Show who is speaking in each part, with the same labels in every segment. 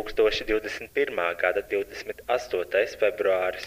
Speaker 1: 2021. gada 28. februāris.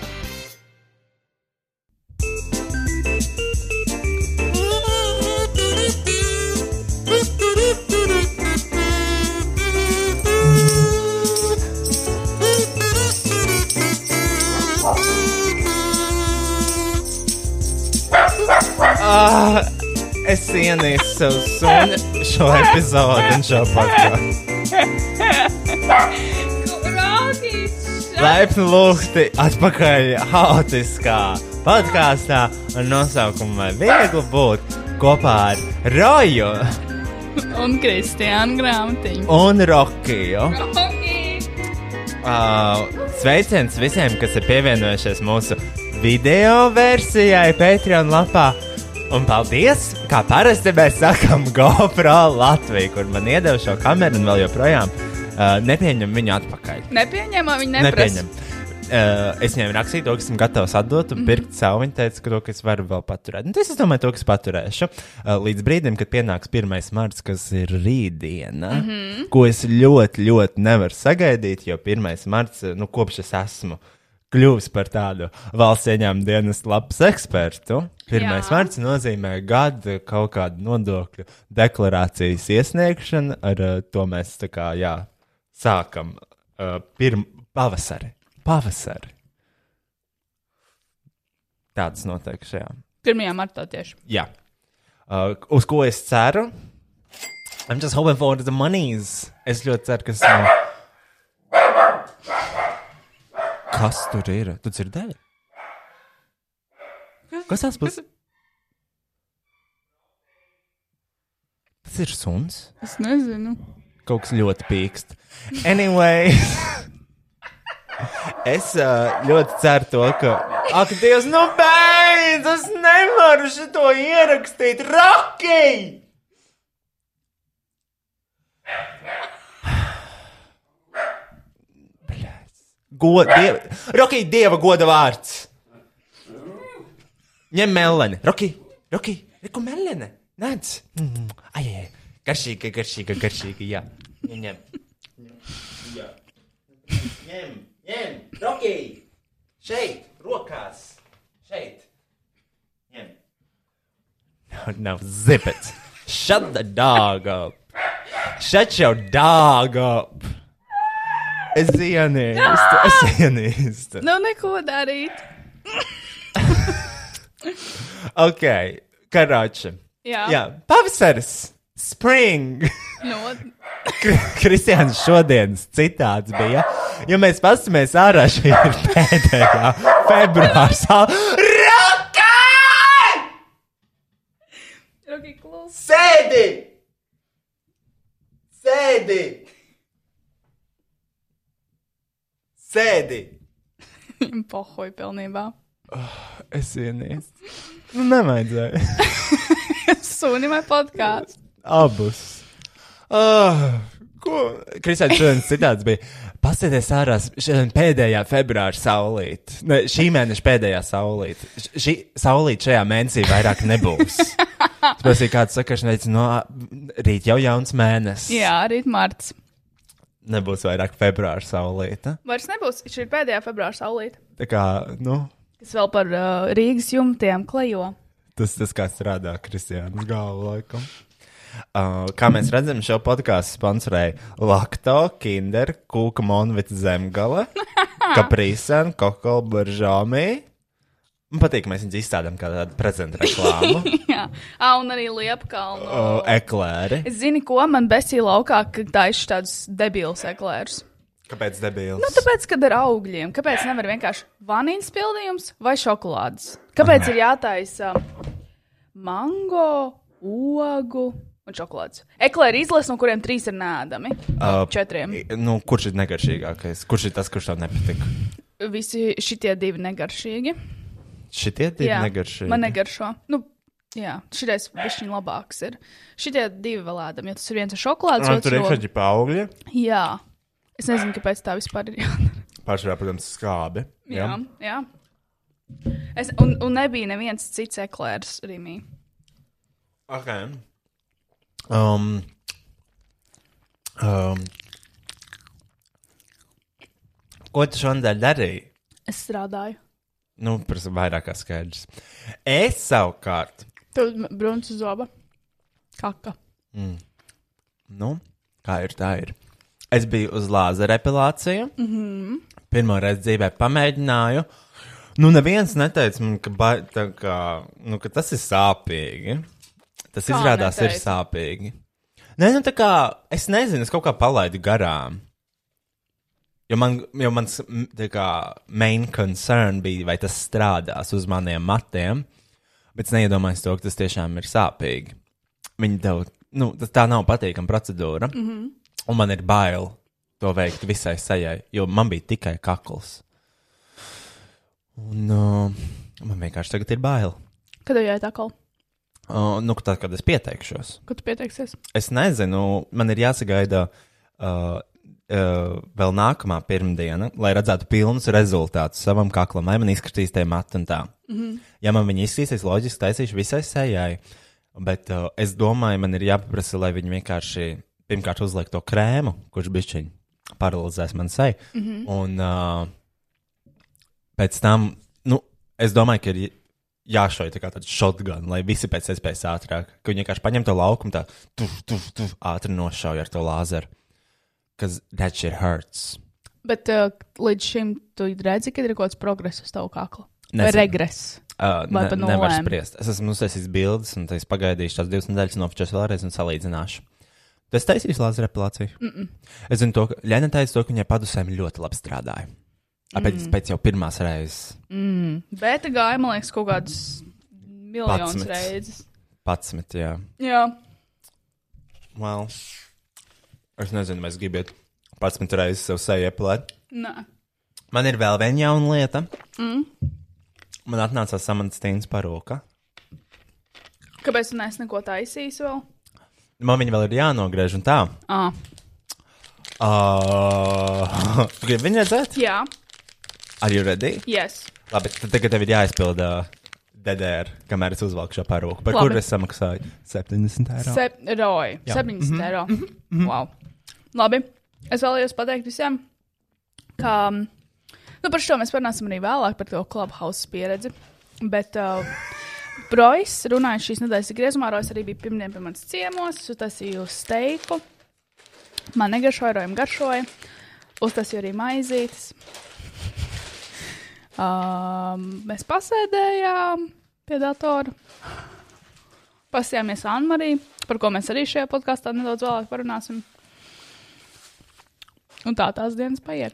Speaker 2: Ah, es ienīstu sev sunu šo epizodi un šo podkāstu. Laipni lūgti atpakaļ haotiskā podkāstā ar nosaukumu Viegli būt kopā ar Roju
Speaker 3: Un Kristiāna grāmatiņa.
Speaker 2: un Rokiju. Uh, sveiciens visiem, kas ir pievienojušies mūsu video versijai Patreon lapā. Un paldies, kā parasti mēs sakām, GoPro Latviju, kur man iedeva šo kameru un vēl joprojām uh, nepieņem viņu atpakaļ.
Speaker 3: Nepieņemama viņa neprasa.
Speaker 2: Uh, es viņiem rakstīju to, kas esmu gatavs atdot, un mm -hmm. pirkt sev. Viņa teica, ka to, kas varu vēl paturēt. Nu, tas, es domāju, to, kas paturēšu. Uh, līdz brīdim, kad pienāks 1. marts, kas ir rītdiena, mm -hmm. ko es ļoti, ļoti nevaru sagaidīt, jo 1. marts, nu, kopš es esmu kļuvis par tādu valsts ieņēmuma dienas labs ekspertu. 1.
Speaker 3: Jā.
Speaker 2: marts nozīmē gada kaut kādu nodokļu deklarācijas iesniegšanu, ar uh, to mēs tā kā, jā, sākam uh, pirm, pavasari. Pavasari. Tāds notiek šajā.
Speaker 3: Pirmajā martā tieši.
Speaker 2: Jā. Uh, uz ko es ceru? I'm just hoping for the monies. Es ļoti ceru, ka. es, Uh... Kas tur ir? Tu dzirdēji? Kas tas būs? Tas ir suns.
Speaker 3: Es nezinu.
Speaker 2: Kaut kas ļoti pīkst. Anyway, es uh, ļoti ceru to, ka. Ak, Dievs, nu beidz! Es nevaru šo ierakstīt! Rocky! God, dieva, Rocky, dieva goda vārds! Ņem meleni, Rocky, Rocky, reku meleni! Nāc! Mm, Ai, ai, ai. garšīga, garšīga, garšīga, jā. Ņem, ņem. Jā. Ņem, ņem, Rocky! Šeit, rokās! Šeit! Ņem! No, no, zip it! Shut the dog up! Shut your dog up! Es ienīstu, es ienīstu.
Speaker 3: Nu, neko darīt.
Speaker 2: Ok, karoči.
Speaker 3: Jā,
Speaker 2: Jā, pavasaris, spring.
Speaker 3: Nu,
Speaker 2: Kri- Kristiāns šodienas citāts bija. Ja mēs paskatāmies ārā, šī ir pēdējā februāra sāla. Roka!
Speaker 3: Roki, klusi.
Speaker 2: Sēdi! Sēdi! Sēdi!
Speaker 3: Pohoj pilnībā.
Speaker 2: Es ienīstu. Nu, nevajadzēja.
Speaker 3: Sunim ir podkāsts.
Speaker 2: Abus. Ah, ko? Kristiāns šodienas citāts bija. Pasēties ārā šodien pēdējā februāra saulīt. Ne, šī mēneša pēdējā saulīt. Š- Šī saulīt šajā mēnesī vairs nebūs. Tas bija kāds sakašanai, no "Nu, rīt jau jauns mēnesis.
Speaker 3: Jā, arī marts.
Speaker 2: nebūs vairāk februāra saulīta.
Speaker 3: Vairs nebūs. Šī ir pēdējā februāra saulīte,
Speaker 2: Tā kā, nu,
Speaker 3: kas vēl par uh, Rīgas jumtiem klejo.
Speaker 2: tas, tas kā strādā Kristiānas galva laikam. Uh, kā mēs redzam, šo podkāstu sponsorēja Lakto, Kinder, Kūka Monvita Zemgale, Kaprīsēna, Kokola Buržāmī. Man patīk, ka mēs viņus izstādām kā tādu prezentu reklāmu.
Speaker 3: Jā, ah, un arī Liepkalnu.
Speaker 2: Uh, eklēri.
Speaker 3: Es zinu, ko man besīja laukā, kad taisīju tādus debilus eklērus.
Speaker 2: Kāpēc debils?
Speaker 3: Nu, tāpēc, kad ir augļiem, kāpēc nevar vienkārši vanīļas pildījums vai šokolādes? Kāpēc ir jātaisa mango, ogu un šokolādes? Eklēri izlasa, no kuriem trīs ir nēdami.
Speaker 2: Uh,
Speaker 3: Uh, četriem.
Speaker 2: Nu, kurš ir negaršīgākais? Kurš ir tas, kurš tev nepatīk?
Speaker 3: Visi šitie divi negaršīgi.
Speaker 2: Šitie divi negaršīgi.
Speaker 3: man negaršo. Nu, jā, šitais višķiņ labāks ir. Šitie divi vēl ēdami, jo tas ir viens ar šokolādes,
Speaker 2: Ah,
Speaker 3: otrs
Speaker 2: Tur
Speaker 3: ir
Speaker 2: ir
Speaker 3: ogu.
Speaker 2: šādi paugļi.
Speaker 3: Jā. Es nezinu, kāpēc tā vispār ir jādara.
Speaker 2: Pārsvarā, protams, skābi.
Speaker 3: Jā, jā. Es, un, un nebija neviens cits eklērs Rīgā.
Speaker 2: Okay. Um, um, ko tu šodien darīji?
Speaker 3: Es strādāju.
Speaker 2: Nu, prasa vairāk kā skaidrs. Es savukārt,
Speaker 3: Tur bija brūns zoba. Kaka.
Speaker 2: nu, kā ir tā, ir. Es biju uz lāzera epilāciju. Mm -hmm.
Speaker 3: Mhm.
Speaker 2: Pirmā reize dzīvē pamēģināju. Nu, neviens neteica man, ka, ba- tā kā, nu, ka tas ir sāpīgi. Tas
Speaker 3: Kā
Speaker 2: izrādās ir
Speaker 3: neteica?
Speaker 2: sāpīgi. Nē, nu tā kā es nezinu, es kaut kā palaidu garām. Jo, man, jo mans m, tā kā, main concern bija, vai tas strādās uz maniem matiem. Bet es neiedomājos to, ka tas tiešām ir sāpīgi. Viņa tev, nu, tas tā nav patīkama procedūra. Mm -hmm. Un man ir bail to veikt visai sajai, jo man bija tikai kakls. Un uh, man vienkārši tagad ir bail.
Speaker 3: Kad jau tā kā,
Speaker 2: Uh, nu, tad, kad es pieteikšos,
Speaker 3: kad tu pieteiksies?
Speaker 2: es nezinu, man ir jāsagaida uh, uh, vēl nākamā pirmdiena, lai redzētu pilnus rezultātus savam kaklam, vai man izskatīs tie mati un tā. Mm -hmm. Ja man viņi izskatīsies, loģiski taisīšu visai sējai. Bet uh, es domāju, man ir jāpaprasa, lai viņi vienkārši pirmkārt uzliek to krēmu, kurš bišķiņ paralizēs man seju. Mm -hmm. Un uh, pēc tam, nu, es domāju, ka ir jāšauj tā kā tāds shotgun, lai visi pēc iespējas ātrāk, ka viņi vienkārši paņem to laukumu, tā tuf, tuf, tuf, ātri nošauj ar to lāzeru. Kas that shit hurts.
Speaker 3: Bet uh, līdz šim tu redzi, ka ir kaut kāds progress uz tavu kaklu. Vai
Speaker 2: Nezinu.
Speaker 3: regress.
Speaker 2: Uh,
Speaker 3: Vai
Speaker 2: ne,
Speaker 3: pa
Speaker 2: nevar
Speaker 3: nulēm?
Speaker 2: spriest. Es esmu uztaisījis bildes, un tad es pagaidīšu tās divas nedēļas, nofčos vēlreiz un salīdzināšu. Tas taisīs lāzera repilāciju. Mm -mm. Es zinu, to, ka Lena teica, to, ka viņai padusēm ļoti labi strādāja. Tāpēc mm. pēc jau pirmās reizes
Speaker 3: Bet gāja, man liekas, kaut kādas miljonus
Speaker 2: Padsmit.
Speaker 3: reizes.
Speaker 2: pats met, jā.
Speaker 3: Jā.
Speaker 2: Well, es nezinu, vai es gribiet pats met reizes sev seju epilēt.
Speaker 3: Nē.
Speaker 2: Man ir vēl viena jauna lieta. Mm. Man atnāca samantīns parūka.
Speaker 3: Kāpēc tu neesi neko taisījis vēl?
Speaker 2: Man viņa vēl ir jānogriež un tā.
Speaker 3: Ah.
Speaker 2: Uh, tu gribi viņu redzēt?
Speaker 3: Jā,
Speaker 2: Ar jūs ready?
Speaker 3: yes.
Speaker 2: Labi, tad tagad tev ir jāizpilda DDR, kamēr es uzvelku šo parūku. Par
Speaker 3: Labi.
Speaker 2: kuru es samaksāju 70 eiro?
Speaker 3: Sep roji.
Speaker 2: Jā.
Speaker 3: 70 eiro. Wow. Labi. Es vēlējos pateikt visiem, ka mm, nu, par šo mēs parunāsim arī vēlāk, par to klubhausa pieredzi. Bet uh, Rojas runāja šīs nedēļas griezumā. Rojas arī bija pirmdien pie manas ciemos, tas ir jūs teiku. Man negašoja, rojam garšoja. Uztaisīju arī maizītes. Um, mēs pasēdējām pie datora. Pasījāmies Anmarī, par ko mēs arī šajā podkāstā nedaudz vēlāk parunāsim. Un tā tās dienas paiet.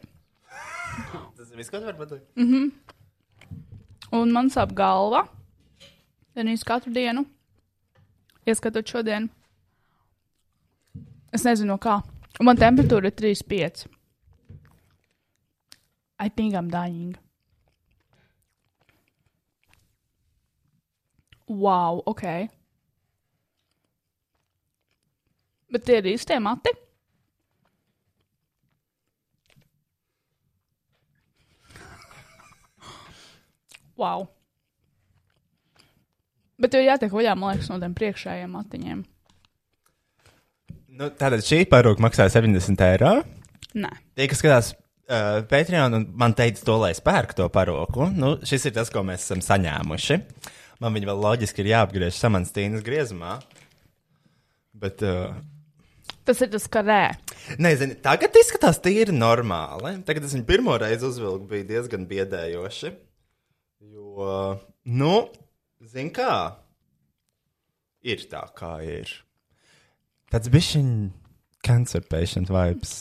Speaker 2: Tas viss, ko tu vari pateikt?
Speaker 3: Un man sāp galva. Gan īsi katru dienu. Ieskatot šodien. Es nezinu, no kā. Un man temperatūra ir 3,5. I think I'm dying. Wow, ok. Bet tie ir īstie mati. Wow. Bet tev jātiek vaļā, man liekas, no tiem priekšējiem matiņiem.
Speaker 2: Nu, tātad šī parūka maksā 70 eiro.
Speaker 3: Nē,
Speaker 2: Tie, kas skatās uh, Patreon, un man teica, to lai es pērku to parūku, nu, šis ir tas, ko mēs esam saņēmuši. Man viņa vēl loģiski ir jāapgriež samanstīnas griezumā. Bet, uh,
Speaker 3: tas ir tas karē.
Speaker 2: nezinu, tagad izskatās tīri normāli. Tagad es viņu pirmo reizi uzvilku, bija diezgan biedējoši. Jo, nu, zin kā, ir tā, kā ir. Tāds bišķiņ cancer patient vibes.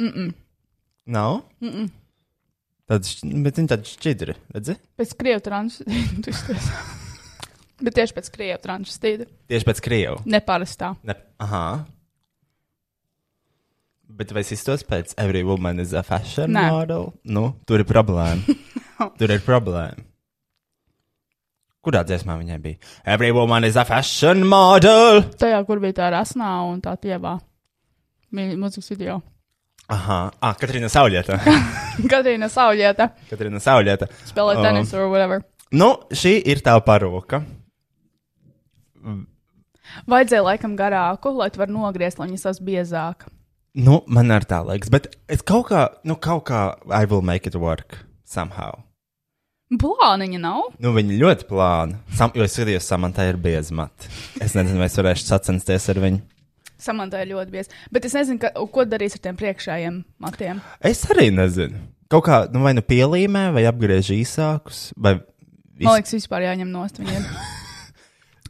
Speaker 2: Mm -mm. Nav? Mm -mm. Tad, bet viņi tādi šķidri, redzi?
Speaker 3: Pēc krievu tranšstīda. tu izties. Bet tieši pēc krievu tranšstīda.
Speaker 2: Tieši pēc krievu.
Speaker 3: Neparastā.
Speaker 2: Ne, aha. Bet vai es iztos pēc Every Woman is a Fashion
Speaker 3: Nē.
Speaker 2: Nē. Model? Nu, tur ir problēma. tur ir problēma. Kurā dziesmā viņai bija? Every Woman is a Fashion Model!
Speaker 3: Tajā, kur bija tā rasnā un tā tievā. Mi- Mūzikas video.
Speaker 2: Aha, ah, Katrīna Saulieta.
Speaker 3: Katrīna Saulieta
Speaker 2: Katrīna Saulieta.
Speaker 3: spēlē
Speaker 2: Um,
Speaker 3: tenisu vai whatever.
Speaker 2: Nu, šī ir tā parūka.
Speaker 3: Vajadzēja laikam garāku, lai tu varētu nogriezt, lai viņas būtu biezākas.
Speaker 2: Nu, man ar tā liekas, bet es kaut kā, nu, kaut kā, I will make it work somehow.
Speaker 3: Plāniņa nav.
Speaker 2: Nu, viņi ļoti plāni. Sam, jo es skatījos, Samantā ir biezi mati. Es nezinu, vai es varēšu sacensties ar viņu.
Speaker 3: Samantā ir ļoti biezs. Bet es nezinu, ka, ko darīs ar tiem priekšējiem matiem.
Speaker 2: Es arī nezinu. Kaut kā, nu, vai nu pielīmē, vai apgriež īsākus, vai
Speaker 3: Man
Speaker 2: vispār.
Speaker 3: liekas, vispār jāņem nost viņiem.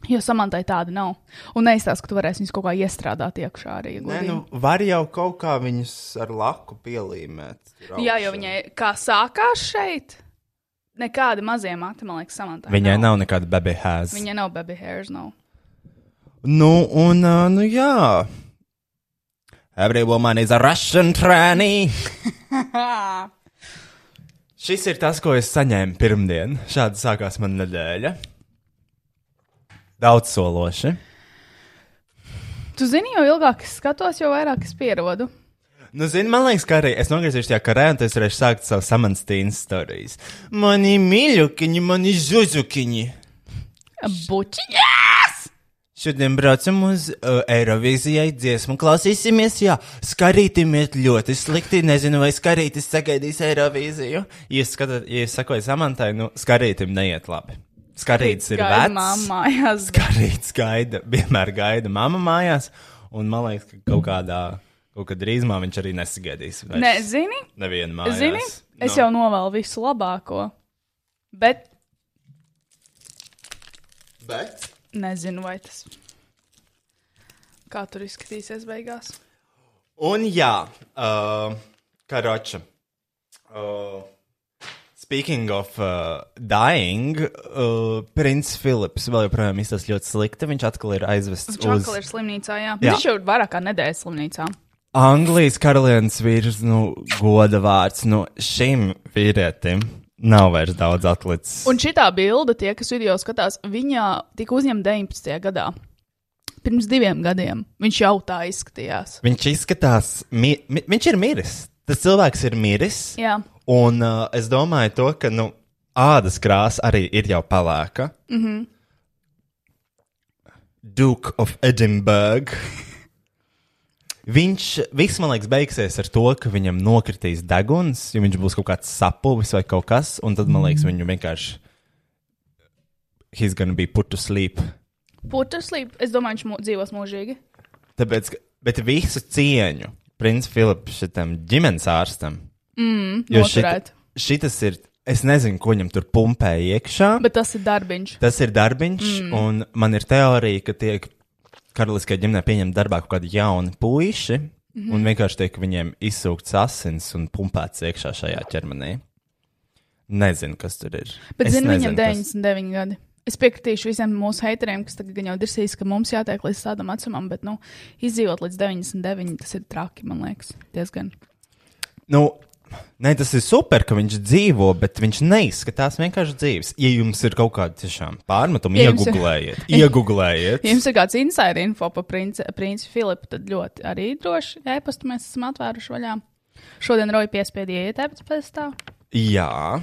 Speaker 3: Jo samantai tāda nav. Un neizstāsta, ka tu varēsi viņus kaut kā iestrādāt iekšā arī.
Speaker 2: Nē,
Speaker 3: godīgi.
Speaker 2: nu, var jau kaut kā viņus ar laku pielīmēt. tur
Speaker 3: Jā,
Speaker 2: augšā.
Speaker 3: jo viņai kā sākās šeit, nekāda mazā matra, man liekas, samantā.
Speaker 2: Viņai nav nekāda baby hairs. Viņa...
Speaker 3: Viņai nav baby hairs, nav.
Speaker 2: Nu, un, ā, nu, jā. Every woman is a Russian tranny. Šis ir tas, ko es saņēmu pirmdien. Šādi sākās mana nedēļa. Daudz sološi.
Speaker 3: Tu zini, jo ilgāk es skatos, jo vairāk es pierodu.
Speaker 2: Nu, zini, man liekas, ka arī es nogriezīšos tajā karē, un tas varēšu sākt savu samanstīnas stāstījus. Mani mīļukiņi, mani zuzukiņi.
Speaker 3: Buķiņās!
Speaker 2: Šodien braucam uz uh, Eirovīzijai dziesmu, klausīsimies, jā, skarītim iet ļoti slikti, nezinu, vai skarītis sagaidīs Eirovīziju. Ja jūs skatāt, ja jūs sakojat samantai, nu, skarītim neiet labi. Skarītis ir
Speaker 3: Gaida
Speaker 2: vecs.
Speaker 3: mamma, jās.
Speaker 2: Skarīts gaida, vienmēr gaida mamma mājās, un man liekas, ka kaut kādā, kaut kad drīzumā viņš arī nesagaidīs. vairs
Speaker 3: Nē, zini,
Speaker 2: Nevienu mājās. Nu.
Speaker 3: zini, es jau novēlu visu labāko. Bet
Speaker 2: Bet?
Speaker 3: nezinu, vai tas. Kā tur izskatīsies beigās?
Speaker 2: Un jā, uh, karoča. Uh, speaking of uh, dying, uh, Princis Filips vēl joprojām izsaka ļoti slikti. Viņš atkal ir aizvests
Speaker 3: Viņš
Speaker 2: uz
Speaker 3: atkal ir slimnīcā, jā.
Speaker 2: Jā.
Speaker 3: jā. Viņš jau ir vairāk kā nedēļas slimnīcā.
Speaker 2: Anglijas karalienes vīrs, nu, goda vārds. Nu, šim vīrietim nav vairs daudz atlicis.
Speaker 3: Un šī bilde, tie, kas video skatās, viņa tika uzņemta 19. gadā. Pirms diviem gadiem viņš jau tā izskatījās.
Speaker 2: Viņš izskatās, mi mi viņš ir miris. Tas cilvēks ir miris.
Speaker 3: Jā,
Speaker 2: Un uh, es domāju, to, ka nu, ādas krāsa arī ir jau palēka. Mm -hmm. Duke of Edinburgh. Viņš, viss man liekas, beigsies ar to, ka viņam nokritīs deguns, jo viņš būs kaut kāds sapuvis vai kaut kas, un tad man liekas, viņu vienkārši. He's gonna be put to sleep.
Speaker 3: putekļslīpe. Es domāju, viņš mū, dzīvos mūžīgi.
Speaker 2: Tāpēc, ka- bet visu cieņu princis Filips šitam ģimenes ārstam. Jo
Speaker 3: Mm, noturēt.
Speaker 2: šitas ir, es nezinu, ko viņam tur pumpēja iekšā.
Speaker 3: Bet tas ir darbiņš.
Speaker 2: Tas ir darbiņš, mm. un man ir teorija, ka tiek karaliskajā ģimenē pieņemta darbā kaut kādi jauni puiši, mm
Speaker 3: Mhm.
Speaker 2: -hmm. un vienkārši tiek viņiem izsūkts asins un pumpēts iekšā šajā ķermenī. Nezinu, kas tur ir.
Speaker 3: Bet,
Speaker 2: Es
Speaker 3: zinu, viņam
Speaker 2: nezinu, kas-
Speaker 3: 99 gadi. Es piekritīšu visiem mūsu haiteriem, kas tagad gan jau dirsīs, ka mums jātiek līdz tādam vecumam, bet, nu, izdzīvot līdz 99, tas ir traki, man liekas, diezgan.
Speaker 2: Nu, Nē, tas ir super, ka viņš dzīvo, bet viņš neizskatās vienkārši dzīves. Ja jums ir kaut kāda tiešām pārmetuma,
Speaker 3: Ja
Speaker 2: ja
Speaker 3: jums ir-
Speaker 2: iegūlējiet. iegūlējiet.
Speaker 3: Ja jums ir kāds inside info par princi, princi Filipu, tad ļoti arī droši e-pastu mēs esam atvēruši vaļā. Šodien Roja piespiedīja iet e-pastā.
Speaker 2: Jā,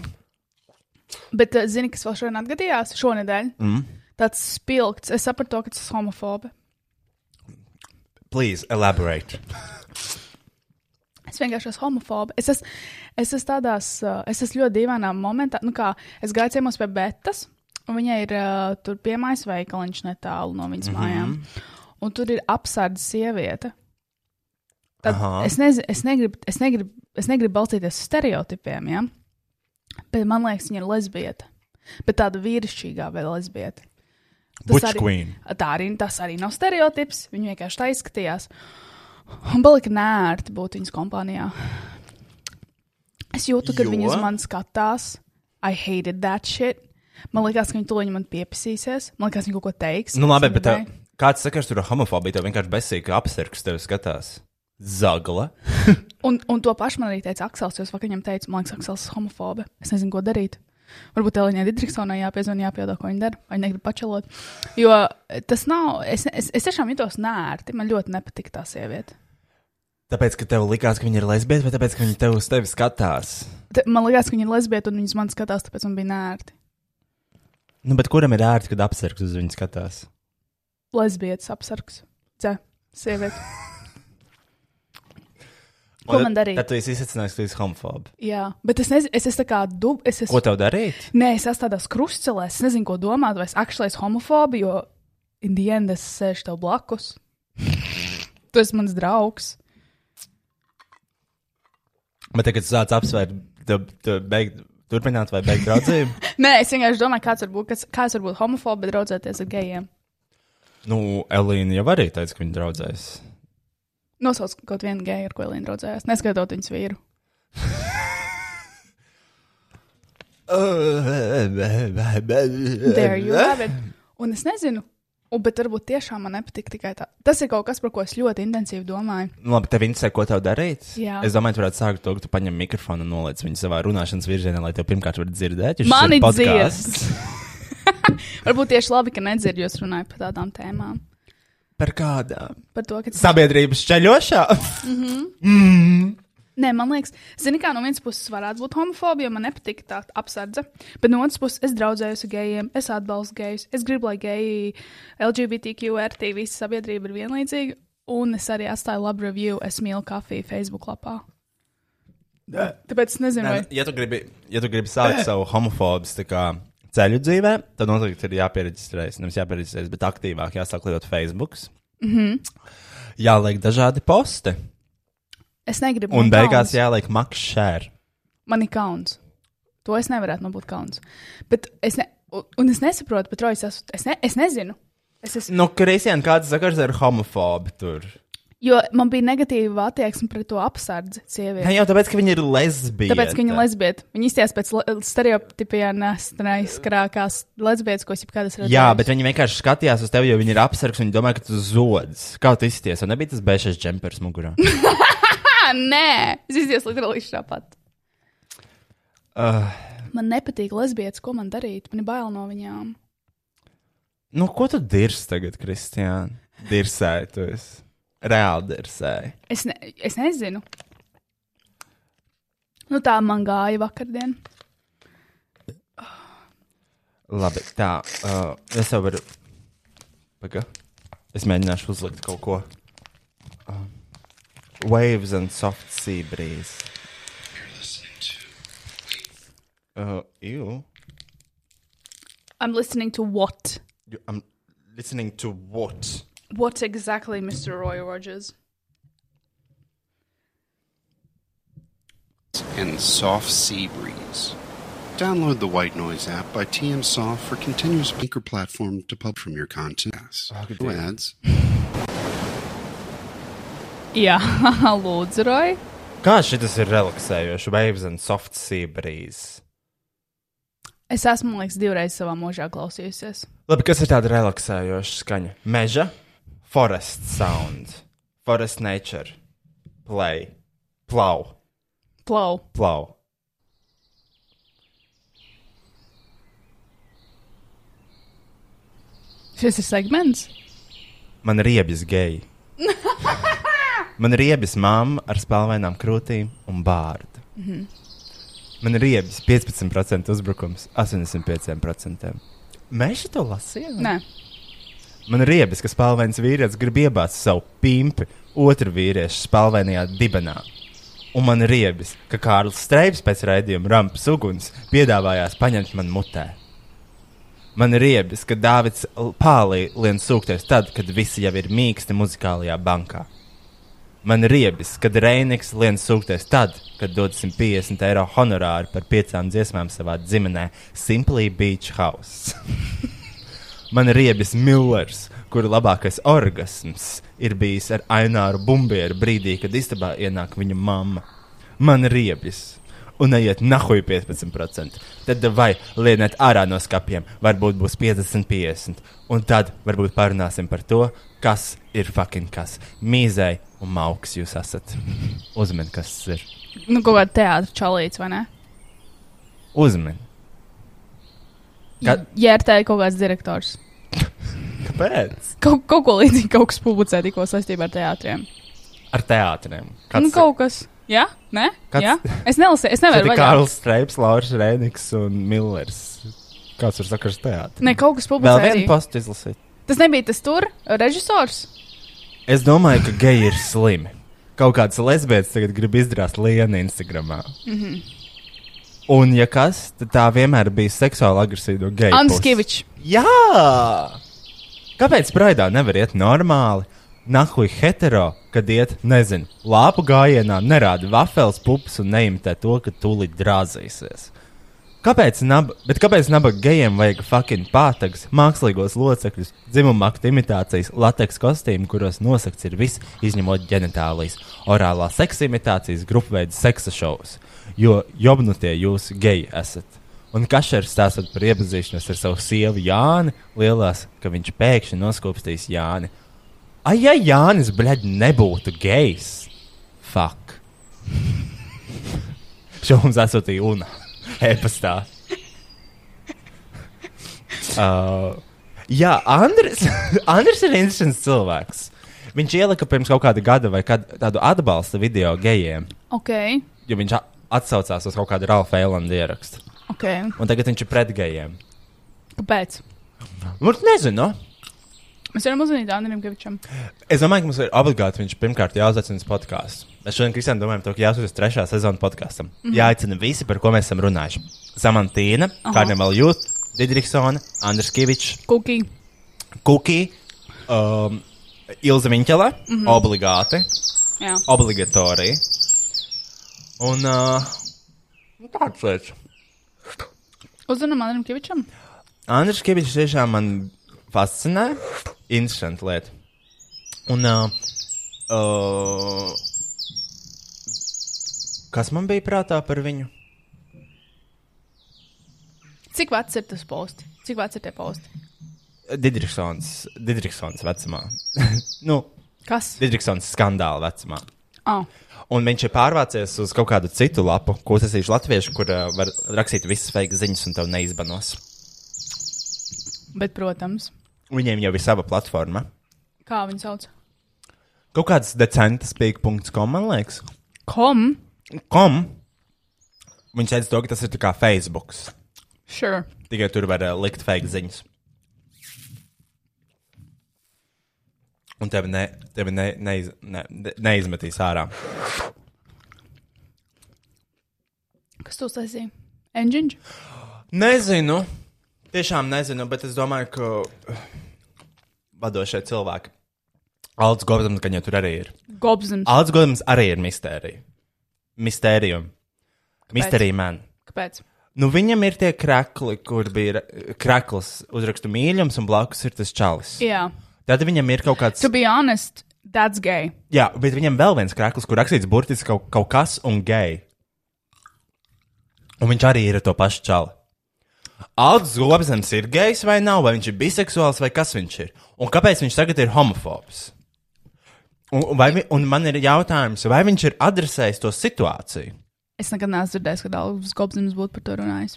Speaker 3: Bet, eh, zini, kas vēl šodien atgadījās? Šonedēļ. Mm. Tāds spilgts. Es sapratu, to, ka tas ir homofobi.
Speaker 2: please elaborate.
Speaker 3: Es vienkārši esmu homofoba. Es esmu, es esmu tādās, uh, es esmu ļoti dīvainā momentā. Nu, kā es gāju ciemos pie Betas, un viņai ir uh, tur piemājas veikaliņš netālu no
Speaker 2: Mhm.
Speaker 3: viņas mm -hmm. mājām. Un tur ir apsardzes sieviete. Tad
Speaker 2: Aha.
Speaker 3: es, nez, es, negribu, es, negribu, es negribu balstīties uz stereotipiem, ja? bet man liekas, viņa ir lesbieta. Bet tāda vīrišķīgā vēl lesbieta. Tas
Speaker 2: Butch
Speaker 3: arī-
Speaker 2: queen.
Speaker 3: Tā arī, tas arī nav stereotips. Viņa vienkārši tā izskatījās. Un bija nērti būt viņas kompānijā. Es jūtu, ka
Speaker 2: Jo?
Speaker 3: viņi uz mani skatās. I hated that shit. Man liekas, ka viņi to man pieprasīsies. Man liekas, viņi kaut ko teiks.
Speaker 2: Nu, labi,
Speaker 3: Es
Speaker 2: bet
Speaker 3: negribēju.
Speaker 2: tev, kāds sakars tur ir homofobija? Tev vienkārši besīk apsargs tevi skatās. Zagla.
Speaker 3: Un, un to pašu man arī teica Aksels, jo es vakar viņam teicu, man liekas, Aksels ir homofobe. Es nezinu, ko darīt. Varbūt Elīnai Digriksonai jāpiezvanīt, jāpiedā, ko viņa dara, vai viņa negrib pačelot. Jo tas nav, es, es, es tiešām jutos nērti. Man ļoti nepatika tā sieviete.
Speaker 2: Tāpēc, ka tev likās, ka viņa ir lesbieta, vai tāpēc, ka viņa tev uz tevi skatās?
Speaker 3: Te- Man liekas, ka viņa ir lesbieta, un viņas man skatās, tāpēc man bija nērti.
Speaker 2: Nu, bet kuram ir ērti, kad apsargs uz viņu skatās?
Speaker 3: Lesbietas apsargs. Cē, sieviete. Ko man darīt?
Speaker 2: Tad tu esi izsacinājis, ka tu esi homofobs.
Speaker 3: Jā, bet es nezinu, es esmu tā kā dub. Es
Speaker 2: Ko
Speaker 3: esmu,
Speaker 2: tev darīt?
Speaker 3: nē, es esmu tādās krustcelēs, es nezinu, ko domāt, vai es akšlēju homofobi, jo indiendas sēž tev blakus. tu esi mans draugs.
Speaker 2: Bet tagad tu sāc apsvērt, tu, tu beig, turpināt vai beigt draudzību.
Speaker 3: Nē, es vienkārši domāju, kāds var būt, kas, kāds var būt homofobi, bet draudzēties ar gejiem.
Speaker 2: nu, Elīna jau arī teica, ka viņa draudzēs.
Speaker 3: Nosauc kaut vienu geju, ar ko Elīna draudzējās, neskaitot viņas vīru. There you have it. Un es nezinu, un, bet varbūt tiešām man nepatīk tikai tā. Tas ir kaut kas, par ko es ļoti intensīvi domāju.
Speaker 2: Nu, Labi, tev interesē, ko tev darīt?
Speaker 3: Jā.
Speaker 2: Es domāju, tu varētu sākt to, ka tu paņem mikrofonu un noliec viņu savā runāšanas virzienā, lai tev pirmkārt varētu dzirdēt. jo šis
Speaker 3: Mani
Speaker 2: ir podcasts.
Speaker 3: Varbūt tieši labi, ka nedzirdu, jūs runājat par tādām tēmām.
Speaker 2: Par kādām?
Speaker 3: Par to, ka tas
Speaker 2: Sabiedrības ceļošā.
Speaker 3: Nē, man liekas, zini, kā no vienas puses varētu būt homofobija, jo man nepatīk tā apsardze. Bet no otras puses, es draudzējos ar gejiem, es atbalstu gejus, es gribu, lai geji, LGBTQRT, visa sabiedrība ir vienlīdzīga. Un es arī atstāju labu review, es mīlu kafiju Facebook lapā. Tāpēc es nezinu,
Speaker 2: Nē,
Speaker 3: vai
Speaker 2: nu, ja, tu gribi, ja tu gribi sākt savu homofobas tā kā, ceļu dzīvē, tad noteikti ir jāpiereģistrējas. Nevis jāpiereģistrējas, bet aktīvāk jāsāk lietot Facebook. Mm
Speaker 3: Mhm.
Speaker 2: -hmm. Jāliek dažādi posti.
Speaker 3: es negribu.
Speaker 2: Un
Speaker 3: man
Speaker 2: beigās
Speaker 3: kauns.
Speaker 2: jāliek maks share.
Speaker 3: man ir kauns. To es nevaru man būt kauns. Bet es, ne, un- un es nesaprotu, bet Rojas, es, es, ne, es nezinu. Es esmu,
Speaker 2: Nu, Kristian, kāds sakars ar homofobu tur?
Speaker 3: jo man bija negatīva attieksme pret to apsardzi
Speaker 2: Ne
Speaker 3: sievieti.
Speaker 2: jau tāpēc, ka viņa ir lesbieta.
Speaker 3: Tāpēc, ka viņa ir lesbieta. Viņa izties pēc le- stereotipiem nestrākās lesbietas, ko es jebkad esmu redzējis.
Speaker 2: Jā, bet viņi vienkārši skatījās uz tevi, jo viņi ir apsargs un viņi domāja, ka tu zods. Kā tu izties? Un nebija tas bešais džempers mugurā.
Speaker 3: Ā, nē, es izties literāli tāpat.
Speaker 2: uh,
Speaker 3: Man nepatīk lesbietas, ko man darīt. Man ir bail no viņām.
Speaker 2: nu, ko tu dirsi tagad, Kristian? Dirsēji tu esi. Reāli dirsēji.
Speaker 3: Es, ne, es nezinu. Nu, tā man gāja vakardien.
Speaker 2: Labi, tā. Uh, es jau varu. Paga. Es mēģināšu uzlikt kaut ko. Uh, waves and soft sea breeze. Uh, ew.
Speaker 3: I'm listening to what?
Speaker 2: You, I'm listening to what?
Speaker 3: What exactly, Mr. Roy Rogers?
Speaker 4: and soft sea breeze. Download the White Noise app by TM Soft for continuous speaker platform to pub from your content. No ads.
Speaker 3: Jā, lūdzu, Roja.
Speaker 2: Kā šis ir relaksējošs, waves and soft sea breeze?
Speaker 3: Es esmu, man liekas, divreiz savā mūžā klausījusies.
Speaker 2: Labi, kas ir tāda relaksējoša skaņa? Meža, forest sound, forest nature, play, plau,
Speaker 3: Plau.
Speaker 2: plau.
Speaker 3: Šis ir segments.
Speaker 2: Man ir riebis geji. Man ir riebis mamma ar spēlvainām krūtīm un bārdu. Man ir riebis 15% uzbrukums, 85%. Mēs šo lasījām?
Speaker 3: Nē,
Speaker 2: Man ir riebis, ka spēlvains vīrietis grib iebāzt savu pimpi otru vīriešu spēlvainajā dibenā. Un man ir riebis, ka Kārlis Streips pēc raidījuma rampas uguns piedāvājās paņemt man mutē. Man ir riebis, ka Dāvids L- Pālī lien sūkties tad, kad visi jau ir mīksti muzikālajā bankā. Man ir riebis, kad Reiniks lien sūkties tad, kad dod 150 eiro honorāru par piecām dziesmām savā dzimtenē Simply Beach House. Man ir riebis Millers, kura labākais orgasms ir bijis ar Aināru Bumbieru brīdī, kad istabā ienāk viņa mamma. Man ir riebis. Un neiet nahuj 15%. Tad vai lieniet ārā no skapiem, varbūt būs 50-50. Un tad varbūt parunāsim par to, kas ir fucking kas. Mīzai un mauks jūs esat. Uzmini, kas tas ir.
Speaker 3: nu, kaut kāda teātris čalīts, vai ne?
Speaker 2: Uzmini. Kad-
Speaker 3: Jā, ir tā ir kaut kāds direktors.
Speaker 2: Kāpēc?
Speaker 3: Kaut, kaut ko līdzīgu kaut kas publicē tikko saistībā ar teātriem.
Speaker 2: Ar teātriem.
Speaker 3: Nu,
Speaker 2: Kāds,
Speaker 3: kaut kas. Jā, nē,
Speaker 2: Kāds-
Speaker 3: jā. Es nelasīju, es nevaru
Speaker 2: Tad ir
Speaker 3: vaļā.
Speaker 2: Kārls Streips, Lauris Rēniks un Millers. Kāds ir sakars teātris?
Speaker 3: Nē, kaut kas
Speaker 2: Vēl
Speaker 3: publicē.
Speaker 2: vienu
Speaker 3: arī.
Speaker 2: postu izlasīt.
Speaker 3: Tas nebija tas tur, režisors.
Speaker 2: Es domāju, ka geji ir slimi. Kaut kāds lesbietis tagad grib izdrāst lienu Instagram. Mm -hmm.
Speaker 3: Mhm.
Speaker 2: Un, ja kas, tad tā vienmēr bija seksuāli agresīva geja.
Speaker 3: Anskivičs.
Speaker 2: Jā! Kāpēc praidā nevar iet normāli? Nahuj hetero, kad iet, nezinu, lāpu gājienā, nerāda vafels, pupas un neimitē to, ka tūlīt drāzīsies. Kāpēc, nab bet kāpēc nabaga gejiem vajag fucking pātags, mākslīgos locekļus, dzimuma aktu imitācijas, lateks kostīmu, kuros nosakts ir viss, izņemot ģenitālijas, orālā seksa imitācijas, grupveida seksa šovus? Jo jobnutie jūs geji esat. Un kašers stāstot par iepazīšanos ar savu sievu Jāni, lielās, ka viņš pēkšņi noskūpstīs Jāni. Ai, ja Jānis, bļaļ, nebūtu gejs! Fuck! Šo mums atsūtīja UNA e-pastā. Uh, jā, Andris, Andris ir interesants cilvēks. Viņš ielika pirms kaut kāda gada vai kad tādu atbalsta video gejiem,
Speaker 3: Ok,
Speaker 2: jo viņš a- atsaucās uz kaut kādu Ralfa Eilanda ierakstu.
Speaker 3: ok.
Speaker 2: Un tagad viņš ir pret gejiem.
Speaker 3: Kāpēc?
Speaker 2: Mums nezinu.
Speaker 3: Mēs varam uzzīmēt Andriem Kavičam.
Speaker 2: Es domāju, ka mums ir obligāti viņš pirmkārt jāuzveicina uz podkāstu. Mēs šodien, Kristija, domājam, to, ka jāuzveicina trešā sezona podkāstam. Mm -hmm. Jāicina visi, par ko mēs esam runājuši. Samantīna, Karnevela Jūt, Didriksona, Andris Kivičs,
Speaker 3: Kuki.
Speaker 2: Kuki, um, Ilza Viņķela, mm -hmm. obligāti,
Speaker 3: Jā.
Speaker 2: obligatorija. Un uh, nu, tāds lietas.
Speaker 3: Uzzinām Andriem Kavičam.
Speaker 2: Andris Kavičs tiešām man fascinē. Interesanti lieta. Un, uh, uh, kas man bija prātā par viņu?
Speaker 3: Cik vecs ir tas posts? Cik vecs ir tie posti?
Speaker 2: Didriksons, Didriksons vecumā. nu,
Speaker 3: Kas?
Speaker 2: Didriksons skandāla vecumā.
Speaker 3: Oh.
Speaker 2: Un viņš ir pārvācies uz kaut kādu citu lapu, ko uzsāsīšu latviešu, kur uh, var rakstīt visas fake ziņas un tev neizbanos.
Speaker 3: Bet, protams,
Speaker 2: Viņiem jau ir sava platforma.
Speaker 3: kā viņu sauc?
Speaker 2: Kaut kāds decents pīk.com, man liekas.
Speaker 3: Kom?
Speaker 2: kom. Viņš teica, to, ka tas ir tā kā Facebook.
Speaker 3: Sure.
Speaker 2: Tikai tur var uh, likt fake ziņas. Un tevi, ne, tevi ne, neiz, ne, ne- neizmetīs ārā.
Speaker 3: Kas to sasīja? Engine?
Speaker 2: Nezinu. Tiešām nezinu, bet es domāju, ka uh, vadošie cilvēki. Alts Gordons, ka viņai tur arī ir.
Speaker 3: Gobsams.
Speaker 2: Alts Gordons arī ir mistērija. Mistērijum. Misterija man.
Speaker 3: Kāpēc?
Speaker 2: Nu, viņam ir tie krakli, kur bija ra- krakls, uzrakstu mīļums, un blakus ir tas čalis.
Speaker 3: Jā,
Speaker 2: Tad viņam ir kaut kāds.
Speaker 3: to be honest, that's gay.
Speaker 2: Jā, bet viņam vēl viens krāklis, kur rakstīts burtiski kaut, kaut kas un geji. Un viņš arī ir ar to pašu čali. Alds Zobens ir gejs vai nav, vai viņš ir biseksuāls vai kas viņš ir. Un kāpēc viņš tagad ir homofobs? Un, vai, vi- un man ir jautājums, vai viņš ir adresējis to situāciju?
Speaker 3: Es nekad neesmu dzirdējis, ka Dārvis Kopsins būtu par to runājis.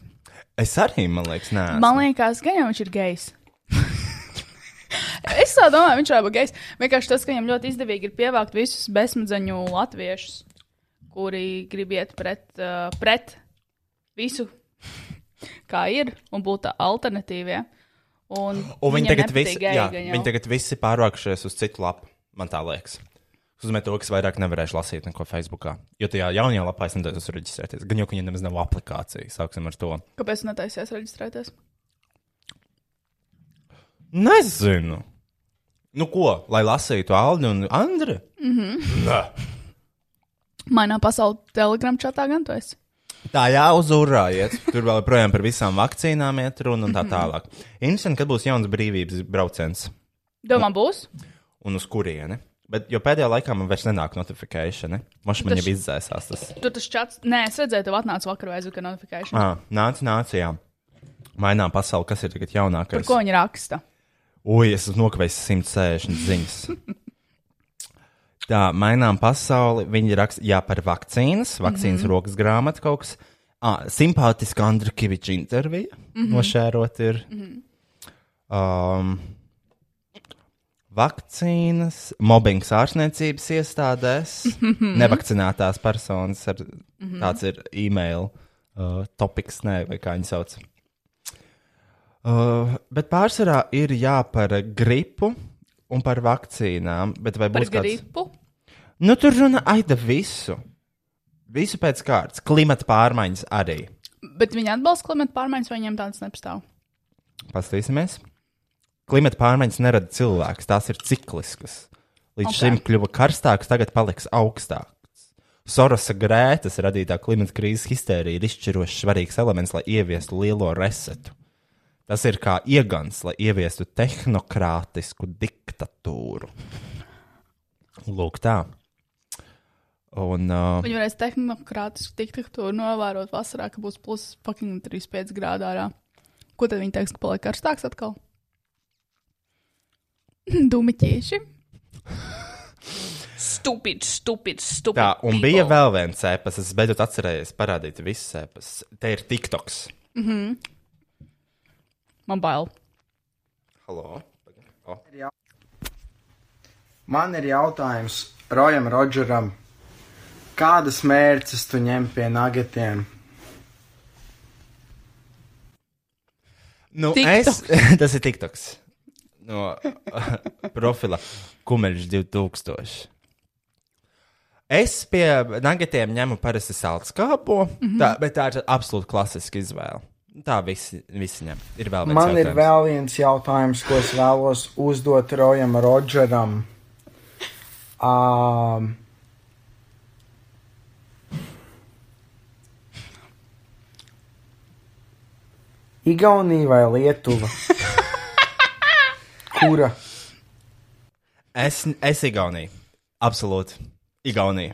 Speaker 2: Es arī, man liekas, nē.
Speaker 3: Man liekas, ka jau viņš ir gejs. es tā domāju, viņš jau ir gejs. Vienkārši tas, ka viņam ļoti izdevīgi ir pievākt visus bezsmadzeņu latviešus, kuri grib iet pret, uh, pret visu, kā ir, un būt tā alternatīvie. Un,
Speaker 2: Un viņi
Speaker 3: viņiem
Speaker 2: tagad,
Speaker 3: nepatīk
Speaker 2: visi,
Speaker 3: geji
Speaker 2: jā,
Speaker 3: gan jau.
Speaker 2: viņi tagad visi pārvākušies uz citu lapu, man tā liekas. Uzmē to, kas vairāk nevarēšu lasīt neko Facebookā. Jo tajā jaunajā lapā es nedaru uzreģistrēties. Gan jau, ka viņiem nemaz nav aplikācija. Sāksim ar to.
Speaker 3: Kāpēc tu netaisies reģistrēties?
Speaker 2: Nezinu. Nu ko, lai lasītu Aldi un Andri? Mm -hmm.
Speaker 3: Mainā pasauli telegram čatā gan tu esi.
Speaker 2: Tā jāuzurājiet. Tur vēl joprojām par visām vakcīnām iet runa un
Speaker 3: Mhm.
Speaker 2: tā tālāk. Interesanti, kad būs jauns brīvības brauciens.
Speaker 3: Domā, būs?
Speaker 2: Un uz kurieni? Bet, jo pēdējā laikā man vairs nenāk notifikācija. Mašs man
Speaker 3: Tas-
Speaker 2: jau izdzēsās tas.
Speaker 3: Tur tas čats. Nē, es redzēju, tev atnāca vakar vai aizvakar notifikācija.
Speaker 2: Ah, nāc, nācijā. Mainām pasauli, kas ir tagad jaunākais.
Speaker 3: Par ko viņi raksta?
Speaker 2: Ui, es esmu nokavējis 160 ziņas. Tā, mainām pasauli. Viņi raksta, jā, par vakcīnas, vakcīnas
Speaker 3: Mhm.
Speaker 2: mm -hmm. rokas grāmatu kaut kas. Ah, simpātiska Andra Kaviča intervija.
Speaker 3: Mhm.
Speaker 2: Mm -hmm. Nošērot ir. Mm -hmm. um, vakcīnas, mobbings ārstniecības iestādēs,
Speaker 3: Mhm.
Speaker 2: nevakcinētās personas. Ar, tāds ir e-mail uh, topiks, ne, vai kā viņi sauc. Uh, bet pārsvarā ir jā par gripu un par vakcīnām. Bet vai
Speaker 3: Par
Speaker 2: būs kāds?
Speaker 3: gripu?
Speaker 2: Nu, tur runa aida visu. Visu pēc kārtas. Klimata pārmaiņas arī.
Speaker 3: Bet viņi atbalsta klimata pārmaiņas, vai viņiem tādas nepastāv?
Speaker 2: Paskatīsimies. Klimata pārmaiņas nerada cilvēks, tās ir cikliskas.
Speaker 3: Ok.
Speaker 2: Līdz okay. šim kļuva karstāks, tagad paliks augstāks. Sorosa grētas radītā klimata krīzes histērija ir izšķiroši svarīgs elements, lai ieviestu lielo resetu. Tas ir kā iegans, lai ieviestu tehnokrātisku diktatūru. Lūk, tā. Un, uh,
Speaker 3: Viņi varēs tehnokrātiski tikt tur novērot vasarā, ka būs plus fucking 35 grādi ārā. Ko tad viņi teiks, ka paliek karstāks atkal? Dumiķieši. Stupid, stupid, stupid.
Speaker 2: tā, un
Speaker 3: people.
Speaker 2: bija vēl viens sēpes, es beidzot atcerējos parādīt visu sēpes. Te ir TikToks.
Speaker 3: Man bail.
Speaker 2: Halo! O.
Speaker 5: Man ir jautājums Rojam Rodžeram. Kādas mērķis tu ņem pie nagatiem?
Speaker 2: Nu, es,
Speaker 3: TikToks.
Speaker 2: tas ir TikToks. No profila Kumeļš 2000. Es pie nagatiem ņemu parasti sālskābo, mm
Speaker 5: Mhm.
Speaker 2: -hmm. tā, bet tā ir absolūti klasiska izvēle. Tā visi, visi ņem. Ir vēl viens.
Speaker 5: Man ir
Speaker 2: jautājums.
Speaker 5: vēl viens jautājums, ko es vēlos uzdot Rojam Rodžeram. Um, Igaunija vai Lietuva? Kura?
Speaker 2: Es, es Igaunija. Absolūti. Igaunija.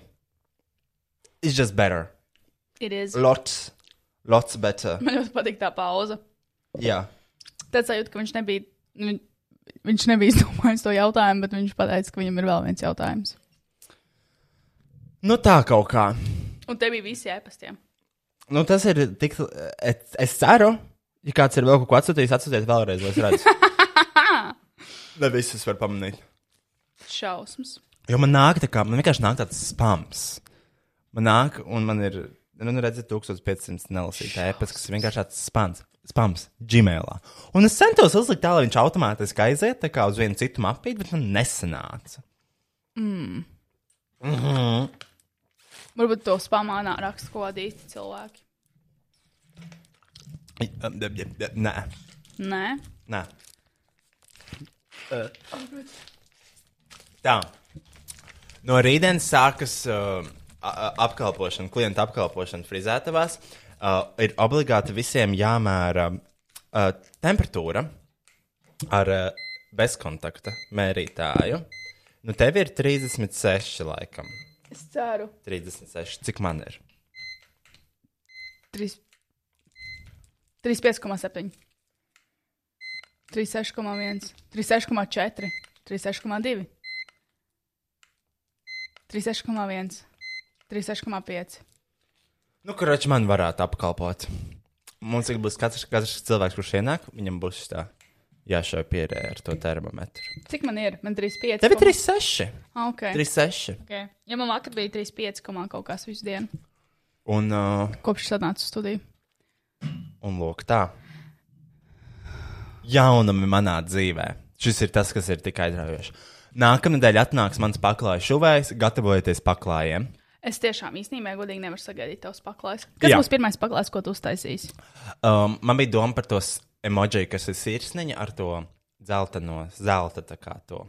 Speaker 2: It's just better.
Speaker 3: It is.
Speaker 2: Lots. Lots better.
Speaker 3: Man ļoti patīk tā pauze.
Speaker 2: Jā.
Speaker 3: Tad sajūta, ka viņš nebija. viņ- Viņš nebija izdomājis to jautājumu, bet viņš pateica, ka viņam ir vēl viens jautājums.
Speaker 2: Nu tā kaut kā.
Speaker 3: Un te bija visi ēpastiem.
Speaker 2: Nu, tas ir tik. Es, es ceru, ja kāds ir vēl kaut ko atsūtījis, atsūtiet vēlreiz, lai es redzu. Ne visas var pamanīt.
Speaker 3: Šausmas.
Speaker 2: Jo man nāk tā kā, man vienkārši nāk tāds spams. Man nāk, un man ir, nu, redziet, 1500 nelasīta ēpas, kas ir vienkārši tāds spams. Spams, Gmailā. Un es centos uzlikt tā, lai viņš automātiski aiziet tā kā uz vienu citu mapīti, bet man nesanāca.
Speaker 3: Varbūt to spamānā raksta kaut kādi īsti cilvēki.
Speaker 2: Nē,
Speaker 3: Nē,
Speaker 2: nē. Tā. No rītdienas sākas uh, a- apkalpošana, klienta apkalpošana frizētavās, uh, ir obligāti visiem jāmēra uh, temperatūra ar uh, bezkontakta mērītāju. Nu, tev ir 36, laikam.
Speaker 3: Es ceru.
Speaker 2: 36, cik man ir?
Speaker 3: 3, 35,7, 36,1, 36,4, 36,2, 36,1, 36,5.
Speaker 2: Nu, kurš man varētu apkalpot? Mums ir būs katrs, katrs cilvēks, kurš ienāk, viņam būs tā jāšauj pierē ar to termometru.
Speaker 3: Cik man ir? Man 3,5.
Speaker 2: Tev ir 36,
Speaker 3: Okay.
Speaker 2: 36.
Speaker 3: Okay. Ah, Ja man vakar bija 3,5 kaut kas visu dienu,
Speaker 2: Un, uh,
Speaker 3: kopš es atnācu uz studiju.
Speaker 2: un lūk, tā. Jaunumi manā dzīvē. Šis ir tas, kas ir tik aizraujoši. Nākamnedēļ atnāks mans paklājas šuvējs, gatavojieties paklājiem.
Speaker 3: Es tiešām īstenībā godīgi nevaru sagaidīt tavs paklājs. Kas
Speaker 2: Jā.
Speaker 3: būs pirmais paklājs, ko tu uztaisīsi?
Speaker 2: Um, man bija doma par tos emoji, kas ir sirsniņa ar to zeltaino, zelta tā kā to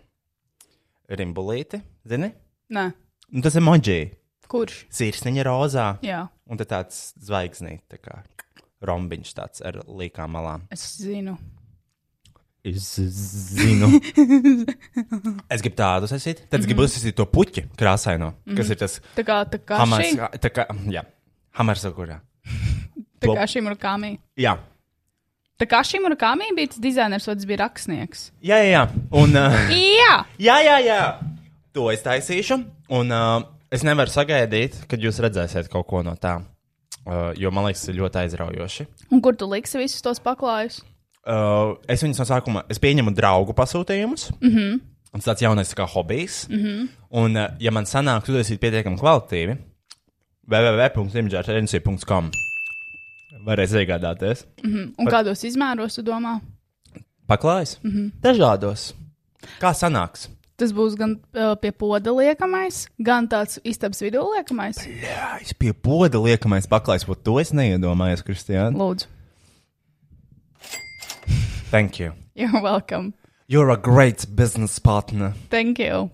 Speaker 2: rimbulīti, zini?
Speaker 3: Nē,
Speaker 2: Nu, tas emoji.
Speaker 3: kurš?
Speaker 2: Sirsniņa rozā.
Speaker 3: Jā,
Speaker 2: Un tad tāds zvaigznīte, tā kā rombiņš tāds ar līkām malām.
Speaker 3: es zinu.
Speaker 2: Es zinu. es gribu tādu sasīt. Tad es gribu sasīt to puķi krāsaino, kas ir tas
Speaker 3: Tā kā, tā kā
Speaker 2: hamars.
Speaker 3: šī,
Speaker 2: Tā kā, jā, hamars akurā.
Speaker 3: tā kā šī murakāmī.
Speaker 2: Jā.
Speaker 3: Tā kā šī murakāmī bija tas dizainers, otrs bija rakstnieks.
Speaker 2: Jā, jā, jā. Un, uh,
Speaker 3: Jā!
Speaker 2: jā, jā, jā. To es taisīšu. Un uh, es nevaru sagaidīt, kad jūs redzēsiet kaut ko no tā. Uh, jo man liekas, tas ir ļoti aizraujoši.
Speaker 3: Un kur tu liksi visus tos paklājus?
Speaker 2: Uh, es viņus no sākuma es pieņemu draugu pasūtījumus. Mm -hmm. Tas tāds jaunais tā kā hobijs. Mm -hmm. Un, uh, ja man sanāk, tu esi pietiekami kvalitīvi, www.imģēta.com varēs iegādāties.
Speaker 3: Un kādos izmēros tu domā?
Speaker 2: Paklājas? Mm -hmm. Dažādos. Kā sanāks?
Speaker 3: Tas būs gan uh, pie poda liekamais, gan tāds istabas vidū liekamais.
Speaker 2: Jā, es pie poda liekamais paklājs, bet to es neiedomājos, Kristija.
Speaker 3: Lūdzu,
Speaker 2: Thank you.
Speaker 3: you're welcome.
Speaker 2: You're a great business partner.
Speaker 3: Thank you.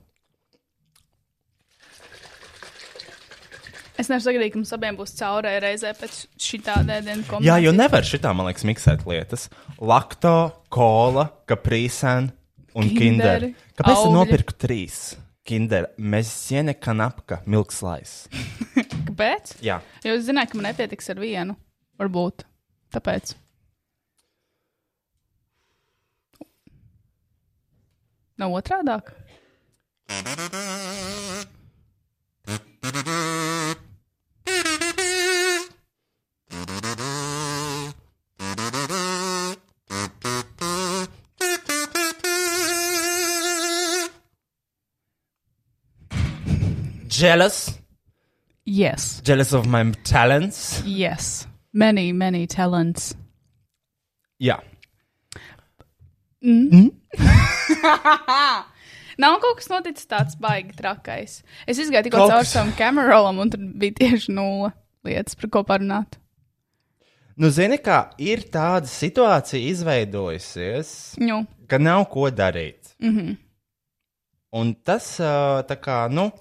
Speaker 3: Es nevaru sagaidīt, ka mums abiem būs caurē reizē pēc šī tāda dienas
Speaker 2: Jā,
Speaker 3: kombinācijas.
Speaker 2: jo nevar šitā, man liekas, miksēt lietas. Lakto, kola, kaprīsēna un
Speaker 3: Kinder,
Speaker 2: kinder. Kāpēc es
Speaker 3: augļi.
Speaker 2: nopirku trīs? Kinder, meziene, kanapka, milkslais.
Speaker 3: Kāpēc?
Speaker 2: Jā,
Speaker 3: Jo es zināju, ka man nepietiks ar vienu. Varbūt. Tāpēc. Nav otrādāk.
Speaker 2: jealous,
Speaker 3: Yes.
Speaker 2: jealous of my talents.
Speaker 3: Yes. Many, many talents.
Speaker 2: Jā,
Speaker 3: Nav kaut kas noticis tāds baigi trakais. Es izgāju tikko
Speaker 2: Kaut
Speaker 3: caur
Speaker 2: kas-
Speaker 3: savam kamerolam, un tur bija tieši nulle lietas, par ko parunāt.
Speaker 2: nu zini, kā ir tāda situācija izveidojusies,
Speaker 3: Nu,
Speaker 2: ka nav ko darīt. Mm -hmm. Un tas, ā, tā kā, nu.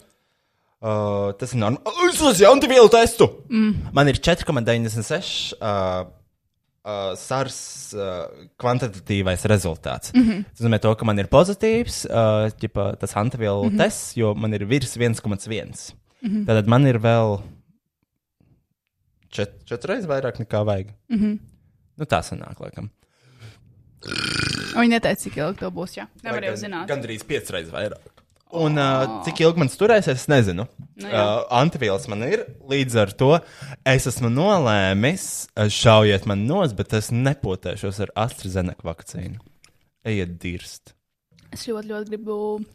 Speaker 2: Uh, tas ir normāli. Es lasu antivielu testu. Mm. Man ir 4,96 uh, uh, SARS uh, kvantitatīvais rezultāts. Mm -hmm. Tas nozīmē, to, ka man ir pozitīvs uh, ķipa, tas antivielu mm -hmm. tests, jo man ir virs 1,1. Mm -hmm. Tad man ir vēl čet, četras reizes vairāk nekā vajag. Mm -hmm. Nu, tā sanāk, laikam.
Speaker 3: un viņi neteica, cik ilgi to būs. Jā, nevar jau
Speaker 2: Gan-
Speaker 3: zināt.
Speaker 2: Gandrīz piecas reizes vairāk. Un uh, cik ilgi man turēsies, es nezinu.
Speaker 3: Nu
Speaker 2: Nu,
Speaker 3: jā.
Speaker 2: uh, Antivielas man ir, līdz ar to es esmu nolēmis, uh, šaujiet man nos, bet es nepotēšos ar AstraZeneca vakcīnu. Ejiet, dirst.
Speaker 3: Es ļoti, ļoti gribu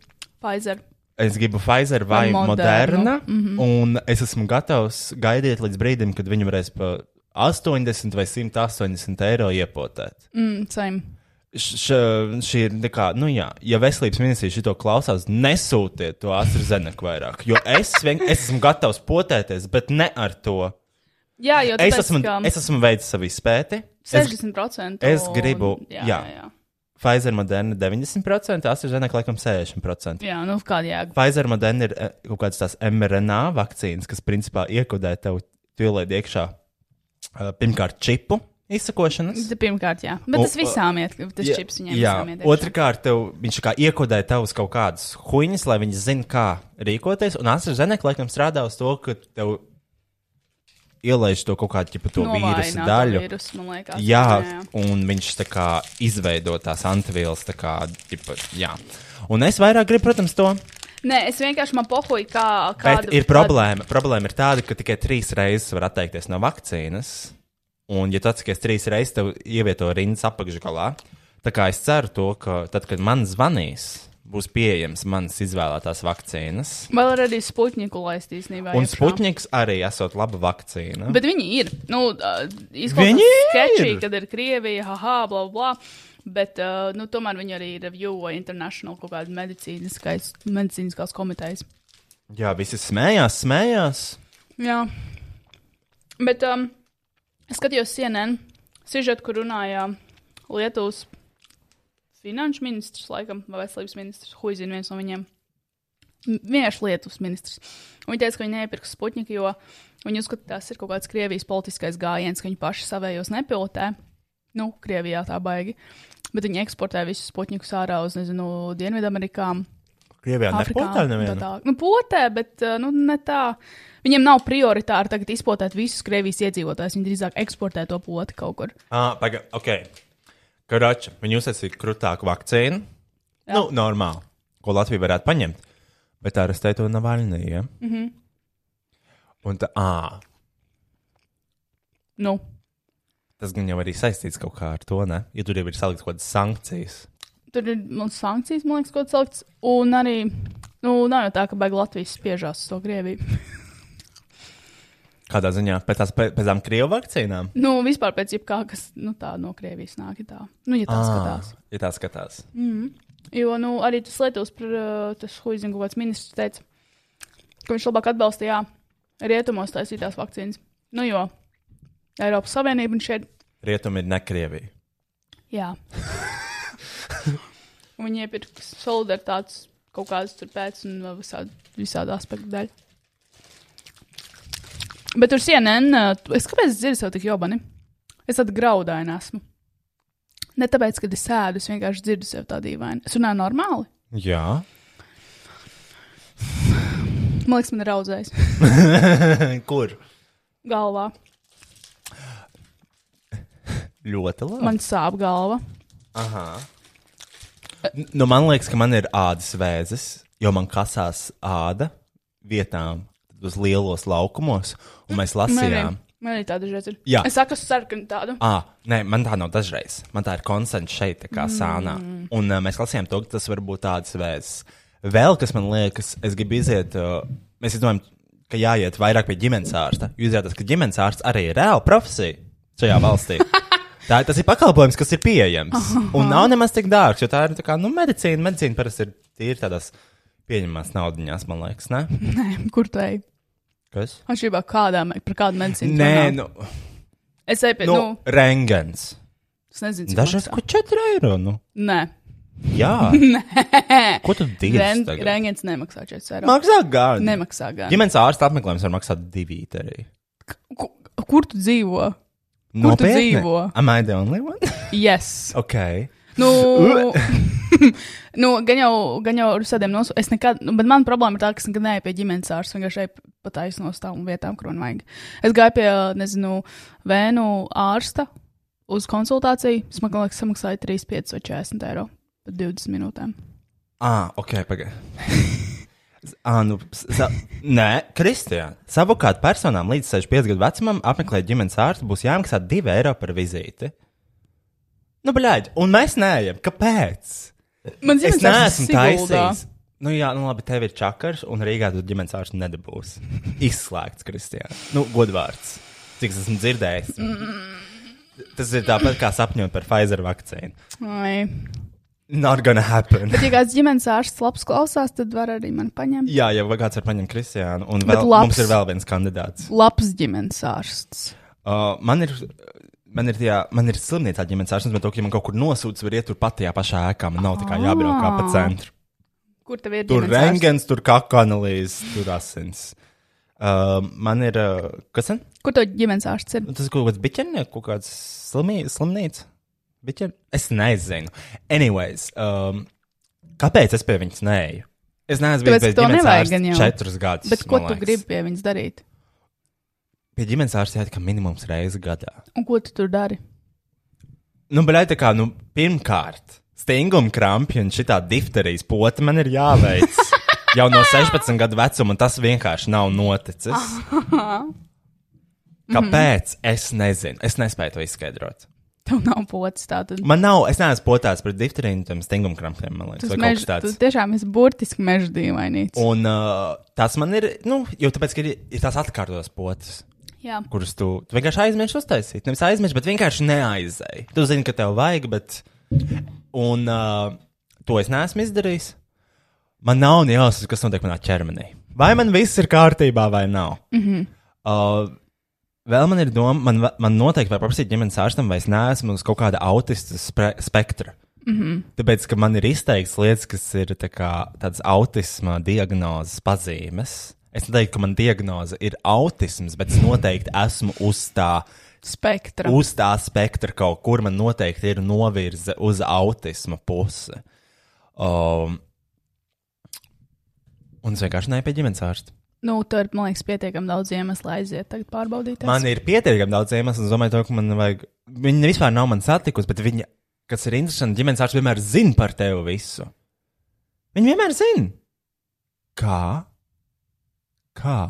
Speaker 3: Pfizer.
Speaker 2: Es gribu Pfizer vai
Speaker 3: Modernu.
Speaker 2: Moderna, mm -hmm. un es esmu gatavs gaidīt līdz brīdim, kad viņi varēs pa 80 vai 180 eiro iepotēt.
Speaker 3: Mm, same.
Speaker 2: Š- š- šī ir tā kā, nu jā, ja veselības ministrija šito klausās, nesūtiet to astrazeneku vairāk. Jo es, vien, es esmu gatavs potēties, bet ne ar to.
Speaker 3: Jā, jo
Speaker 2: Es
Speaker 3: tāpēc,
Speaker 2: esmu,
Speaker 3: ka
Speaker 2: es esmu veicis savu izpēti. Es,
Speaker 3: 60%.
Speaker 2: es
Speaker 3: un-
Speaker 2: gribu-
Speaker 3: Jā, jā.
Speaker 2: jā.
Speaker 3: jā.
Speaker 2: Pfizer moderna 90%, AstraZeneca laikam 60%.
Speaker 3: Jā, nu kāda jēga.
Speaker 2: Pfizer moderna ir eh, kaut kādas tās mRNA vakcīnas, kas principā iekodē tev, tu ieliec iekšā eh, pirmkārt čipu izsakošanas.
Speaker 3: Tas Pirmkārt, jā. Bet
Speaker 2: O,
Speaker 3: tas visām iet, tas
Speaker 2: Jā,
Speaker 3: čips viņiem
Speaker 2: jā.
Speaker 3: visām iet. iekšā.
Speaker 2: Otrakārt, tev, viņš kā iekodē tev uz kaut kādas huņas, lai viņi zinātu, kā rīkoties. Un AstraZeneca laikam strādā uz to, ka tev ielaiž to kaut kādu tipu to vīrusu
Speaker 3: Novājināto
Speaker 2: daļu.
Speaker 3: Vīrusu, man liekas.
Speaker 2: Jā, un viņš tā kā izveido tās antivielas, tā kā, tipa, jā. Un es vairāk gribu, protams, to.
Speaker 3: Nē, es vienkārši man pohoju, kā.
Speaker 2: Bet
Speaker 3: Kādu,
Speaker 2: ir problēma. Problēma ir tāda, ka tikai trīs reizes var atteikties no vakcīnas. Un, ja tu atsakies trīs reizes, tev ievieto rindas apakšgalā. Tā kā es ceru to, ka tad, kad man zvanīs, būs pieejams manas izvēlētās vakcīnas.
Speaker 3: Kādu, vēl arī spuķiņu laist īstenībā.
Speaker 2: Un
Speaker 3: iekšā.
Speaker 2: Sputniks arī esot laba vakcīna.
Speaker 3: Bet viņi ir. Nu, uh,
Speaker 2: Viņi
Speaker 3: izklausās sketčī,
Speaker 2: ir!
Speaker 3: kad ir Krievija, haha, bla, bla. Bet, uh, nu, tomēr viņi arī reviewo international kaut kādu medicīniskais, medicīniskās komitejas.
Speaker 2: Jā, visi smējās, smējās.
Speaker 3: Jā. Bet um, es skatījos CNN sižetu, kur runāja Lietuvas finanšu ministrs, laikam, vai veselības ministrs, huizina viens no viņiem. M- Vienkārši Lietuvas ministrs. Un Viņa teica, ka viņi neiepirks Sputniku, jo viņi uzskata, ka tas ir kaut kāds Krievijas politiskais gājiens, ka viņi paši savējos nepilotē. Nu, Krievijā tā baigi. Bet viņi eksportē visus Sputnikus ārā uz, nezinu, Dienvidamerikām.
Speaker 2: Krievijā nepotā
Speaker 3: Tā
Speaker 2: nevienu.
Speaker 3: tā. Nu, potē, bet uh, nu, ne tā. Viņiem nav prioritāri tagad izpotēt visus Krievijas iedzīvotājus. Viņi drīzāk eksportē to poti kaut kur.
Speaker 2: Ah, pagaidi, ok. Karača, viņi uzsāca krūtāku vakcīnu. Jā. Nu, normāli, ko Latvija varētu paņemt. Bet arestē to Navaļnī. Ja? Mm
Speaker 3: Mhm.
Speaker 2: -hmm. Un tā, ah,
Speaker 3: Nu,
Speaker 2: tas gan jau arī saistīts kaut kā ar to, ne? Ja tur jau ir salikts kaut kādas sankcijas.
Speaker 3: tur ir mums sankcijas, man liekas, ko celts. Un arī nu, nav jau tā, ka beigas Latvijas spiežās uz to Krieviju.
Speaker 2: Kādā ziņā pēc, tās, pēc, pēc tām krievu vakcīnām?
Speaker 3: nu, vispār pēc jebkā, kas nu, tā no Krievijas nāk, ir tā. Nu, ja tā ah. skatās.
Speaker 2: ja tā skatās.
Speaker 3: Jo nu, arī tas Lietuvas par, uh, tas huizinu kaut kāds ministrs teica, ka viņš labāk atbalstīja rietumos taisītās vakcīnas. Nu, jo Eiropas Savienība un šeit
Speaker 2: Rietumi ir ne Krievija.
Speaker 3: Jā. Un Viņi iepirka solidaritātes kaut kādas tur pēc un vēl visādi, visādi aspektu dēļ. Bet tur CNN, uh, tu- es kāpēc es dzirdu sev tik jobani? Es tāda graudaina esmu. Ne tāpēc, ka es sēdu, es vienkārši dzirdu sev tā dīvaini. Es runāju normāli.
Speaker 2: Jā.
Speaker 3: Man liekas, man ir audzējis
Speaker 2: Kur?
Speaker 3: galvā.
Speaker 2: Ļoti labi.
Speaker 3: Man sāp galva.
Speaker 2: Nu, man liekas, ka man ir ādas vēzis, jo man kasās āda vietām uz lielos laukumos, un mēs
Speaker 3: Man
Speaker 2: lasījām.
Speaker 3: arī, man arī tāda žēl ir.
Speaker 2: Jā.
Speaker 3: Es saku, sarkanu tādu.
Speaker 2: Ah, nē, man tā nav dažreiz. Man tā ir konsensus šeit, tā kā sānā. Un uh, mēs lasījām to, ka tas var būt tāds vēzis. Vēl kas man liekas, es gribu iziet, uh, mēs domājam, ka jāiet vairāk pie ģimenes ārsta. Jo izrādās, ka ģimenes ārsts arī ir reāla profesija šajā valstī. Tā, tas ir pakalpojums, kas ir pieejams. Un nav nemaz tik dārgs, jo tā ir tā kā, nu, medicīna. Medicīna parasti ir tīri tādās pieņemamās naudiņās, man liekas. Ne?
Speaker 3: Nē, kur tai?
Speaker 2: Kas?
Speaker 3: Atšķirībā kādā, me- par kādu medicīnu.
Speaker 2: Nē,
Speaker 3: runā.
Speaker 2: nu,
Speaker 3: Es eju pie,
Speaker 2: nu,
Speaker 3: nu,
Speaker 2: rengens.
Speaker 3: Es nezinu, cik
Speaker 2: Dažreiz
Speaker 3: maksā.
Speaker 2: ko 4 eiro. Nu.
Speaker 3: Nē,
Speaker 2: Jā, ko tu
Speaker 3: Ren-
Speaker 2: divi?
Speaker 3: rengens nemaksā 4 eiro.
Speaker 2: Maksā gan.
Speaker 3: Nemaksā gan.
Speaker 2: Ģimenes ārsta apmeklējums var maksāt divi arī.
Speaker 3: Kur, kur tu dzīvo? Kur tu dzīvo?
Speaker 2: Am I the only one?
Speaker 3: Yes.
Speaker 2: ok.
Speaker 3: Nu, nu gan jau, gan jau ar visādiem nosūtījumiem. Es nekad, nu, bet man problēma ir tā, ka es nekad neeju pie ģimenes ārsta. Vienkārši eju pa taisnos tām vietām, kur man vajag. Es gāju pie, nezinu, vēnu ārsta uz konsultāciju. Es man liekas, samaksāju 3, 5 vai 40 eiro. par 20 minūtēm.
Speaker 2: Ah, ok, pagaidi. Ah, nu, s- sa... Nē, Kristija. Savukārt personām līdz 65 gadu vecumam apmeklēt ģimenes ārstu būs jāmaksā 2 eiro par vizīti. Nu, bļaigi, un mēs neejam. Kāpēc?
Speaker 3: Man
Speaker 2: Es
Speaker 3: ģimenes ārsts
Speaker 2: neesmu
Speaker 3: ir Siguldā.
Speaker 2: taisījis. Nu, jā, nu labi, tev ir čakars, un Rīgā tu ģimenes ārstu nedabūs. Izslēgts, Kristija. Nu, godvārds. Cik es esmu dzirdējis. Tas ir tāpat kā sapņot par Pfizer vakcīnu.
Speaker 3: Ai.
Speaker 2: Not gonna happen.
Speaker 3: Bet, ja kāds ģimenes ārsts labs klausās, tad var arī mani paņemt.
Speaker 2: Jā, jau kāds var paņemt Kristiānu, un
Speaker 3: Bet
Speaker 2: vēl,
Speaker 3: labs.
Speaker 2: mums ir vēl viens kandidāts.
Speaker 3: Labs ģimenes ārsts.
Speaker 2: Uh, man ir Man ir, tajā, man ir slimnīcā ģimenes ārstens, bet, to, ka, ja man kaut kur nosūdz, var iet tur pat tajā pašā ēkā. Man nav tā kā jābrauc kā
Speaker 3: Ah.
Speaker 2: pa centru.
Speaker 3: Kur tev ir
Speaker 2: Tur
Speaker 3: ģimenes ārsts?
Speaker 2: rengens, tur kaku analīzes, tur asins. Uh, man ir, uh, kas ir?
Speaker 3: Kur tev ģimenes ārsts ir?
Speaker 2: Nu, Tas kaut kāds biķernieks, kaut kāds slimī, slimnīca. Biķer... Es nezinu. Anyways, um, kāpēc es pie viņas neeju? Es neesmu
Speaker 3: Tāpēc,
Speaker 2: bijis pie
Speaker 3: ka to
Speaker 2: ģimenes
Speaker 3: nevajag
Speaker 2: ārsta
Speaker 3: gan jau.
Speaker 2: četrus gadus.
Speaker 3: Bet ko
Speaker 2: man
Speaker 3: tu
Speaker 2: liekas.
Speaker 3: gribi pie viņas darīt?
Speaker 2: Pie ģimenes ārsta jāiet kā minimums reizi gadā.
Speaker 3: Un ko tu tur dari?
Speaker 2: Nu, bet, tā kā, nu, pirmkārt, stinguma krampja un šitā difterijas pota man ir jāveic. Jau no 16 gadu vecuma un tas vienkārši nav noticis. Kāpēc? Es nezinu. Es nespēju to izskaidrot.
Speaker 3: Tev nav pocis tātad.
Speaker 2: Man nav, es neesmu potēts pret difteriju, tam stingam krampiem, man liekas,
Speaker 3: Tas
Speaker 2: vai kaut
Speaker 3: mežs,
Speaker 2: kas tāds.
Speaker 3: tu tiešām esi burtiski meža dīvainīts.
Speaker 2: Un uh, tas man ir, nu, jo tāpēc, ka ir, ir tās atkārtotas potes,
Speaker 3: Jā.
Speaker 2: kuras tu, tu vienkārši aizmirsti uztaisīt. Nevis aizmirsti, bet vienkārši neaizēji. Tu zini, ka tev vajag, bet. Un uh, to es neesmu izdarījis. Man nav ne jāsaka, kas notiek manā ķermenī. Vai man viss ir kārtībā, vai nav? Mm -hmm. uh, Vēl man ir doma, man, ve- man noteikti vajag paprasīt ģimenes ārstam, vai es neesmu uz kaut kāda autista spre- spektra. Mm -hmm. Tāpēc, ka man ir izteikts lietas, kas ir tā kā, tādas autisma diagnozes pazīmes. Es neteiktu, ka man diagnoze ir autisms, bet es noteikti esmu uz tā,
Speaker 3: Spektra.
Speaker 2: uz tā spektra kaut kur. Man noteikti ir novirze uz autisma pusi. Um, un es vienkārši neeju pie ģimenes ārsta.
Speaker 3: Nu, tur, man liekas, pietiekami daudz iemeslu aiziet, tagad pārbaudīt.
Speaker 2: Man ir pietiekami daudz iemeslu, un es domāju, to, ka man vajag. Viņa vispār nav man satikusi, bet viņa, kas ir interesanti, ģimenes ārsts vienmēr zina par tevi visu. Viņa vienmēr zina. Kā? Kā?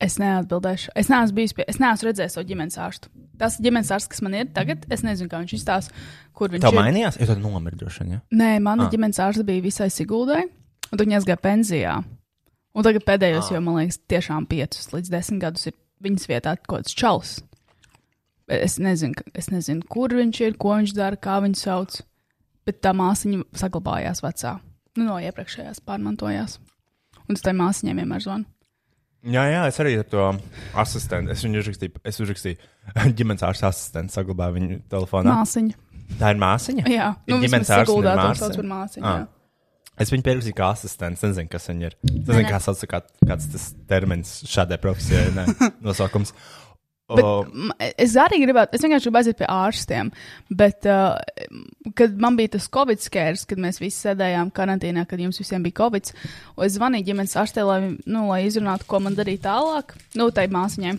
Speaker 3: Es neatbildēšu. Es neesmu bijis pie, es neesmu redzējis to ģimenes ārstu. Tas ģimenes ārsts, kas man ir tagad, es nezinu, kā viņš izstāsta, kur viņš
Speaker 2: Tev
Speaker 3: ir.
Speaker 2: mainījās? Jā, tad nomirdrošana. Ja?
Speaker 3: Nē, mana
Speaker 2: Ah.
Speaker 3: ah. ģimenes ārsts bija visai siguldai, un viņa aizgāja pensijā. Un tagad pēdējos, ah. jo man liekas, tiešām piecus līdz desmit gadus ir viņas vietā kaut kāds čals. Bet Es nezinu, ka- es nezinu, kur viņš ir, ko viņš dara, kā viņu sauc. Bet tā māsiņa saglabājās vecā. Nu, no iepriekšējās pārmantojās. Un tas tai māsiņai vienmēr zvanīja.
Speaker 2: Jā, jā, es arī ar to asistentu. Es viņu uzrakstīju, es uzrakstīju, ģimenes ārsta asistents saglabāja viņu telefonā.
Speaker 3: Māsiņa.
Speaker 2: Mās. Tā ir māsiņa.
Speaker 3: Jā,
Speaker 2: Ir
Speaker 3: nu,
Speaker 2: Ah. ģimenes
Speaker 3: ģimenes
Speaker 2: ārsts
Speaker 3: ārsts.
Speaker 2: un ir
Speaker 3: Guldā tā
Speaker 2: māsa?
Speaker 3: sauc par māsiņu.
Speaker 2: Ah.
Speaker 3: jā.
Speaker 2: Es viņu pierakstīju kā asistents. Es nezinu, kas viņa ir. Es nezinu,
Speaker 3: Nē, nē.
Speaker 2: kā sauc, kā, kāds tas termins šādai profesijai nē, nosaukums.
Speaker 3: Bet,
Speaker 2: O,
Speaker 3: m, es arī gribētu, es vienkārši gribu aiziet pie ārstiem. Bet, uh, kad man bija tas covid skērs, kad mēs visi sēdējām karantīnā, kad jums visiem bija covid, un es zvanīju ģimenes ārstē, lai, viņ- nu, lai izrunātu, ko man darīt tālāk, nu, tai māsiņai.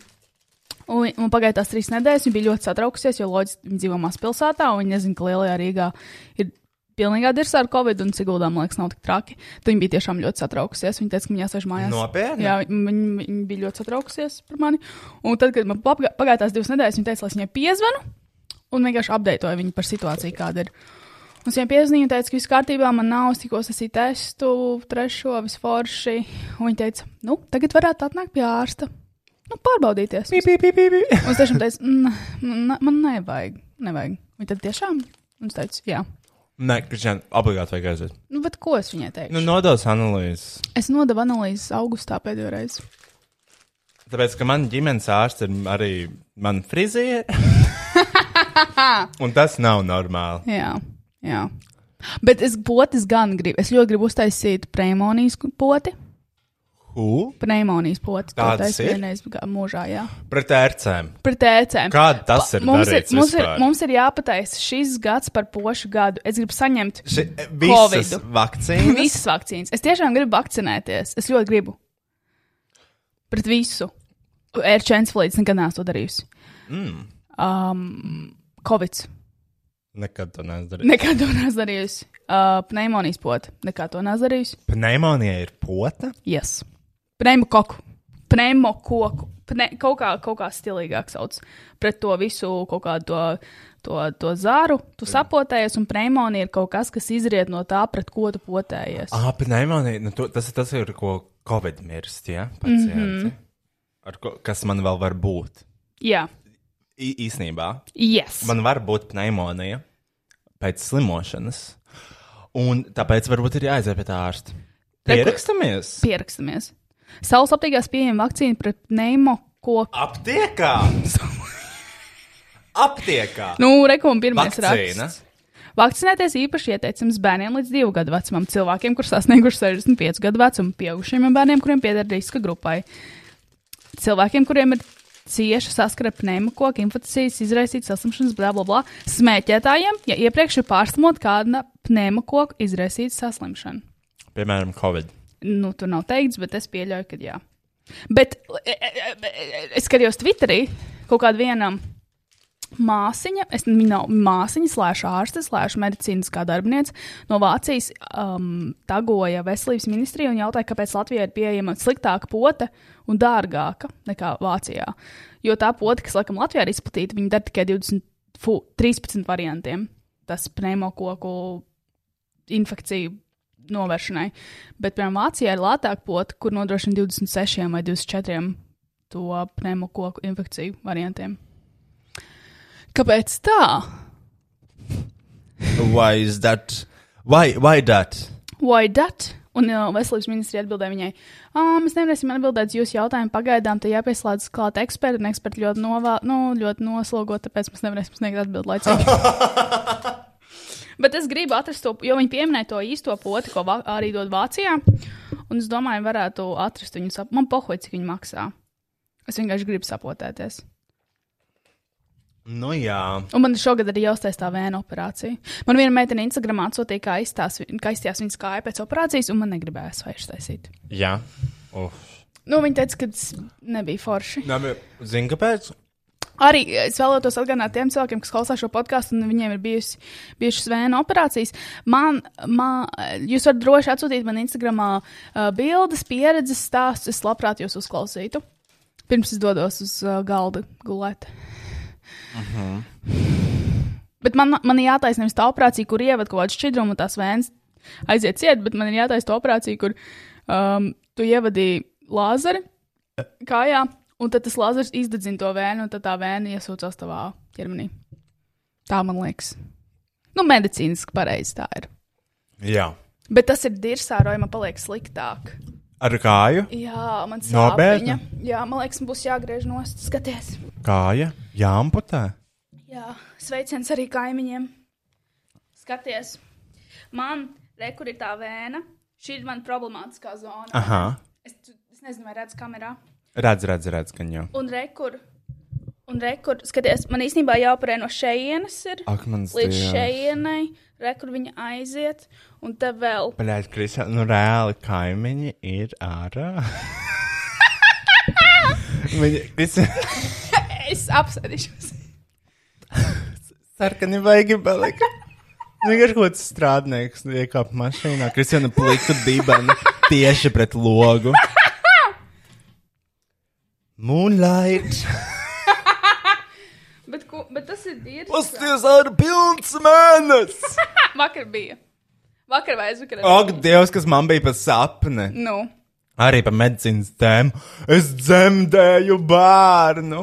Speaker 3: Un, vi- un pagāja tās trīs nedēļas, viņa bija ļoti satraukusies, jo loģiski viņa dzīvo mazpilsētā, un viņa nezina, ka Lielajā Rīgā ir pilnīgā dirsā ar covid, un Siguldā, man liekas, nav tik traki. Tad viņa bija tiešām ļoti satraukusies. Viņa teica, ka viņa jāsēž mājās.
Speaker 2: Nopietni?
Speaker 3: Jā, viņa, viņa bija ļoti satraukusies par mani. Un tad, kad man papga- pagāja tās divas nedēļas, viņa teica, lai es viņai piezvanu un vienkārši apdeitoju viņu par situāciju, kāda ir. Un viņa piezvanīja un teica, ka viss kārtībā, man nav stikos, es esmu testu, trešo, visforši. Un viņa teica, nu, tagad varētu atnākt pie ārsta. Nu, pārbaudīties. Pip, pip, pip, pip. Un es tiešām teicu, "Mm, man- man nevajag. nevajag. Viņa tad tiešām. Un es teicu, jā.
Speaker 2: Nē, Kristian, obligāti vajag aiziet.
Speaker 3: Nu, bet ko es viņai teicu?
Speaker 2: Nu, nodos analīzes.
Speaker 3: Es nodevu analīzes augustā pēdējo reizi.
Speaker 2: Tāpēc, ka man ģimenes ārsts ir arī mana friziere. Un tas nav normāli.
Speaker 3: Jā, jā. Bet es potis gan gribu. Es ļoti gribu uztaisīt pneimonijas poti.
Speaker 2: Who?
Speaker 3: Pneimonijas poti. to
Speaker 2: Tādas
Speaker 3: taisu
Speaker 2: ir?
Speaker 3: vienreiz gā- mūžā, jā.
Speaker 2: Pret ērcēm.
Speaker 3: Pret ēcēm.
Speaker 2: Kā tas ir
Speaker 3: Mums ir,
Speaker 2: darīts
Speaker 3: mums, ir,
Speaker 2: vispār?
Speaker 3: mums ir jāpataisa šis gads par pošu gadu. Es gribu saņemt
Speaker 2: Ši, visas
Speaker 3: Covidu.
Speaker 2: vakcīnas.
Speaker 3: visas vakcīnas. Es tiešām gribu vakcinēties. Es ļoti gribu. Pret visu. Erčēns Falīds nekad neesmu to darījusi. Mm. Um, Covid.
Speaker 2: Nekad to nedarīju.
Speaker 3: Nekad to neesmu darījusi. Uh, pneimonijas poti. Nekad to neesmu darījusi.
Speaker 2: Pneimonija ir pota.
Speaker 3: Yes. Pneimakoku. Pneimakoku. Pne, kaut, kā, kaut kā stilīgāk sauc. Pret to visu kaut kādu to, to, to zāru. Tu sapotējies, un pneimonija ir kaut kas, kas izriet no tā, pret ko tu potējies.
Speaker 2: Ah, pneimonija. Nu, to- tas ir tas, ir, ko Covid mirst, ja? Pacienti. Mm
Speaker 3: Mhm.
Speaker 2: -hmm. Ar ko, kas man vēl var būt?
Speaker 3: Jā,
Speaker 2: I, īsnībā.
Speaker 3: yes. Man...
Speaker 2: Man var būt pneimonija pēc slimošanas. Un tāpēc varbūt ir jāaiziet pie tā ārsta.
Speaker 3: Re, kur-
Speaker 2: Pierakstamies!
Speaker 3: Pierakstamies. Saules aptiekās pieejama vakcīna pret pneimakoku.
Speaker 2: Aptiekā! aptiekā.
Speaker 3: Nu, rekom pirmais
Speaker 2: Vakcīna.
Speaker 3: raksts. Vakcinēties īpaši ieteicams bērniem līdz 2 gadu vecumam, cilvēkiem, kuriem sasnieguši 65 gadu vecumu, pieaugušiem un bērniem, kuriem pieder riska grupai. Cilvēkiem, kuriem ir cieša saskara pneimakoka, infekcijas izraisītas saslimšanas, bla, bla, bla, smēķētājiem, ja iepriekš ir pārslimot kāda pneimakoka izraisīta saslimšana.
Speaker 2: Piemēram, Covid.
Speaker 3: Nu, tur nav teikts, bet es pieļauju, ka jā. Bet e, e, e, e, es skatījos Twitterī kaut kādu vienam. Māsiņa, es minēju, māsiņa, slēdz ārste, slēdz medicīniskā darbinieca no Vācijas um, tagoja veselības ministriju un jautāja, kāpēc Latvijai ir pieejama sliktāka pote un dārgāka nekā Vācijā. Jo tā pote, kas laikam Latvijā ir izplatīta, viņi dara tikai 20, fu, 13 variantiem. Tas pneimakoku infekciju novēršanai. Bet, piemēram, Vācijā ir lētāk pot, kur nodrošina 26 vai 24 to pneimakoku infekciju variantiem. Kāpēc tā?
Speaker 2: Why is that? Why, why that?
Speaker 3: Why that? Un uh, veselības ministrija atbildēja viņai, "Ā, mēs nevarēsim atbildēt uz jūsu jautājumu. Pagaidām te jāpieslēdz klāt eksperti, un eksperti ļoti, novā, nu, ļoti noslogot, tāpēc mēs nevarēsim sniegt atbildi laicīgi. Bet es gribu atrast to, jo viņi pieminēja to īsto poti, ko va, arī dod Vācijā. Un es domāju, varētu atrast viņu. Sap... Man pohoja, cik viņi maksā. Es vienkārši gribu sapotēties.
Speaker 2: Nu jā.
Speaker 3: Un man šogad arī jāuztais tā vēna operācija. Man viena meitene Instagram atsūtīja, kā izstās, kā izstījās viņas kāja pēc operācijas, un man negribējās vairs taisīt.
Speaker 2: Jā. Uf.
Speaker 3: Nu, viņa teica, ka tas nebija forši.
Speaker 2: Zini, kāpēc?
Speaker 3: Arī es vēlētos atgādināt tiem cilvēkiem, kas klausās šo podkāstu, un viņiem ir bijusi, bijušas vēja operācijas. Man, man, jūs varat droši atsūtīt man Instagram bildes, pieredzes stāstus. Es labprāt jūs uzklausītu. Pirms es dodos uz uh, galdu gulēt. Bet man, man ir jātaisa nevis tā operācija, kur ievad kaut kādu šķidrumu, un tās vējas aiziet ciet, bet man ir jātaisa tā operācija, kur um, tu ievadīji lāzeri kājā, un tad tas lāzers izdedzina to vēnu, un tad tā vēna iesūcās tavā ķermenī. Tā man liekas. Nu, medicīniski pareizi tā ir.
Speaker 2: Jā.
Speaker 3: Bet tas ir dirsārojuma, paliek sliktāk.
Speaker 2: Ar kāju?
Speaker 3: Jā, man
Speaker 2: Nopietni?
Speaker 3: sāpēja. Jā, man liekas, man būs jāgriež nost. Skaties.
Speaker 2: Kāja? Jā, amputē.
Speaker 3: Jā, sveiciens arī kaimiņiem. Skaties, man rekur ir tā vēna. Šī ir mana problemātiskā zona.
Speaker 2: Aha.
Speaker 3: Es, es nezinu, vai redzu kamerā.
Speaker 2: Redz, redz, redz, ka jau.
Speaker 3: Un rekur, un rekur, skaties, man īstenībā jāoperē no šejienes ir
Speaker 2: Ak, mans
Speaker 3: līdz
Speaker 2: Dievs.
Speaker 3: šejienai, rekur viņa aiziet, un te vēl.
Speaker 2: Paļāvis, Kristā, nu reāli kaimiņi ir ārā. Viņa ir
Speaker 3: Es apsēdīšos.
Speaker 2: sarkani, baigi palikt. Vienkārši kaut kāds strādnieks iekāpa mašīnā. Kristiāna plika dibena tieši pret logu. Moonlight!
Speaker 3: Bet, ko, bet tas ir dīvaini.
Speaker 2: Pasties ar pilns mēnesis!
Speaker 3: Ah, Vakar bija. Vakar vai aizvakar.
Speaker 2: Ak, Dievs, kas man bija pa sapni!
Speaker 3: Nu,
Speaker 2: arī par medicīnas tēmu. Es dzemdēju bērnu.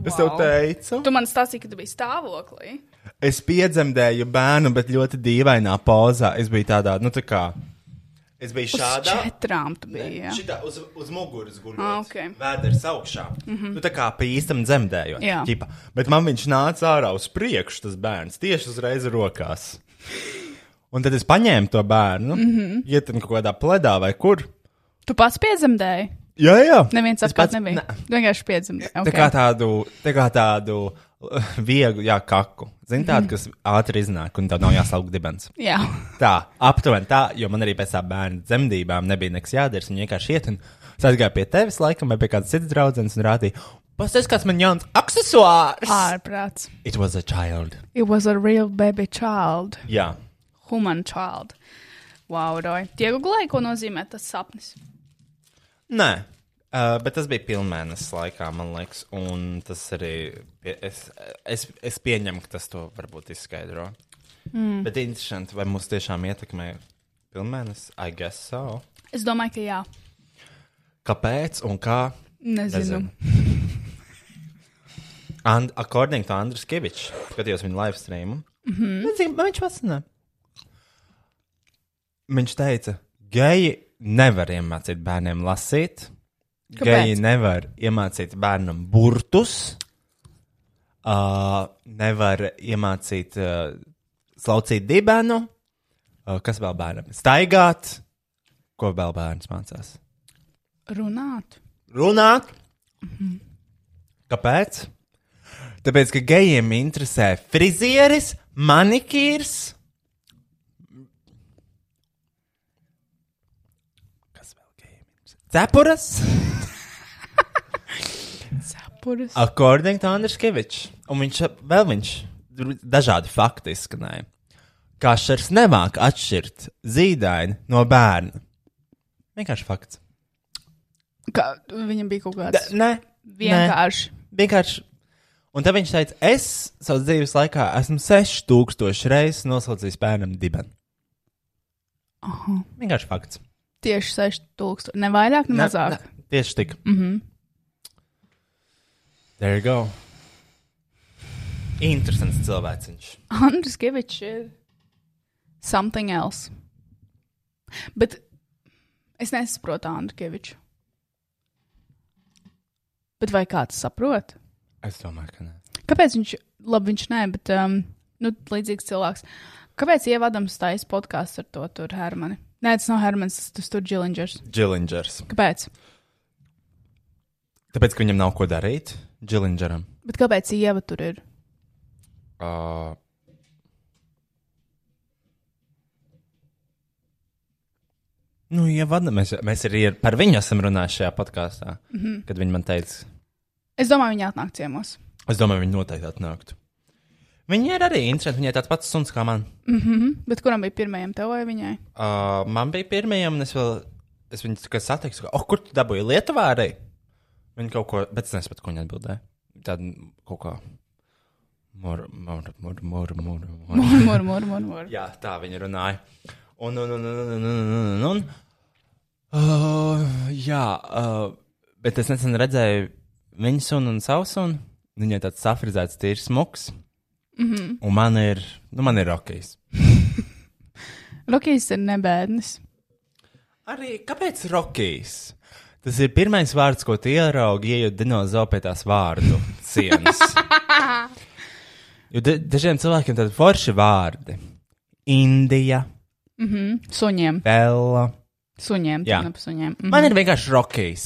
Speaker 2: Es tev
Speaker 3: Wow.
Speaker 2: teicu,
Speaker 3: tu man stāstīji, ka tu biji stāvoklī.
Speaker 2: es piedzemdēju bērnu, bet ļoti dīvainā pozā. Es biju tādā, nu, tā kā. Es biju
Speaker 3: Uz
Speaker 2: šādā.
Speaker 3: četrām tu biji. jā.
Speaker 2: Šitā uz, uz muguras
Speaker 3: Ah,
Speaker 2: guļot.
Speaker 3: ok. Mhm.
Speaker 2: Vēders augšā. Mm -hmm. Nu, tā kā pa īstam dzemdējot.
Speaker 3: Jā.
Speaker 2: ķipa. Bet man viņš nāca ārā uz priekšu, tas bērns, tieši uzreiz rokās. Un tad es paņēmu to bērnu, mm
Speaker 3: Mhm.
Speaker 2: -hmm. ietinu kaut kādā pledā vai kur.
Speaker 3: Tu pats piedzemdēji.
Speaker 2: Jā, jā.
Speaker 3: Neviens
Speaker 2: Es
Speaker 3: apkārt
Speaker 2: pats-
Speaker 3: nebija.
Speaker 2: Nē.
Speaker 3: Tu vienkārši piedzemdēji.
Speaker 2: Tā
Speaker 3: Okay.
Speaker 2: kā tādu, tā kā tādu uh, vieglu, jā, kaku. Zini, tādu, kas ātri iznāk, un tev nav jāsaukt dibens.
Speaker 3: Jā.
Speaker 2: Tā, aptuveni tā, jo man arī pēc tam bērnu dzemdībām nebija nekas jādara. Viņa vienkārši iet, un es aizgāju pie tevis, laikam, vai pie kādas citas draudzenes, un rādīju, paskatās, kāds man jauns aksesuārs!
Speaker 3: Ārprāts.
Speaker 2: It was a child.
Speaker 3: It was a real baby child.
Speaker 2: Jā,
Speaker 3: Human child. Wow, Roy. Iegūlēji, ko nozīmē tas sapnis.
Speaker 2: nē. Uh, bet tas bija pilnmēnesis laikā, man liekas, un tas arī. Pie, es, es, es pieņemu, ka tas to varbūt izskaidro. Mm. Bet interesanti, vai mūs tiešām ietekmē pilnmēnesis? I guess so.
Speaker 3: Es domāju, ka jā.
Speaker 2: Kāpēc un kā?
Speaker 3: Nezinu.
Speaker 2: And, according to Andris Kavičs, skatījos viņa live streamu.
Speaker 3: Mhm.
Speaker 2: Mm -hmm. Man viņš vasarā. Viņš teica, geji nevar iemācīt bērniem lasīt.
Speaker 3: Kāpēc?
Speaker 2: Geji nevar iemācīt bērnam burtus. uh, nevar iemācīt uh, slaucīt dibenu. Uh, kas vēl bērnam? Staigāt. Ko vēl bērns mācās?
Speaker 3: Runāt.
Speaker 2: Runāt. Kāpēc? Tāpēc, ka gejiem interesē frizieris, manikīrs. Kas vēl gejiem interesē? Cepuras.
Speaker 3: Sapuras.
Speaker 2: According to Andriškevičs. Un viņš vēl viņš dažādi fakti izskanēja. Kašers nemāk atšķirt zīdaini no bērna. Vienkārši fakts.
Speaker 3: Kā, viņam bija kaut
Speaker 2: Da,
Speaker 3: kāds
Speaker 2: nē, nē.
Speaker 3: vienkārši.
Speaker 2: vienkārši. Un tad viņš teica, es savas dzīves laikā esmu 6000 reizes noslaucījis bērnam dibenu. Aha. Vienkārši fakts.
Speaker 3: Tieši 6000. Ne vairāk, ne
Speaker 2: Ne-
Speaker 3: Nu, mazāk.
Speaker 2: ne, Tieši tik. Mm -hmm. There you go. Interesants cilvēks viņš.
Speaker 3: Andris Kavičs ir something else. Bet es nesaprotu Andru Kaviču. Bet vai kāds saprot?
Speaker 2: Es domāju, ka nē.
Speaker 3: Kāpēc viņš, labi, viņš nē, bet um, nu, līdzīgs cilvēks. Kāpēc ievadams taisa podkāstu ar to tur Hermani? Nē, tas nav Hermans, tas, tas tur Džilingers.
Speaker 2: Džilingers.
Speaker 3: Kāpēc?
Speaker 2: Tāpēc, ka viņam nav ko darīt, Džilingeram.
Speaker 3: Bet kāpēc ieva tur ir?
Speaker 2: Uh. Nu, ja vada, mēs, mēs arī ar- par viņu esam runājuši šajā podkāstā. Mm -hmm. Kad viņi man teica,
Speaker 3: Es domāju, viņi atnāk ciemos.
Speaker 2: es domāju, viņi noteikti atnāktu. Viņi ir arī interesanti. Viņai tāds pats suns kā man.
Speaker 3: Bet kuram bija pirmajam tev vai viņai?
Speaker 2: Uh, man bija pirmajam, un es, vēl, es viņu tikai satieku, ka, oh, kur tu dabūji Lietuvā arī? Viņa kaut ko, bet es nesaprotu, ko viņa atbildēja. Tāda kaut kā. Mur, mur, mur, mur, mur, mur.
Speaker 3: Mur, mur, mur, mur. mur.
Speaker 2: Jā, tā viņa runāja. Un, un, un, un, un, un, un, un, un. Uh, jā, uh, bet es nesen redzēju viņas sunu un savu sunu. Viņai tāds safrizēts, tīrs smuks. Mm -hmm. Un man ir, nu, man ir rokīs.
Speaker 3: Rukijs ir nebēdnis.
Speaker 2: Arī kāpēc rokīs? Tas ir pirmais vārds, ko tu ieraugi, ieejot dinozauru pie tās vārdu sienas. jo da dažiem cilvēkiem tādi forši vārdi - Indija,
Speaker 3: Suņiem.
Speaker 2: Bela.
Speaker 3: Suņiem,
Speaker 2: Jā.
Speaker 3: tā nav suņiem. Mm.
Speaker 2: Man ir vienkārši rokīs.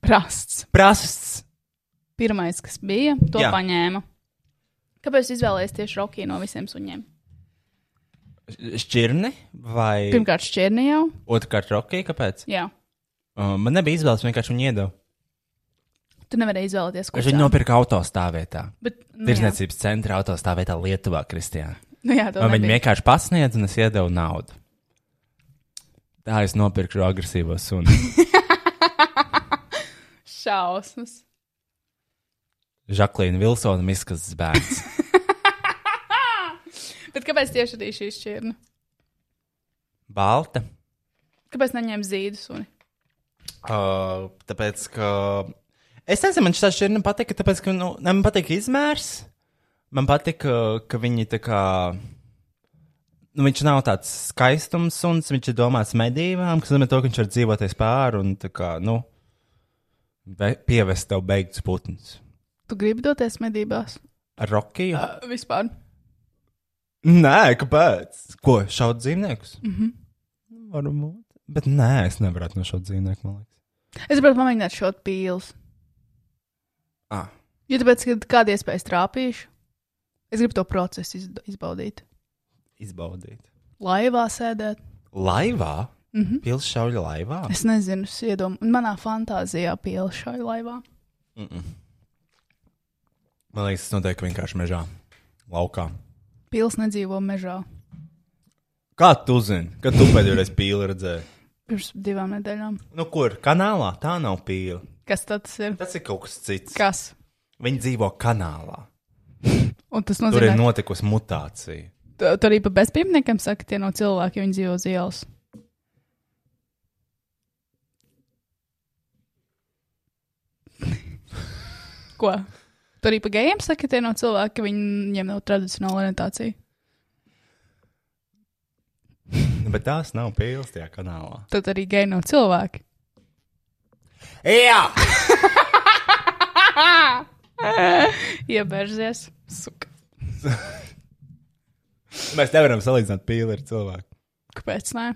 Speaker 3: Prasts.
Speaker 2: prasts.
Speaker 3: Pirmais, kas bija, to
Speaker 2: Jā.
Speaker 3: Jā. paņēma. Kāpēc izvēlējies tieši Rukiju no visiem suņiem?
Speaker 2: Šķirni vai
Speaker 3: Pirmkārt, šķirni jau.
Speaker 2: otrkārt rokkī? Kāpēc?
Speaker 3: Jā.
Speaker 2: Uh, man nebija izvēles, vienkārši viņu iedeva.
Speaker 3: Tu nevari izvēlēties,
Speaker 2: Kurš
Speaker 3: kurš
Speaker 2: viņu nopirka autostāvvietā?
Speaker 3: Bet, nu, jā.
Speaker 2: Tirzniecības centra autostāvvietā Lietuvā, Kristijā.
Speaker 3: Nu, jā, to
Speaker 2: Man
Speaker 3: nebija.
Speaker 2: viņi vienkārši pasniedz un es iedevu naudu. Tā es nopirku šo agresīvo sunu.
Speaker 3: Šausmas.
Speaker 2: Žaklīna Vilsona izskats bērns.
Speaker 3: Bet kāpēc tieši arī šī šķirne?
Speaker 2: Balta.
Speaker 3: Kāpēc neņēma zīdu suni?
Speaker 2: Uh, tāpēc, ka. Es nezinu, man šī šķirne patika, tāpēc, ka nu, ne, man patika izmērs. Man patika, ka viņi tā kā. Nu, viņš nav tāds skaistums suns, viņš ir domāts medībām, kas nozīmē to, ka viņš var dzīvoties pāri un tā kā, nu, be, pievest tev beigts putns.
Speaker 3: Tu gribi doties medībās?
Speaker 2: Ar Rokiju? Uh,
Speaker 3: Vispār.
Speaker 2: nē, kāpēc? Ko, šaut dzīvniekus? Mhm. Mm Varbūt. Bet nē, es nevaru nošaut dzīvnieku, man liekas.
Speaker 3: Es gribētu pamēģināt šot pīles.
Speaker 2: Ah.
Speaker 3: Jo tāpēc, ka kāda iespēja es trāpīšu, es gribu to procesu iz, izbaudīt.
Speaker 2: Izbaudīt.
Speaker 3: Laivā sēdēt.
Speaker 2: Laivā? Mm -hmm. Pilsšauļa laivā?
Speaker 3: Mhm. Es nezinu, es iedomājos, manā fantāzijā pieliet šai laivā.
Speaker 2: Man liekas, tas notiek vienkārši mežā, laukā.
Speaker 3: Pils nedzīvo mežā.
Speaker 2: Kā tu zini, kad tu pēdējo reizi pīli redzēji?
Speaker 3: Pirms divām nedēļām.
Speaker 2: Nu, kur? Kanālā tā nav pīle.
Speaker 3: Kas tad tas ir?
Speaker 2: Tas ir kaut kas cits. Kā?
Speaker 3: Kas?
Speaker 2: Viņi dzīvo kanālā.
Speaker 3: Un tas
Speaker 2: Tur
Speaker 3: nozīmē,
Speaker 2: ir
Speaker 3: ka no...
Speaker 2: notikusi mutācija.
Speaker 3: tur arī pa bezpīmniekiem saka, tie nav cilvēki, jo viņi dzīvo uz ielas. Ko? Tur arī pa gejiem saka, tie nav cilvēki, ka viņiem nav tradicionāla orientācija.
Speaker 2: Nu, Bet tās nav pīles tajā kanālā.
Speaker 3: Tad arī geji nav cilvēki.
Speaker 2: Jā!
Speaker 3: Iebērzies. Suka.
Speaker 2: Mēs nevaram salīdzināt pīli ar cilvēku.
Speaker 3: Kāpēc? Nē?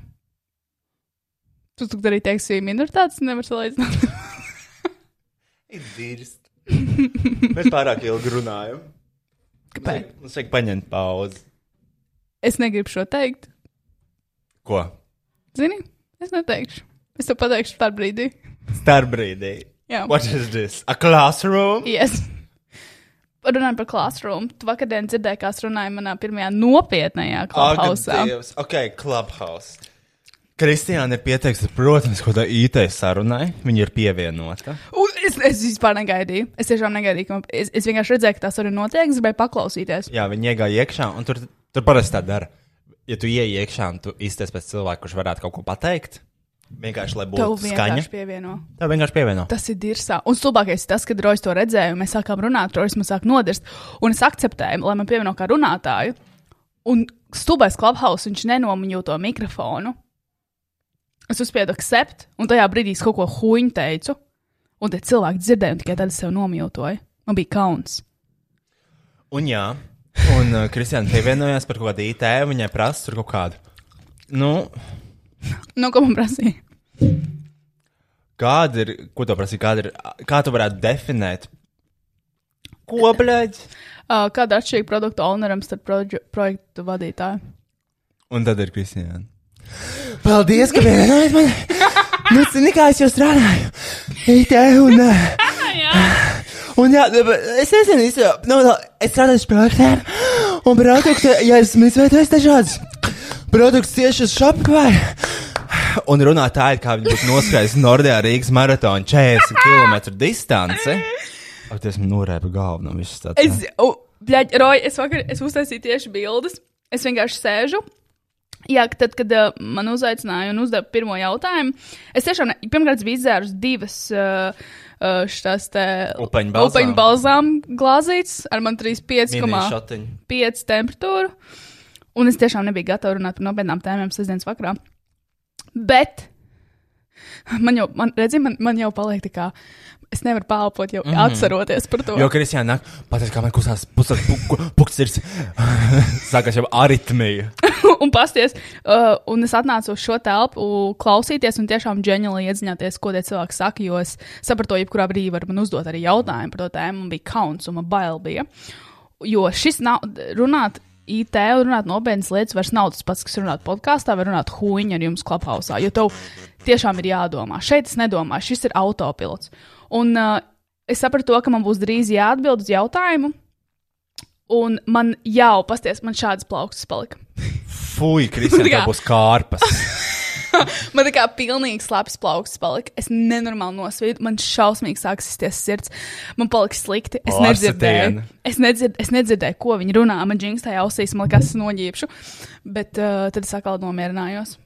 Speaker 3: Tu tur arī teiksi, minoritātes nevar salīdzināt.
Speaker 2: Ir dirst. Mēs pārāk ilgi runājam.
Speaker 3: Kāpēc?
Speaker 2: Mums vajag paņemt pauzi.
Speaker 3: Es negribu šo teikt.
Speaker 2: Ko?
Speaker 3: Zini, es neteikšu. Es tev pateikšu par brīdi.
Speaker 2: Starp brīdī.
Speaker 3: Jā.
Speaker 2: What is this? A classroom?
Speaker 3: Yes. Runājot par classroom, tu vakar dienā dzirdēji, kā es runāju manā pirmajā nopietnajā
Speaker 2: Ak,
Speaker 3: klausā.
Speaker 2: Dievs. Ok, clubhouse. Kristiāna ir pieteikta, protams, kaut kādā IT sarunai. Viņa ir pievienota.
Speaker 3: Es, es vispār negaidīju. Es tiešām negaidīju, ka man, es, es vienkārši redzēju, ka tas arī notiek. Es gribēju paklausīties.
Speaker 2: Jā, viņi iegāja iekšā, un tur, tur parasti tā dara. Ja tu ieej iekšā un tu izties pēc cilvēka, kurš varētu kaut ko pateikt, vienkārši lai
Speaker 3: Tev
Speaker 2: būtu skaņa,
Speaker 3: vienkārši pievieno.
Speaker 2: tad vienkārši pievieno.
Speaker 3: Tas ir dirsā. Un slabākais ir tas, kad Rojas to redzēja, un mēs sākām runāt, Rojas man sāk nodirst. Un es akceptēju, lai man pievieno kā runātāju. Un stulbais klubhaus, viņš nenomuņo to mikrofonu. Es uzspiedu akcept, un tajā brīdī es kaut ko huņu teicu. Un tie cilvēki dzirdēja, un tikai tad es sev nomjūtoju. Man bija kauns.
Speaker 2: Un jā, un uh, Kristiāna pievienojās par kaut kādu IT, viņai prasa tur kaut kādu. Nu,
Speaker 3: Nu, ko man prasīja?
Speaker 2: kāda ir, ko tu prasīji, kāda ir, kā tu varētu definēt? Ko, blēģi?
Speaker 3: Uh, kāda ir atšķirība produktu owneram starp proje- projektu vadītāju?
Speaker 2: Un tad ir Kristiāna. Paldies, ka vienojāt man! Nu, zini, kā es jau strādāju. IT un. Jā. Un jā, nu, bet es nezinu, es, jau- nu, nu, es strādāju pie projektiem. Un produktu, ja esmu izveidojis dažādas produktus tieši uz šopkavai. Un runātāji, kā viņi būtu noskrējuši Nordea Rīgas maratonu 40 km distanci. Ak, tas man norēpa galvu no visas tādas.
Speaker 3: Es, u, bļaļ, Roja, es vakar es uztaisīju tieši bildes. Es vienkārši sēžu. Jā, ka tad, kad uh, man uzaicināja un uzdeva pirmo jautājumu, es tiešām, ne- pirmkārt, es biju izdzērus divas uh, uh, šīs
Speaker 2: Upeņu balzāmu.
Speaker 3: upeņu balzāmu glāzītes ar man
Speaker 2: Mini
Speaker 3: 35,5
Speaker 2: šotiņi.
Speaker 3: temperatūru. Un es tiešām nebiju gatava runāt par nopietnām tēmām sestdienas vakarā. Bet man jau, man, redzi, man, man jau paliek tā kā, es nevaru pālpot jau mm -hmm. atceroties par to.
Speaker 2: Mhm. Jo Kristiāna nāk, pateiks, kā man kustās pusceļš, puksts ir. Sākās jau aritmija.
Speaker 3: un pasties. Uh, un es atnācu uz šo telpu klausīties un tiešām ģeniāli iedziņāties, ko tie cilvēki saka. Jo es sapratu, ka jebkurā brīdī var man uzdot arī jautājumu par to tēmu. Man bija kauns un man bail bija. Jo šis nav runāt. IT un runāt nopietnas lietas vairs nav tas pats, kas runāt podkāstā vai runāt huīņu ar jums klaphausā, jo tev tiešām ir jādomā. Šeit es nedomāju, šis ir autopilots. Un uh, es sapratu, to, ka man būs drīz jāatbild uz jautājumu, un man jau, pasties, man šāds plaukstas palika.
Speaker 2: Fui, Kristiāna,
Speaker 3: Jā.
Speaker 2: tā būs kārpas.
Speaker 3: Man tā kā pilnīgi slāpes plaukts palika. Es nenormāli nosvītu, man šausmīgi sākas izties sirds. Man palika slikti. Es nedzirdēju,
Speaker 2: Arsatiena.
Speaker 3: es nedzird, es nedzirdēju ko viņi runā. Man džingstāja ausīs, man liekas, es noģīpšu. Bet uh, tad es atkal nomierinājos.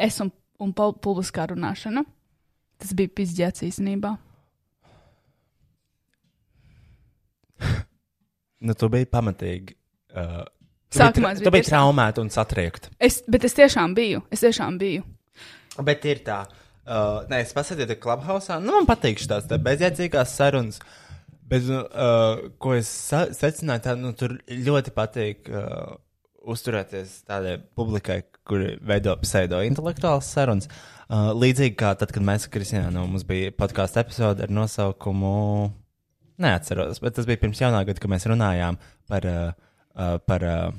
Speaker 3: Es un, un pul- publiskā runāšana. Tas bija pizdzēts īstenībā.
Speaker 2: Nu, tu biji pamatīgi. Uh, tu
Speaker 3: Sākumā es
Speaker 2: biji tra-
Speaker 3: biju
Speaker 2: tu biji
Speaker 3: tiešām-
Speaker 2: traumēta un satriekta.
Speaker 3: Es, bet es tiešām biju. Es tiešām biju.
Speaker 2: Bet ir tā, uh, nē, es pasēdēju klubhausā. Nu, man patīk šīs tā bezjēdzīgās sarunas. Bet, nu, uh, ko es sa- secināju, tad nu, tur ļoti patīk uh, uzturēties tādai publikai, kuri veido pseido intelektuālas sarunas. Uh, līdzīgi kā tad, kad mēs ar Kristiānu mums bija podkāstu epizode ar nosaukumu. Neatceros, bet tas bija pirms jaunā gada, kad mēs runājām par, uh, uh, par, uh,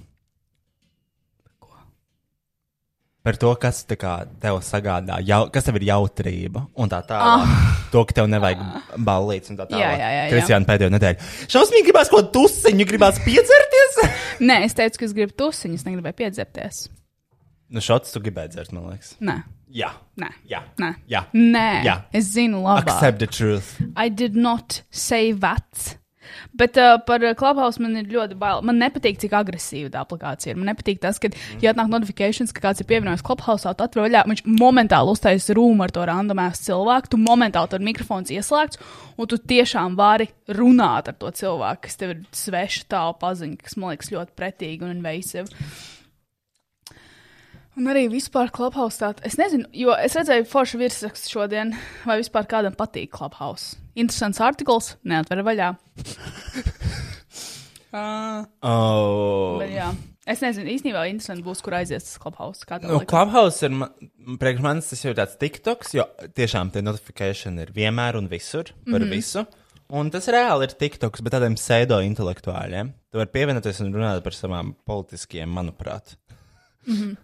Speaker 2: par to, kas tā kā, tev sagādā, jau, kas tev ir jautrība un tā tālāk. Oh. To, ka tev nevajag ballīts un tā tālāk.
Speaker 3: Ah. Jā, jā, jā, jā.
Speaker 2: Kristiāna pēdējo nedēļu. Šausmīgi gribās ko tusiņu, gribās piedzerties.
Speaker 3: Nē, es teicu, ka es gribu tusiņus, negribēju piedzerties.
Speaker 2: nu, šāds tu gribēji dzert, man liekas.
Speaker 3: Nē,
Speaker 2: Jā.
Speaker 3: nē.
Speaker 2: Jā.
Speaker 3: Nē.
Speaker 2: Jā.
Speaker 3: Nē.
Speaker 2: Jā.
Speaker 3: Es zinu, labi.
Speaker 2: Accept the truth.
Speaker 3: I did not say that. Bet uh, par Clubhouse man ir ļoti bail. Man nepatīk, cik agresīva tā aplikācija ir. Man nepatīk tas, ka,
Speaker 2: Mhm.
Speaker 3: ja atnāk notifikācijas, ka kāds ir pievienojies Clubhouse, tad atvaļā viņš momentāli uztaisīs rūmu ar to randomēs cilvēku. Tu momentāli tur mikrofons ieslēgts, un tu tiešām vari runāt ar to cilvēku, kas tev ir sveša tālu paziņa, kas man liekas ļoti pretīgi un invasīva. Un arī vispār Clubhouse tādā. Es nezinu, jo es redzēju foršu virsrakstu šodien, vai vispār kādam patīk Clubhouse. Interesants artikls, neatver vaļā. uh,
Speaker 6: Oh.
Speaker 3: bet, jā. Es nezinu, īstenībā interesanti būs, kur aizies tas Clubhouse. Kā tam
Speaker 2: Nu,
Speaker 3: liekas.
Speaker 2: Clubhouse ir ma- priekš manis tas jau ir tāds tiktoks, jo tiešām tie notifikēšana ir vienmēr un visur par mm -hmm. visu. Un tas reāli ir tiktoks, bet tādiem pseido intelektuāļiem. Tu vari pievienoties un runāt par savām politiskajām, manuprāt. Mm -hmm.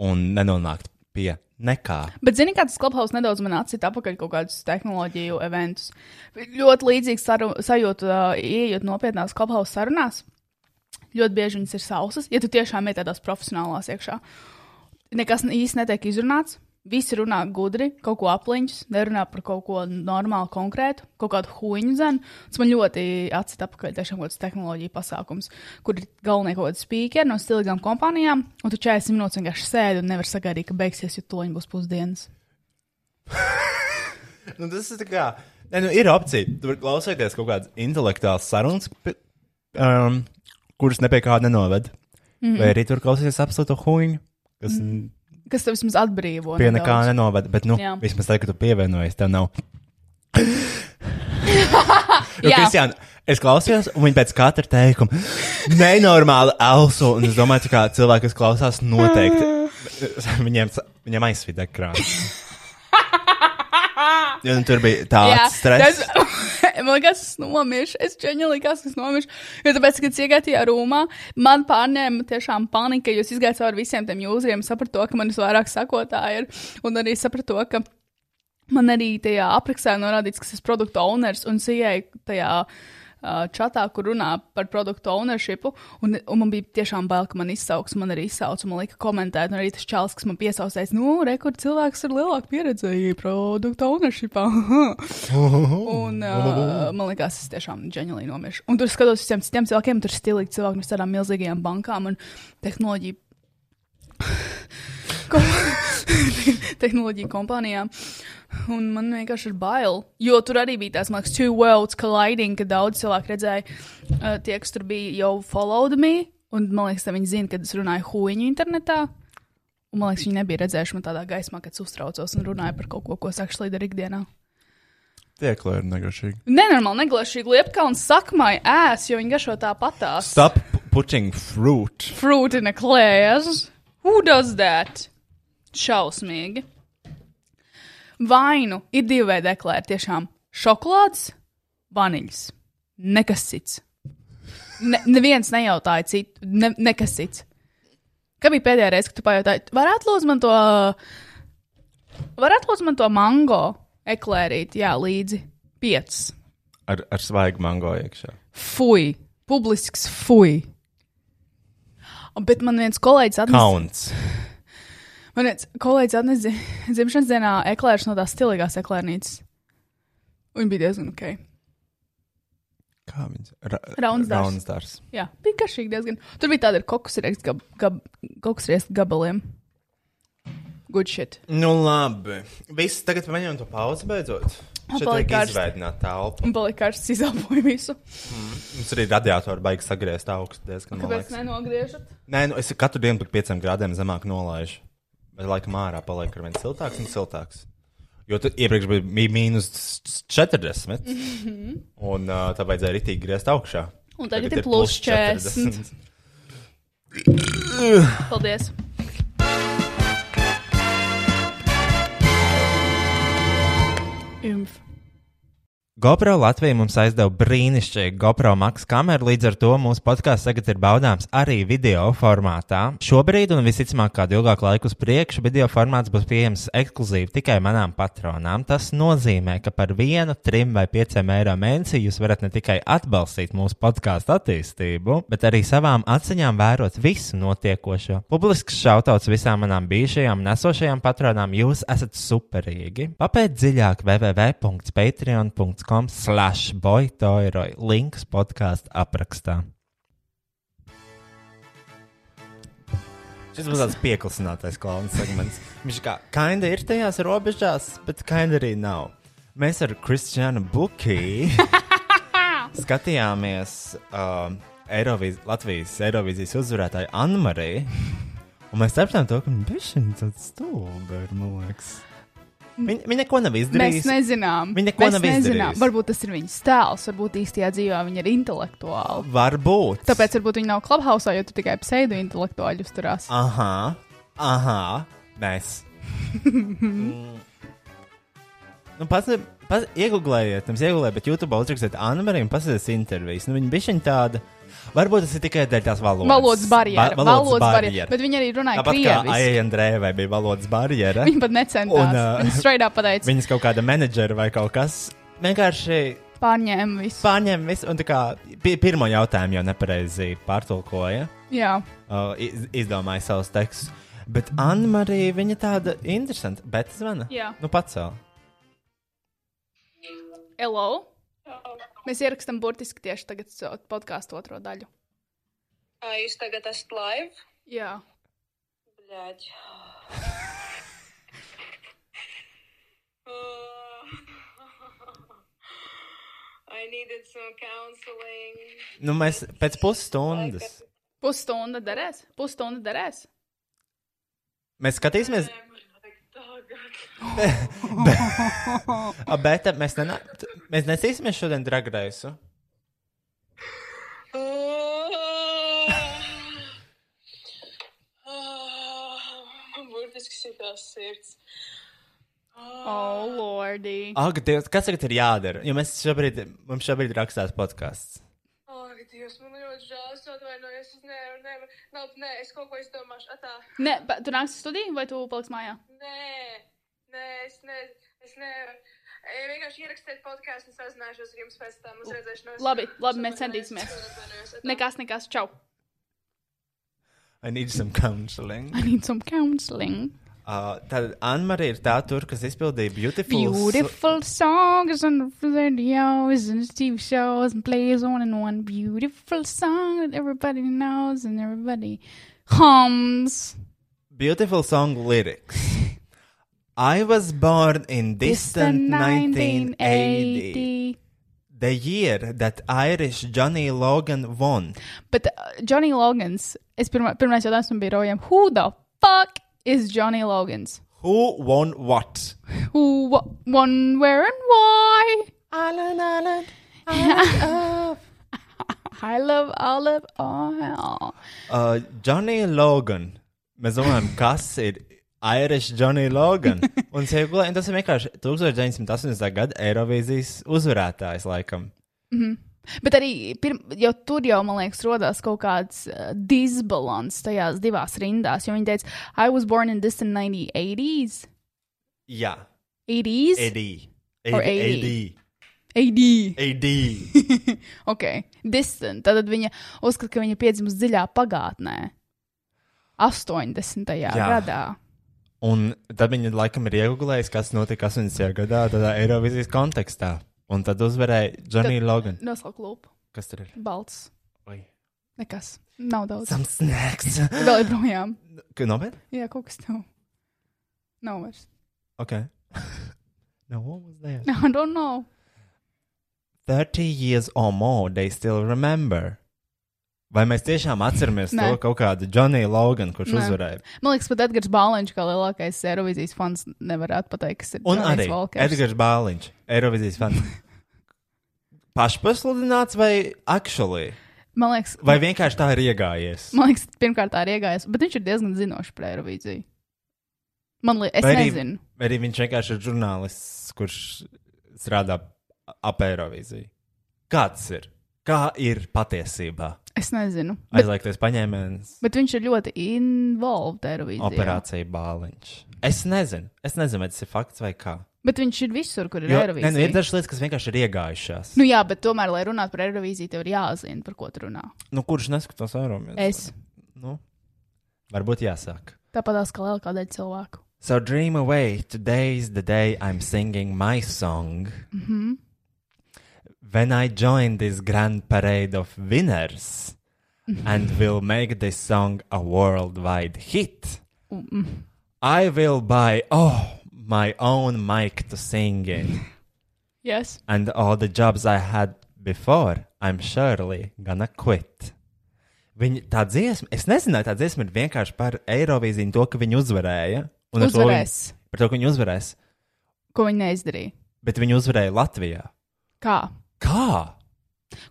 Speaker 2: Un nenonākt pie nekā.
Speaker 3: Bet, zini, kā tas klubhaus nedaudz man atsita apakaļ kaut kādus tehnoloģiju eventus. Ļoti līdzīgs saru, sajūta, uh, ieejot nopietnās klubhaus sarunās. Ļoti bieži viņas ir sausas, ja tu tiešām ir tādās profesionālās iekšā. Nekas īsti netiek izrunāts. Visi runā gudri, kaut ko apliņķus, nerunā par kaut ko normālu, konkrētu, kaut kādu huīņu zemu. Tas man ļoti atsita apakaļ tiešām kaut kāds tehnoloģija pasākums, kur ir galvenie kaut kādi spīkeri no stilīgām kompānijām, un tu 40 minūtes vienkārši sēdi un nevar sagaidīt, ka beigsies, jo toņi būs pusdienas.
Speaker 2: Nu, tas ir tā kā. Ne, nu, ir opcija. Tur var klausīties kaut kādas intelektuālas sarunas, pe- um, kuras ne pie kāda nenoved. Mm -hmm. Vai arī tur klausīties absolūtu huīņu, kas mm -hmm.
Speaker 3: Kas tev vismaz atbrīvo?
Speaker 2: pie
Speaker 3: nedaudz.
Speaker 2: nekā nenoved. Bet, nu,
Speaker 3: Jā.
Speaker 2: Jā. vismaz tagad, kad tu pievienojies, tev nav. Jo,
Speaker 3: Jā.
Speaker 2: Kristiāna, es klausījos, un viņa pēc katra teikuma nenormāli elso. Un es domāju, ka kā cilvēki, kas klausās, noteikti viņiem, viņiem aizsvīd ekrānu. Jo, nu, tur bija tāds stress.
Speaker 3: tas, man liekas, es nomiršu. Es čeņģi likās, ka es nomiršu. Jo tāpēc, kad es iegāju tajā rūmā, man pārņēma tiešām panika, jo es izgāju cauri visiem tiem jūzriem, sapratu to, ka man visvairāk sakotāji ir, un arī sapratu to, ka man arī tajā aprakstā ir norādīts, ka es esmu produktu owners un sieeju tajā. uh, Čatā, kur runā par produktu ownershipu, un, un man bija tiešām bail, ka man izsauks, un man arī izsauca, un man lika komentēt, un arī tas čels, kas man piesaucēs, nu, rekord cilvēks ar lielāku pieredzi produktu ownershipā. Un uh, man liekas, es tiešām ģeniāli nomiršu. Un tur skatos visiem citiem cilvēkiem, tur stilīgi cilvēki no tādām milzīgajām bankām un tehnoloģiju. Ko- tehnoloģiju kompānijām. Un man vienkārši ir bail. Jo tur arī bija tās, man liekas, two worlds colliding, kad daudz cilvēku redzēja, uh, tie, kas tur bija, jau followed me. Un man liekas, ka viņi zina, kad es runāju huīņu internetā. Un man liekas, viņi nebija redzējuši man tādā gaismā, kad es uztraucos un runāju par kaut ko, ko sakšu līderi ikdienā.
Speaker 2: Tieklē ir negaršīgi.
Speaker 3: Nenormāli neglašīgi liepkalns sakmai ēs, jo viņi garšo tāpatās.
Speaker 2: Stop p- putting fruit.
Speaker 3: Fruit in a class. Who does that? Šausmīgi. Vainu ir divi veidi eklēri. Tiešām šokolādes, vaniļas. Nekas cits. Ne, neviens nejautāja citu. Ne, nekas cits. Kad bija pēdējā reize, kad tu pajautāji, varētu lūdzu man to, varētu lūdzu man to mango eklērīt, jā, līdzi piecas.
Speaker 2: Ar, ar svaigu mango iekšā.
Speaker 3: Fui, publisks fui. Bet man viens kolēģis atnesa,
Speaker 2: Kauns.
Speaker 3: man viens kolēģis atnesa dzi- dzimšanas dienā eklērs no tās stilīgās eklērnītes. Viņa bija diezgan ok.
Speaker 2: Kā viņš? Ra
Speaker 3: Rauns dārs.
Speaker 2: Rauns dārs.
Speaker 3: Jā, bija garšīgi diezgan. Tur bija tāda ar kokusrieks gab, gab, kokusrieks gabaliem. Good shit.
Speaker 2: Nu labi. Viss tagad paņemam to pauzi beidzot. Šeit
Speaker 3: palika
Speaker 2: vajag
Speaker 3: karsti.
Speaker 2: izveidināt telpu.
Speaker 3: Un palika karsts izelpoja visu.
Speaker 2: Mums arī radiātori baigi sagriezt augstu diezgan
Speaker 3: Kāpēc
Speaker 2: labi.
Speaker 3: nenogriežat?
Speaker 2: Nē, nu es katru dienu par 5 grādiem zemāk nolaižu. Bet laikam ārā paliek ar vien siltāks un siltāks. Jo tad iepriekš bija mī- mīnus s- s- 40. Un uh, tā vajadzēja arī tīk griezt augšā.
Speaker 3: Mhm. Un tagad ir plus 40. Paldies! Imf.
Speaker 2: GoPro Latvija mums aizdeva brīnišķīgu GoPro Max kameru, līdz ar to mūsu podkāsts tagad ir baudāms arī video formātā. Šobrīd, un visticamāk, kādu ilgāku laiku uz priekšu, video formāts būs pieejams ekskluzīvi tikai manām patronām. Tas nozīmē, ka par vienu, trim vai pieciem eiro mēnesī jūs varat ne tikai atbalstīt mūsu podkāstu attīstību, bet arī savām acīm vērot visu notiekošo. Publisks šautauts visām manām bijušajām nesošajām patronām, jūs esat superīgi. Papēt dziļāk www.patreon.com slash boytoiroi. Links podkāstu aprakstā. Šis būs tāds pieklusinātais klauns segments. Viņš kā kinda ir tajās robežās, bet kinda arī nav. Mēs ar Kristiānu Buki um, skatījāmies uh, Eiroviz Latvijas Eirovizijas uzvarētāju Anmariju. Un mēs sapratām to, ka viņš ir tāds stulbi, ir, man liekas. Viņa, viņa neko nav
Speaker 3: Mēs
Speaker 2: izdarījusi.
Speaker 3: nezinām.
Speaker 2: Viņa neko
Speaker 3: Mēs
Speaker 2: nav
Speaker 3: nezinām.
Speaker 2: izdarījusi.
Speaker 3: Varbūt tas ir viņas tēls, varbūt īstajā dzīvē viņa ir intelektuāli.
Speaker 2: Varbūt.
Speaker 3: Tāpēc varbūt viņa nav klubhausā, jo tu tikai pseidu intelektuāļi uzturās.
Speaker 2: Aha, aha, mēs. Mm. nu, pats, pats iegūlējiet, nevis iegūlējiet, bet YouTube uzrakstiet Anna Mariju un paskatieties intervijas. Nu, viņa bija tāda. Varbūt tas ir tikai dēļ tās valodas.
Speaker 3: Valodas barjera.
Speaker 2: Ba-
Speaker 3: Valodas barjera. Bet viņa arī runāja
Speaker 2: Tāpat kā
Speaker 3: krieviski.
Speaker 2: Aija Andrējai bija valodas barjera.
Speaker 3: Viņa pat necentās.
Speaker 2: Un, uh, ā,
Speaker 3: Viņa straidā pateica,
Speaker 2: Viņas kaut kāda menedžera vai kaut kas. Vienkārši
Speaker 3: pārņēma visu.
Speaker 2: pārņem visu, un tā kā pi- pirmo jautājumu jau nepareizi pārtulkoja.
Speaker 3: Jā.
Speaker 2: Uh, iz, izdomāja savus tekstus. Bet Anna arī viņa tāda interesanta. Bet zvana.
Speaker 3: Jā.
Speaker 2: Nu, pacēl.
Speaker 3: Hello! Mēs ierakstam burtiski tieši tagad so- podkāstu otro daļu.
Speaker 6: А, jūs tagad esat live?
Speaker 3: Jā,
Speaker 6: Блядь. I needed some counseling.
Speaker 2: Nu, mēs pēc pusstundas.
Speaker 3: pusstunda derēs. Pusstunda derēs.
Speaker 2: Mēs skatīsimies,
Speaker 6: Tagad.
Speaker 2: a, bet a, mēs, nenā... t- mēs nesīsimies šodien dragraisu.
Speaker 6: Burtiski sitās sirds.
Speaker 3: Oh, lordy!
Speaker 2: Ak, Dievs, kas tagad ir jādara? Jo mēs šobrīd, mums šobrīd rakstās podkāsts.
Speaker 6: Ak, Dievs, man ļoti žēl, es atvainojos, es nevaru, nevaru, nav, nē, es kaut ko izdomāšu, atā.
Speaker 3: Nē, bet tu nāksi studiju vai tu paliksi mājā?
Speaker 6: Nē, nē, es nevaru. Es nevaru. Ej, vienkārši ierakstiet podkāstu un sazināšos ar jums pēc tam. Uz redzēšanos.
Speaker 3: Labi, labi, mēs centīsimies. Nekas, nekas, čau!
Speaker 2: I need some counseling.
Speaker 3: I need some counseling.
Speaker 2: Uh, tad Anna arī ir tā tur, kas izpildīja Beautiful.
Speaker 3: Beautiful songs and videos and TV shows and plays on and on. Beautiful song that everybody knows and everybody hums.
Speaker 2: Beautiful song lyrics. I was born in distant 1980, the year that Irish Johnny Logan won.
Speaker 3: But uh, Johnny Logans, es pirmā, pirmais jautājums man bija Rojam, who the fuck is Johnny Logans?
Speaker 2: Who won what?
Speaker 3: Who, wh- when, where and why? I love olive oil.
Speaker 2: Uh, Johnny Logan. Mēs domājam, kas ir Irish Johnny Logan? Un, siegulē, un tas ir vienkārši 1980. gada Eirovīzijas uzvarētājs, laikam.
Speaker 3: Bet arī pirm, jau tur jau, man liekas, radās kaut kāds uh, disbalans tajās divās rindās. Jo viņi teica, I was born in distant 1980s.
Speaker 2: Jā, E.
Speaker 3: 80s?
Speaker 2: Eddie.
Speaker 3: Or
Speaker 2: Eddie.
Speaker 3: 80.
Speaker 2: Eddie.
Speaker 3: Ok, distant. Tad viņa uzskata, ka viņa ir piedzimusi dziļā pagātnē, 80. Jā.
Speaker 2: Jā.
Speaker 3: gadā.
Speaker 2: Un tad viņi laikam ir iegūlējuši, kas notika 80. gadā, tādā Eirovizijas kontekstā. Un tad uzvarēja Johnny Logan.
Speaker 3: Nosaukt lupu,
Speaker 2: Kas tur ir?
Speaker 3: balts.
Speaker 2: Oi.
Speaker 3: Nekas, nav daudz.
Speaker 2: Some snacks.
Speaker 3: Vēl ir projām.
Speaker 2: Ka Nopietni?
Speaker 3: Jā, kaut kas nav. Nav vairs.
Speaker 2: Ok. no one was there.
Speaker 3: I don't know.
Speaker 2: 30 years or more they still remember. Vai mēs tiešām atceramies
Speaker 3: Nē.
Speaker 2: to kaut kādu Johnny Logan, kurš
Speaker 3: Nē.
Speaker 2: uzvarēja?
Speaker 3: Man liekas, pat Edgars Bāliņš, kā lielākais Eirovizijas fans, nevarētu pateikt, kas ir
Speaker 2: Un
Speaker 3: Johnny's
Speaker 2: arī
Speaker 3: Walkers.
Speaker 2: Edgars Bāliņš, Eirovizijas fans. Pašpasludināts vai actually?
Speaker 3: Man liekas,
Speaker 2: Vai vienkārši tā ir iegājies?
Speaker 3: man liekas, pirmkārt tā ir iegājies, bet viņš ir diezgan zinošs par Eiroviziju. Man liekas, es
Speaker 2: Vai arī-
Speaker 3: nezinu.
Speaker 2: vai Arī viņš vienkārši ir žurnālists, kurš strādā ap Eiroviziju. Kāds ir? Kā ir patiesībā?
Speaker 3: Es nezinu. Bet
Speaker 2: Aizliegties paņēmiens,
Speaker 3: Bet viņš ir ļoti involved Eirovīzijā.
Speaker 2: operācija Bāliņš. Es nezinu, es nezinu, vai tas ir fakts vai kā.
Speaker 3: Bet viņš ir visur, kur ir
Speaker 2: Jo, nē,
Speaker 3: Eirovīzija.
Speaker 2: nu, ir dažas lietas, kas vienkārši ir iegājušās.
Speaker 3: Nu jā, bet tomēr, lai runātu par Eirovīziju, tev ir jāzina, par ko tu runā.
Speaker 2: Nu, kurš neskatās Eiropas?
Speaker 3: Es
Speaker 2: Nu, varbūt jāsāk.
Speaker 3: tāpatās kā liela kādēļ cilvēku.
Speaker 2: So dream away. Today is the day I'm singing my song. When I join this grand parade of winners and will make this song a worldwide hit, I will buy oh my own mic to sing in,
Speaker 3: Yes.
Speaker 2: and all the jobs I had before, I'm surely gonna quit. Viņa tā dziesma, es nezināju, tā dziesma ir vienkārši par Eirovīziju, un to, ka viņi uzvarēja. Un ar to viņi-
Speaker 3: Uzvarēs.
Speaker 2: Par to, ka viņi uzvarēs.
Speaker 3: Ko viņi neizdarīja?
Speaker 2: Bet viņi uzvarēja Latvijā.
Speaker 3: Kā?
Speaker 2: Kā?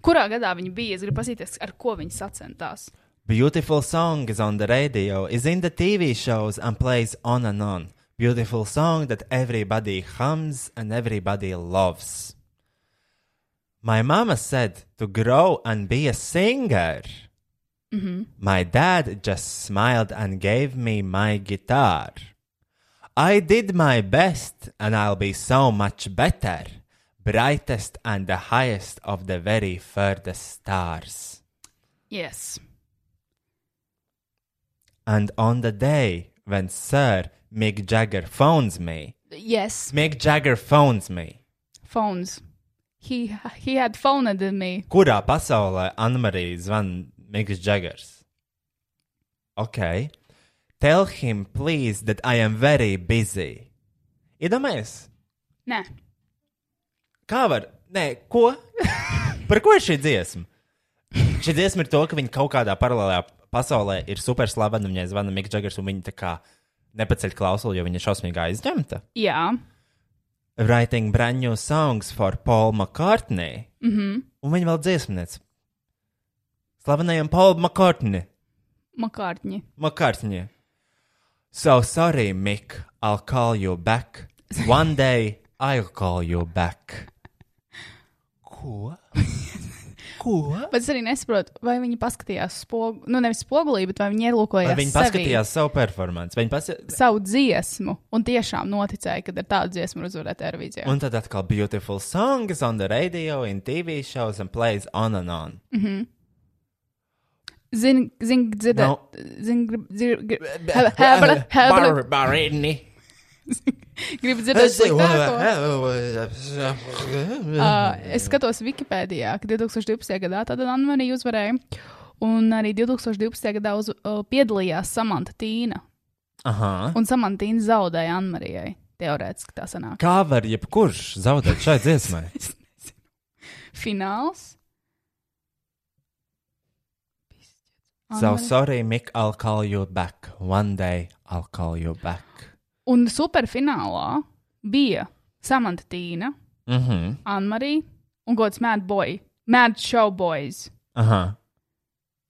Speaker 3: Kurā gadā viņi bija? Es gribu paskatīties, ar ko viņi sacentās.
Speaker 2: Beautiful song is on the radio, is in the TV shows, and plays on and on. Beautiful song that everybody hums and everybody loves. My mama said to grow and be a singer. My dad just smiled and gave me my guitar. I did my best, and I'll be so much better. Brightest and the highest of the very furthest stars.
Speaker 3: Yes.
Speaker 2: And on the day when Sir Mick Jagger phones me,
Speaker 3: Yes.
Speaker 2: Mick Jagger phones me.
Speaker 3: Phones. He, he had phoned me.
Speaker 2: Kurā pasaulē Anmarija zvan Mick Jaggers? Ok. Tell him, please, that I am very busy. Iedomājies,
Speaker 3: Nē.
Speaker 2: kā var? Nē, ko? Par ko ir šī dziesma? Šī dziesma ir to, ka viņi kaut kādā paralēlā pasaulē ir super slaveni, un viņai zvana Mick Jaggers, un viņi tā kā nepaceļ klausuli, jo viņa ir šausmīgi aizņemta.
Speaker 3: Jā.
Speaker 2: writing brand new songs for Paul McCartney. Mm -hmm. Un viņa vēl dziesmniece. Slavenajam Paul McCartney.
Speaker 3: Makārtņi.
Speaker 2: McCartney. So sorry, Mick, I'll call you back. One day I'll call you back. Ko? Ko?
Speaker 3: Bet es arī nesaprotu, vai viņi paskatījās spogu, nu nevis spogulī, bet vai viņi
Speaker 2: Vai
Speaker 3: ielūkojās
Speaker 2: viņi
Speaker 3: sevī
Speaker 2: paskatījās savu performanci? Viņi pasi...
Speaker 3: savu dziesmu un tiešām noticēja, ka ar tādu dziesmu var uzvarēt Eirovīzijā.
Speaker 2: Un tad atkal beautiful songs on the radio, in TV shows and plays on and on.
Speaker 3: Zini, zin, dzirdēt,
Speaker 2: Nav-
Speaker 3: zin, grib, dzir- grib, hebra- hebra- hebra-
Speaker 2: Barbarini.
Speaker 3: grib dzirdēt
Speaker 2: Es
Speaker 3: sliktāko.
Speaker 2: domāju,
Speaker 3: Ā, Ah, Es skatos Wikipēdijā, ka 2012. gadā tāda Anmarija uzvarēja, un arī 2012. gadā uz, uh, piedalījās Samanta Tīna, un Samanta Tīna zaudēja Anmarijai. Teorētiski tā sanāk.
Speaker 2: kā var jebkurš zaudēt šai dziesmai?
Speaker 3: Fināls.
Speaker 2: So sorry, Mick, I'll call you back. One day I'll call you back.
Speaker 3: Un superfinālā bija Samanta Tīna,
Speaker 2: Mhm. Mm
Speaker 3: Anmarija un gods Mad Boy, Mad Showboys.
Speaker 2: Aha.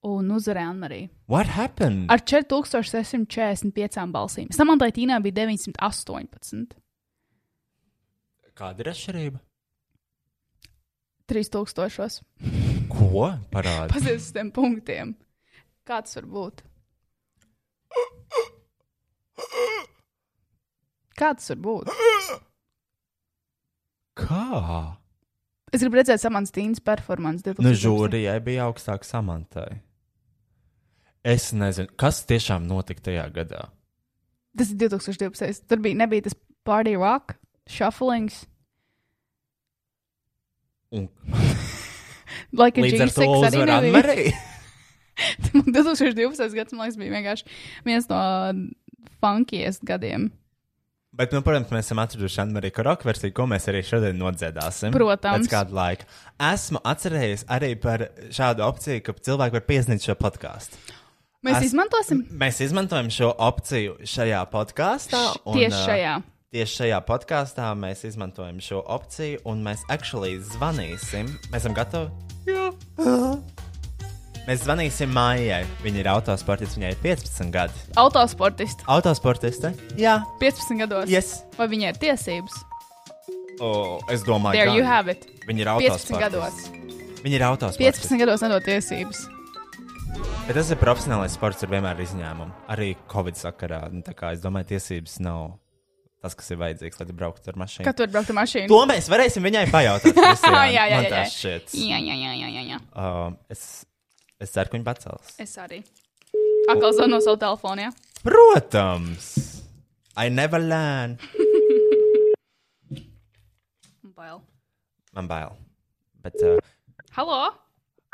Speaker 3: Un uzvarēja Anmarija
Speaker 2: What happened?
Speaker 3: ar 4645 balsīm. Samantai Tīnai bija 918,
Speaker 2: Kāda ir atšķirība?
Speaker 3: 3000.
Speaker 2: Ko parāda?
Speaker 3: Pazies uz tiem punktiem. Kāds var būt? Kāds var būt?
Speaker 2: Kā?
Speaker 3: Es gribu redzēt Samantas Tīnas performances 2000.
Speaker 2: Nu, žūrijai bija augstāk samantai. Es nezinu, kas tiešām notika tajā gadā.
Speaker 3: Tas ir 2012. Tur bija, nebija tas party rock, shufflings,
Speaker 2: Un
Speaker 3: like a
Speaker 2: līdz ar
Speaker 3: G6
Speaker 2: to
Speaker 3: arī
Speaker 2: uzvarēja
Speaker 3: nebija.
Speaker 2: Anmarija.
Speaker 3: 2012. gads, man liekas, bija vienkārši viens no funkiest gadiem.
Speaker 2: Bet, nu, protams, mēs esam atraduši Anmariju Karoku versiju, ko mēs arī šodien nodziedāsim.
Speaker 3: Protams.
Speaker 2: Pēc kāda laika. Esmu atcerējies arī par šādu opciju, ka cilvēki var piesniegt šo podkāstu.
Speaker 3: Mēs
Speaker 2: Es-
Speaker 3: es... izmantosim
Speaker 2: Mēs izmantojam šo opciju šajā podkāstā.
Speaker 3: Š- tieši
Speaker 2: uh,
Speaker 3: šajā.
Speaker 2: Tieši šajā podkāstā mēs izmantojam šo opciju, un mēs actually zvanīsim. Mēs esam gatavi. Jā. Mēs zvanīsim mājai. Viņa ir autosportists, viņai ir 15 gadi.
Speaker 3: autosportistu
Speaker 2: Autosportiste? Jā.
Speaker 3: 15 gados.
Speaker 2: Yes.
Speaker 3: Vai viņai ir tiesības?
Speaker 2: Oh, es domāju,
Speaker 3: There
Speaker 2: gan.
Speaker 3: you have it.
Speaker 2: Viņa ir
Speaker 3: 15
Speaker 2: autosportists.
Speaker 3: gados.
Speaker 2: Viņa ir autors.
Speaker 3: 15 gados nedod tiesības.
Speaker 2: Bet tas ir profesionālais sports, ir vienmēr izņēmumi. Arī Covid sakarā. Nu, tā kā es domāju, tiesības nav tas, kas ir vajadzīgs, lai tu brauktu ar mašīnu.
Speaker 3: Kad tu vari braukt ar mašīnu?
Speaker 2: To mēs varēsim viņai pajautāt. Kristiāna.
Speaker 3: jā, jā,
Speaker 2: Man
Speaker 3: jā,
Speaker 2: tā
Speaker 3: jā.
Speaker 2: šķiet.
Speaker 3: Jā, jā, jā, jā, jā, jā.
Speaker 2: Um, es, es ceru, ka viņa pacels.
Speaker 3: Es arī. Atkal zvanu no savu telefonu, jā.
Speaker 2: Protams! I never learn.
Speaker 3: Bail.
Speaker 2: Man bail. Bet, uh,
Speaker 3: Halo!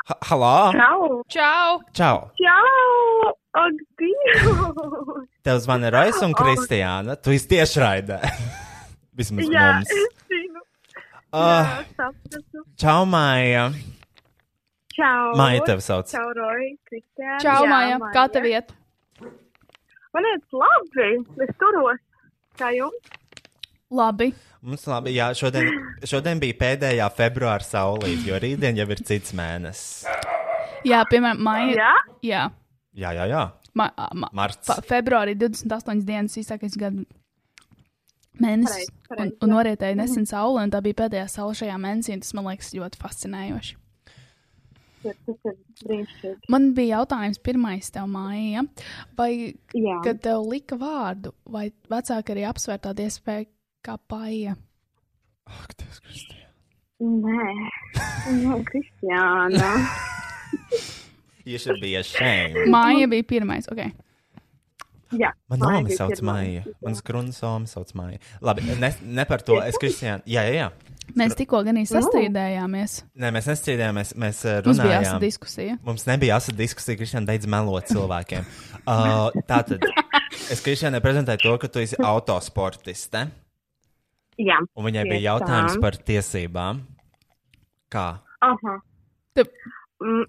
Speaker 2: ha halā!
Speaker 7: Čau!
Speaker 3: Čau!
Speaker 2: Čau!
Speaker 7: Čau! Ak, Dievs!
Speaker 2: Tev zvana Rojas un Kristiāna. Tu esi tieši raidē. Vismaz
Speaker 7: Jā,
Speaker 2: mums.
Speaker 7: es zinu.
Speaker 2: Uh,
Speaker 7: Jā, sapratu.
Speaker 2: Čau, Maija!
Speaker 7: Čau.
Speaker 2: Māja tevi sauc.
Speaker 7: Čau, Roja, Kristēna.
Speaker 3: Čau, Maija, kā tev iet?
Speaker 7: Man iet labi, es turos. Kā jums?
Speaker 3: Labi.
Speaker 2: Mums labi, jā, šodien, šodien bija pēdējā februāra saulīte, jo rītdien jau ir cits mēnesis.
Speaker 3: Jā, piemēram, maija.
Speaker 7: Jā?
Speaker 3: Jā,
Speaker 2: Jā, jā, jā.
Speaker 3: ma, ma,
Speaker 2: Marts.
Speaker 3: fa- februārī 28 dienas īsākais gada mēnesis.
Speaker 7: Pareizi,
Speaker 3: Un,
Speaker 7: pareizi, Mhm.
Speaker 3: un norietēja nesen saule, un tā bija pēdējā saule šajā mēnesī. un Tas man liekas ļoti fascinējoši.
Speaker 7: Tas ir brīnišķīgi.
Speaker 3: Man bija jautājums pirmais tev, Māja, vai
Speaker 7: Jā.
Speaker 3: kad tev lika vārdu, vai vecāki arī apsvērt tādu iespēju kā paija?
Speaker 2: Ak, Dievs, Kristi.
Speaker 7: Nē. Nē, Kristiāna.
Speaker 2: You should be
Speaker 7: Mm.
Speaker 2: ashamed.
Speaker 3: Māja bija pirmais, ok.
Speaker 7: Jā.
Speaker 2: Man
Speaker 7: Maija
Speaker 2: nama
Speaker 7: ir
Speaker 2: sauc
Speaker 7: pirmā.
Speaker 2: Maija. Mans grunsoma sauc Maija. Labi, ne, ne par to. Es, Kristiāna, jā, jā, jā.
Speaker 3: Mēs tikko gan īsti sastrīdējāmies.
Speaker 2: Nē, mēs nestrīdējāmies, mēs eh,
Speaker 3: Mums bija
Speaker 2: runājām.
Speaker 3: jāsa diskusija.
Speaker 2: Mums nebija asa diskusija, Kristiāna beidz melot cilvēkiem. Uh, tā tad es Kristiānai prezentēju to, ka tu esi autosportiste.
Speaker 7: Jā.
Speaker 2: Un viņai
Speaker 7: Tieši
Speaker 2: bija jautājums
Speaker 7: tā.
Speaker 2: par tiesībām. Kā?
Speaker 7: Aha.
Speaker 3: Tu-
Speaker 7: Mm,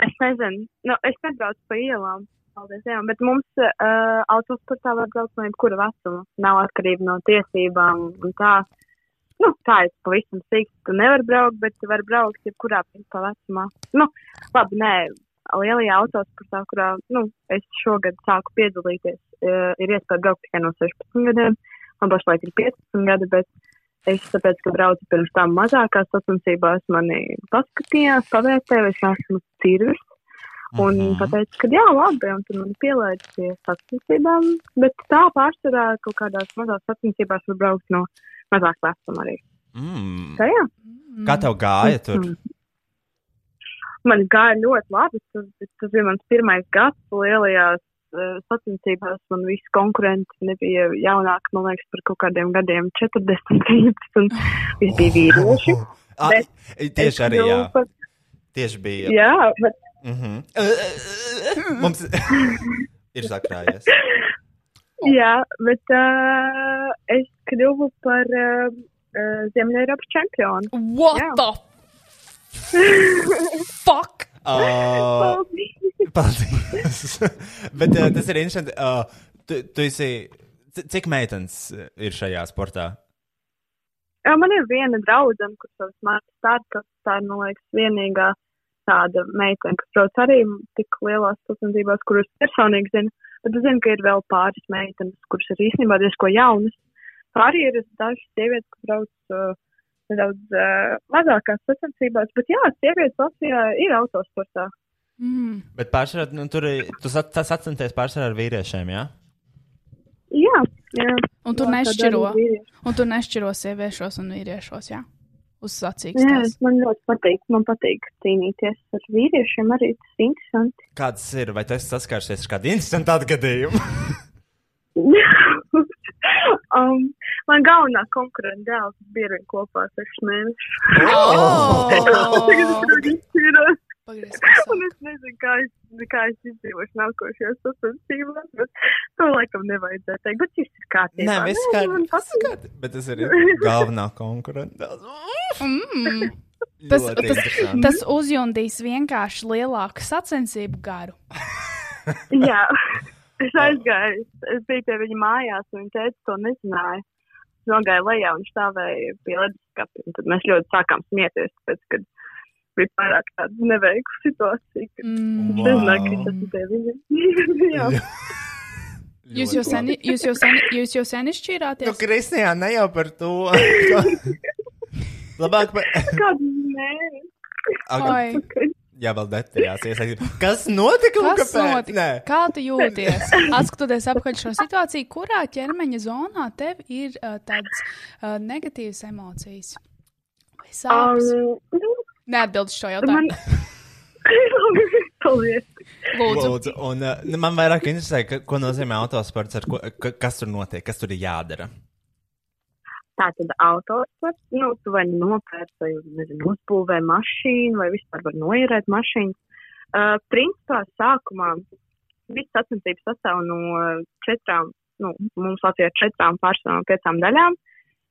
Speaker 7: Es nezinu. Nu, es nebraucu pa ielām. Paldies, jā. Bet mums uh, autosportā var braukt no jebkura vecuma. Nav atkarība no tiesībām un tā. Nu, tā ir pavisam sīkta. Tu nevari braukt, bet tu vari braukt jebkurā principā vecumā. Nu, labi, nē, lielajā autosportā, kurā, nu, es šogad sāku piedalīties, uh, ir iespēja braukt tikai no 16 gadiem. Man pašlaik ir 15 gadi, bet Es tāpēc, ka braucu pirms tam mazākās sacensībās, mani paskatījās, pavērtēja, vai es esmu cirvis. Un mm
Speaker 2: Mhm.
Speaker 7: -hmm. pateicu, ka jā, labi, un tad man pielaidu pie sacensībām. Bet tā pārsvarā kaut kādās mazās sacensībās var braukt no mazāk vecuma arī.
Speaker 2: Mm.
Speaker 7: Tā jā,
Speaker 2: Kā tev gāja
Speaker 7: Mm.
Speaker 2: tur?
Speaker 7: man gāja ļoti labi. Tas, tas bija mans pirmais gads lielajās eh, sacensībās. Man visi konkurenti nebija jaunāki, man liekas, par kaut kādiem gadiem 40 gadus, un visi bija vīrieši.
Speaker 2: Ah,
Speaker 7: Bet Es
Speaker 2: tieši arī, jā.
Speaker 7: kļuvu par-
Speaker 2: Tieši bija.
Speaker 7: Jā, bet
Speaker 2: Mm -hmm. Mums ir sakrājies.
Speaker 7: Jā, bet uh, es kļuvu par uh, uh, Ziemeļēropas čempionu.
Speaker 3: What
Speaker 7: Jā.
Speaker 3: the fuck?
Speaker 2: Uh,
Speaker 7: Paldies!
Speaker 2: paldies. Bet uh, tas ir interesanti. Uh, tu, tu esi, c- cik meitenes uh, ir šajā sportā?
Speaker 7: Jā, man ir viena draudzene, kurš savas mātes stāda, tā ir, man liekas, vienīgā tāda meitene, kas brauc arī tik lielās sacensībās, kuras personīgi zinu. Bet es zinu, ka ir vēl pāris meitenes, kuras ir īstenībā diezko jaunas. Tā arī ir dažas sievietes, kas brauc uh, nedaudz uh, mazākās sacensībās. Bet jā, sievietes Latvijā ir autosportā.
Speaker 3: Mm.
Speaker 2: Bet pārsvarā nu, tur ir- tu sa- sa- sacenties pārsvarā ar vīriešiem, jā?
Speaker 7: Jā, jā.
Speaker 3: Un tur
Speaker 7: Jā, tad
Speaker 3: nešķiro.
Speaker 7: arī vīrieši.
Speaker 3: Un tur nešķiro sieviešos un vīriešos, jā. Uz
Speaker 7: Jā,
Speaker 3: sacīkstēs.
Speaker 7: man ļoti patīk. Man patīk cīnīties ar vīriešiem. Arī tas ir interesanti.
Speaker 2: Kāds ir? Vai tu esi saskārsies ar kādu interesantu atgadījumu?
Speaker 7: um, man galvenā konkurence dēls bija arī kopā ar sešu mēnešu. Tagad es
Speaker 3: Oh!
Speaker 7: arī izšķiros,
Speaker 3: Pagriez,
Speaker 7: un es nezinu, kā es, kā es izdzīvošu nākošajās sacensībās, bet to laikam nevajadzētu teikt. Bet šis ir kārtībā.
Speaker 2: Nē, viss
Speaker 7: man patīk.
Speaker 2: kārtībā. Bet tas ir galvenā konkurence.
Speaker 3: mm. Tas,
Speaker 2: Ļoti
Speaker 3: tas,
Speaker 2: interesanti.
Speaker 3: tas uzjundīs vienkārši lielāku sacensību garu.
Speaker 7: Jā, es aizgāju. Es biju pie viņa mājās, un viņa teica, to nezināja. Es nogāju lejā, un viņš stāvēja pie leduskapa. un Tad mēs ļoti sākām smieties, tāpēc, kad bija pārāk tāda neveikla situācija. Kad...
Speaker 3: Mm.
Speaker 7: Wow. Nezināju, ka tas ir pie viņa. Jā,
Speaker 3: Jūs jau sen, jūs jau sen, jūs jau sen
Speaker 2: Nu,
Speaker 3: izšķīrāties?
Speaker 2: Kristija, ne jau par to. Labāk par.
Speaker 7: kāda nē.
Speaker 2: Ak,
Speaker 3: Oi,
Speaker 2: Jā, vēl detaļās iesaistīt. Kas notika? un
Speaker 3: Kas
Speaker 2: kāpēc?
Speaker 3: notika?
Speaker 2: Nē.
Speaker 3: Kā tu jūties? Atskatoties apkārt šo situāciju, kurā ķermeņa zonā tev ir uh, tādas uh, negatīvas emocijas? Vai sāpes? Um,
Speaker 7: Um, nu,
Speaker 3: Neatbildi šo
Speaker 7: man...
Speaker 3: jautājumu.
Speaker 7: Paldies.
Speaker 3: Lūdzu,
Speaker 2: Lūdzu, un uh, nu, man vairāk interesē, ka, ko nozīmē autosports, ar ko, ka, kas tur notiek, kas tur ir jādara.
Speaker 7: Tātad autosports, nu, tu vai nu nopērci, vai nezinu, uzbūvē mašīnu, vai vispār var noierēt mašīnu. Uh, principā sākumā viss eh, sacensības sastāv no četrām, nu, mums Latvijā ir četrām pārsvarām piecām daļām.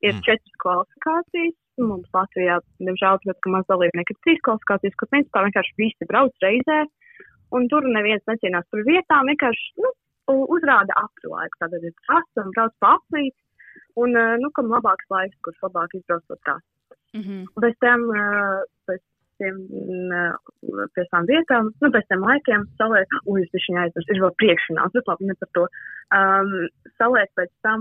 Speaker 7: Ir
Speaker 2: Mm.
Speaker 7: mm. četras kvalifikācijas. Mums Latvijā, diemžēl, tāpēc, ka maz dalībnieki ir trīs kvalifikācijas, kur principā vienkārši visi brauc reizē. Un tur neviens necīnās par vietām, vienkārši nu, u- uzrāda aprūlaiku. Tad ir tas un brauc pa aplīti. Un, eh, nu, kam labāks laiks, kurš labāk izbrauc to tā.
Speaker 8: Mhm.
Speaker 7: Bez tam, eh, pēc tiem, mm, eh, pēc tām vietām, nu, pēc tiem laikiem, salēt, ui, es viņu aizmirsu, ir vēl priekšināts, bet labi, ne par to. Um, salēt pēc tam,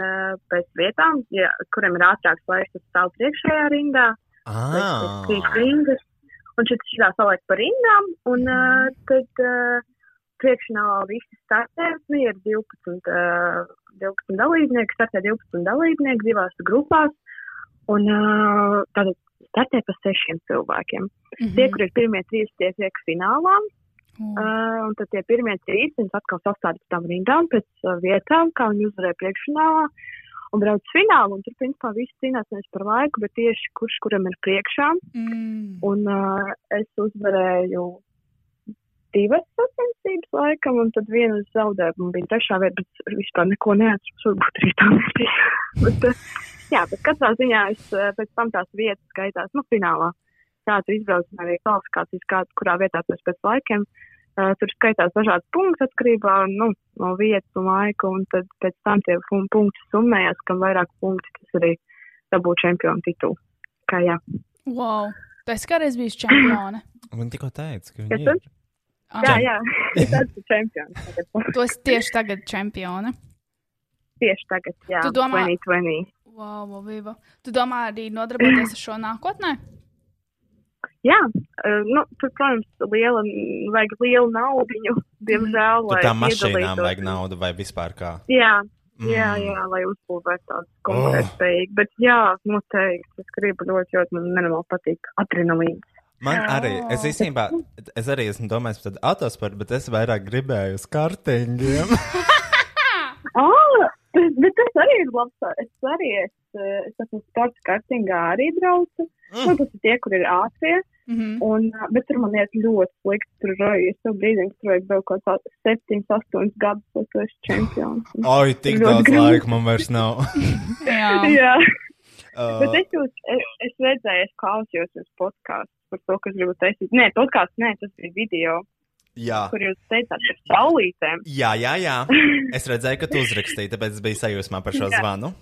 Speaker 7: eh, pēc vietām, ja, kuriem ir ātrāks laiks, tad stāv priekšējā rindā, pēc
Speaker 2: Ah,
Speaker 7: trīs rindas, un šit šitā saliek par rindām, un eh, tad eh, priekšinālā visi startē, nu, ir 12, eh, 12 dalībnieki, startē 12 dalībnieki divās grupās, un eh, tātad startē pa sešiem cilvēkiem. Tie, kur ir pirmie trīs, tie tiek finālā,
Speaker 3: Mm.
Speaker 7: uh, un tad tie pirmie trīs viņus atkal sastāda pēc tam rindām, pēc uh, vietām, kā viņi uzvarēja priekšfinālā. Un brauc finālu, un tur, principā, visi cīnās nevis par laiku, bet tieši kurš kuram ir priekšā.
Speaker 8: Mm.
Speaker 7: Un uh, es uzvarēju divas sacensības laikam, un tad vienu es zaudēju. Man bija trešā vieta, bet vispār neko neatceros. Varbūt arī tā nebija. bet, uh, jā, bet katrā ziņā es uh, pēc tam tās vietas skaitās, nu, finālā. Kādu izbraucienu arī kvalifikācijas, kādu, kurā vietā tas pēc laikiem. Uh, tur skaitās dažādi punkti atkarībā nu, no vietas un laika, un tad pēc tam tie fun- punkti summējās, kam vairāk punkti tas arī dabūja čempionu titulu. Kā jā.
Speaker 3: Wow. Tu esi kādreiz bijis čempione.
Speaker 2: man tikko teica, ka
Speaker 7: Ja
Speaker 2: viņi
Speaker 7: tu?
Speaker 2: ir.
Speaker 3: Ah,
Speaker 7: Jā, jā, es esmu čempions. tagad.
Speaker 3: Tu esi tieši tagad čempione.
Speaker 7: Tieši tagad, jā,
Speaker 3: Tu domā-
Speaker 7: 2020.
Speaker 3: Wow, wow, wow. Tu domā arī nodarboties ar šo nākotnē?
Speaker 7: Jā, eh, nu, tur, protams, liela, vajag lielu naudu,
Speaker 3: Mhm.
Speaker 7: diemžēl.
Speaker 2: Tu
Speaker 7: lai
Speaker 2: tā mašīnām
Speaker 7: iedalītos.
Speaker 2: vajag naudu vai vispār kā.
Speaker 7: Jā,
Speaker 2: Mm.
Speaker 7: jā, jā, lai uzbūvētu tādu konkurētspējīgu. Bet jā, noteikti, es gribu ļoti, ļoti man nenormāli patīk adrenalīns.
Speaker 2: Man arī, es īstenībā, es arī esmu domājis par tādu autosportu, bet es vairāk gribēju uz kartiņiem.
Speaker 7: Ah, bet bet tas arī ir labs. tā- Es arī es, eh, es esmu sports kartingā arī braucu. Mm. Nu, tas ir tie, kur ir ātrie.
Speaker 3: Mhm.
Speaker 7: Un, ā, bet tur man iet ļoti slikti. Tur roju, es tev brīdim, tur vajag vēl kaut kāds 7, 8 gadus, lai tu esi čempions. Un-
Speaker 2: Oi, tik
Speaker 7: Ļoti
Speaker 2: daudz
Speaker 7: grūti.
Speaker 2: laika man vairs nav.
Speaker 3: Jā.
Speaker 7: Jā, bet
Speaker 2: Uh,
Speaker 7: es jūs, es, es redzēju, es klausījos jūs podkāstu par to, kas gribu taisīt. Nē, podkāsts, nē, tas bija video,
Speaker 2: jā.
Speaker 7: kur jūs teicāt par saulītēm.
Speaker 2: jā, jā, jā. Es redzēju, ka tu uzrakstīji, tāpēc es biju sajūsmā par šo
Speaker 7: Jā.
Speaker 2: zvanu.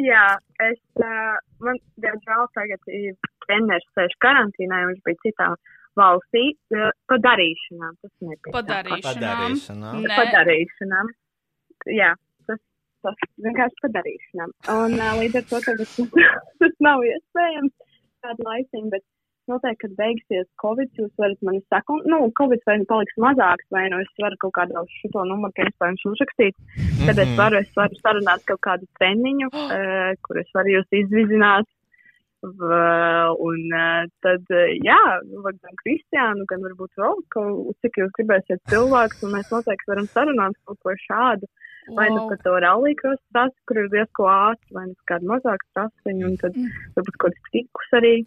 Speaker 7: Jā, es, uh, man, diemžēl, tagad ir treneris sēž karantīnā, jo viņš bija citā valstī, uh, padarīšanām. Tas nebija.
Speaker 3: Padarīšanām.
Speaker 2: Padarīšanā.
Speaker 3: Nē.
Speaker 7: padarīšanām. Jā, tas, tas vienkārši padarīšanām. Un uh, līdz ar to tagad tas nav iespējams kādu laiciņu, bet noteikti, kad beigsies Covid, jūs varat mani sakot, nu, Covid vai nu paliks mazāks, vai nu es varu kaut kādā uz šito numuru, principā, jums uzrakstīt, tad es
Speaker 2: Mhm.
Speaker 7: varu, es varu sarunāt kaut kādu treniņu, uh, kur es varu jūs izvizināt. V, un uh, tad, uh, jā, var gan Kristiānu, gan varbūt vēl, kaut- cik jūs gribēsiet cilvēks, un mēs noteikti varam sarunāt kaut ko šādu. Vai nu
Speaker 3: Wow.
Speaker 7: par to rallīkos trasi, kur ir diezko ātri, vai nu par kādu mazāku trasiņu, un tad varbūt kaut kāds trikus arī.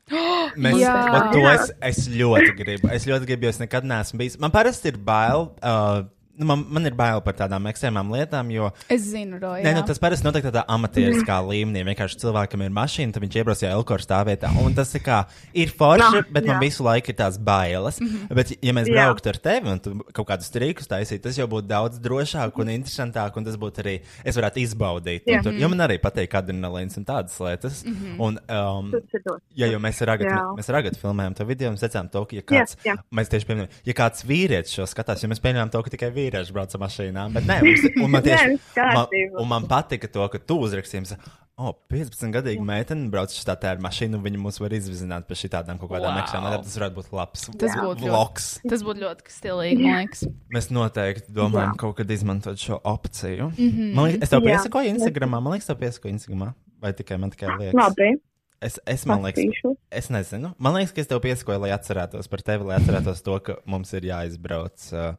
Speaker 2: Mēs,
Speaker 3: Jā.
Speaker 2: ot to es, es ļoti gribu. Es ļoti gribu, jo es nekad neesmu bijis. Man parasti ir bail. Uh, nu, man, man ir bail par tādām ekstrēmām lietām, jo
Speaker 3: Es zinu, Roja.
Speaker 2: Nē, nu, tas parasti notiek tādā amatieriskā
Speaker 7: Mm.
Speaker 2: līmenī. Vienkārši cilvēkam ir mašīna, tad viņš iebrauc jau Elkorā stāvvietā. Un tas ir kā ir forši,
Speaker 7: Jā,
Speaker 2: bet man
Speaker 7: Ah, jā. Mhm.
Speaker 2: visu laiku ir tās bailes. Bet, ja mēs
Speaker 7: Jā.
Speaker 2: brauktu ar tevi un tu kaut kādus trikus taisītu, tas jau būtu daudz drošāk un interesantāk. Un tas būtu arī, es varētu izbaudīt.
Speaker 7: Mhm. Jā. Mhm.
Speaker 2: Un Tur, jo man arī patīk adrenalīns un tādas lietas. Un, um,
Speaker 7: Tas ir ļoti.
Speaker 2: Jā, jo mēs ragad,
Speaker 7: Jā.
Speaker 2: mēs ragad filmējām to video, un secām to, ka, ja
Speaker 7: Jā,
Speaker 2: kāds, jā, jā.
Speaker 7: jā.
Speaker 2: mēs tieši pieminējām, ja kāds vīrietis šo skatās, jo mēs pieņēmām to, ka tikai vīrieši brauc ar mašīnām, bet nē, mums, un man tieši,
Speaker 7: Nē, nu, kārtībā.
Speaker 2: man, un man patika to, ka tu uzrakstījums, o, 15-gadīga meitene brauc šitā tā ar mašīnu, un viņa mūs var izvizināt pa šitādām kaut kādām
Speaker 3: Wow.
Speaker 2: ekstrēmām, lietām. tas varētu būt labs
Speaker 3: Tas būtu ļoti-
Speaker 2: vlogs.
Speaker 3: Tas būtu ļoti stilīgi, man liekas.
Speaker 2: Mēs noteikti domājam
Speaker 7: Jā.
Speaker 2: kaut kad izmantot šo opciju. Mm
Speaker 3: Mhm.
Speaker 2: -hmm. Man liekas, es tev
Speaker 7: Jā.
Speaker 2: piesakoju Instagramā, man liekas, tev piesakoju Instagramā, vai tikai man tikai liekas.
Speaker 7: Labi,
Speaker 2: Es, es man liekas.
Speaker 7: paskatīšos.
Speaker 2: Es nezinu. Man liekas, ka es tev piesakoju, lai atcerētos par tevi, lai atcerētos to, ka mums ir jāizbrauc. ā,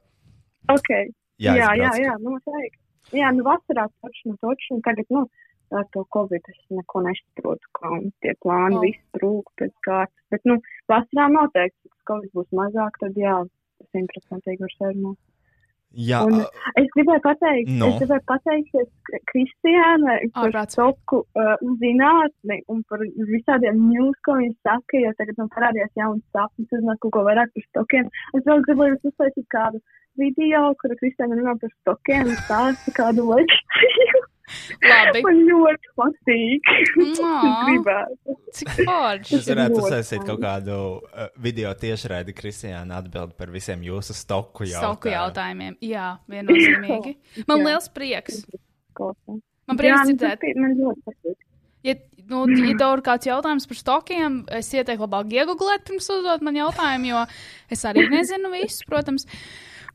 Speaker 7: Okay. Jā, jā, jā,
Speaker 2: jāizbrauc.
Speaker 7: jā, noteikti. Jā, nu vasarā točnu, točnu, tagad, nu, ar to Covid es neko nešķirotu, kā un tie plāni
Speaker 3: Jā.
Speaker 7: viss trūk pēc kārtas, bet, nu, vasarā noteikti, kad Covid būs mazāk, tad jā, simtprocentīgi var sarunāt.
Speaker 2: Jā, uh,
Speaker 7: Un-
Speaker 2: ā,
Speaker 7: Es gribēju pateikt,
Speaker 2: Nu?
Speaker 7: no. es gribēju pateikties K- Kristiānai par
Speaker 3: Ārprāts.
Speaker 7: toku uh, zinātni un par visādiem ņūs, ko viņi saka, jo tagad man parādījās jauns sapnis, uzzināt kaut ko vairāk par stokiem. Es vēl gribu jums uztaisīt kādu video, kur Kristiāna runā par stokiem un stāsta kādu lekciju.
Speaker 3: Labi.
Speaker 7: Man ļoti patīk. Es
Speaker 3: Mā,
Speaker 7: gribētu.
Speaker 3: Cik forši.
Speaker 2: Jūs
Speaker 7: Tas ir
Speaker 2: varētu
Speaker 7: ļoti
Speaker 2: uzsākt
Speaker 7: labi.
Speaker 2: kaut kādu uh, video tiešraidi, Kristiāna atbild par visiem jūsu stoku jautājumiem.
Speaker 3: Sauku jautājumiem. Jā, viennozīmīgi. Man
Speaker 7: Jā.
Speaker 3: liels prieks.
Speaker 7: Klausās.
Speaker 3: Man
Speaker 7: Jā,
Speaker 3: prieks
Speaker 7: nu,
Speaker 3: dzirdēt.
Speaker 7: tas ir- man ļoti patīk.
Speaker 3: Ja, nu, ja tev ir kāds jautājums par stokiem, es ieteiktu labāk iegūlēt pirms uzdot man jautājumu, jo es arī nezinu visu, protams.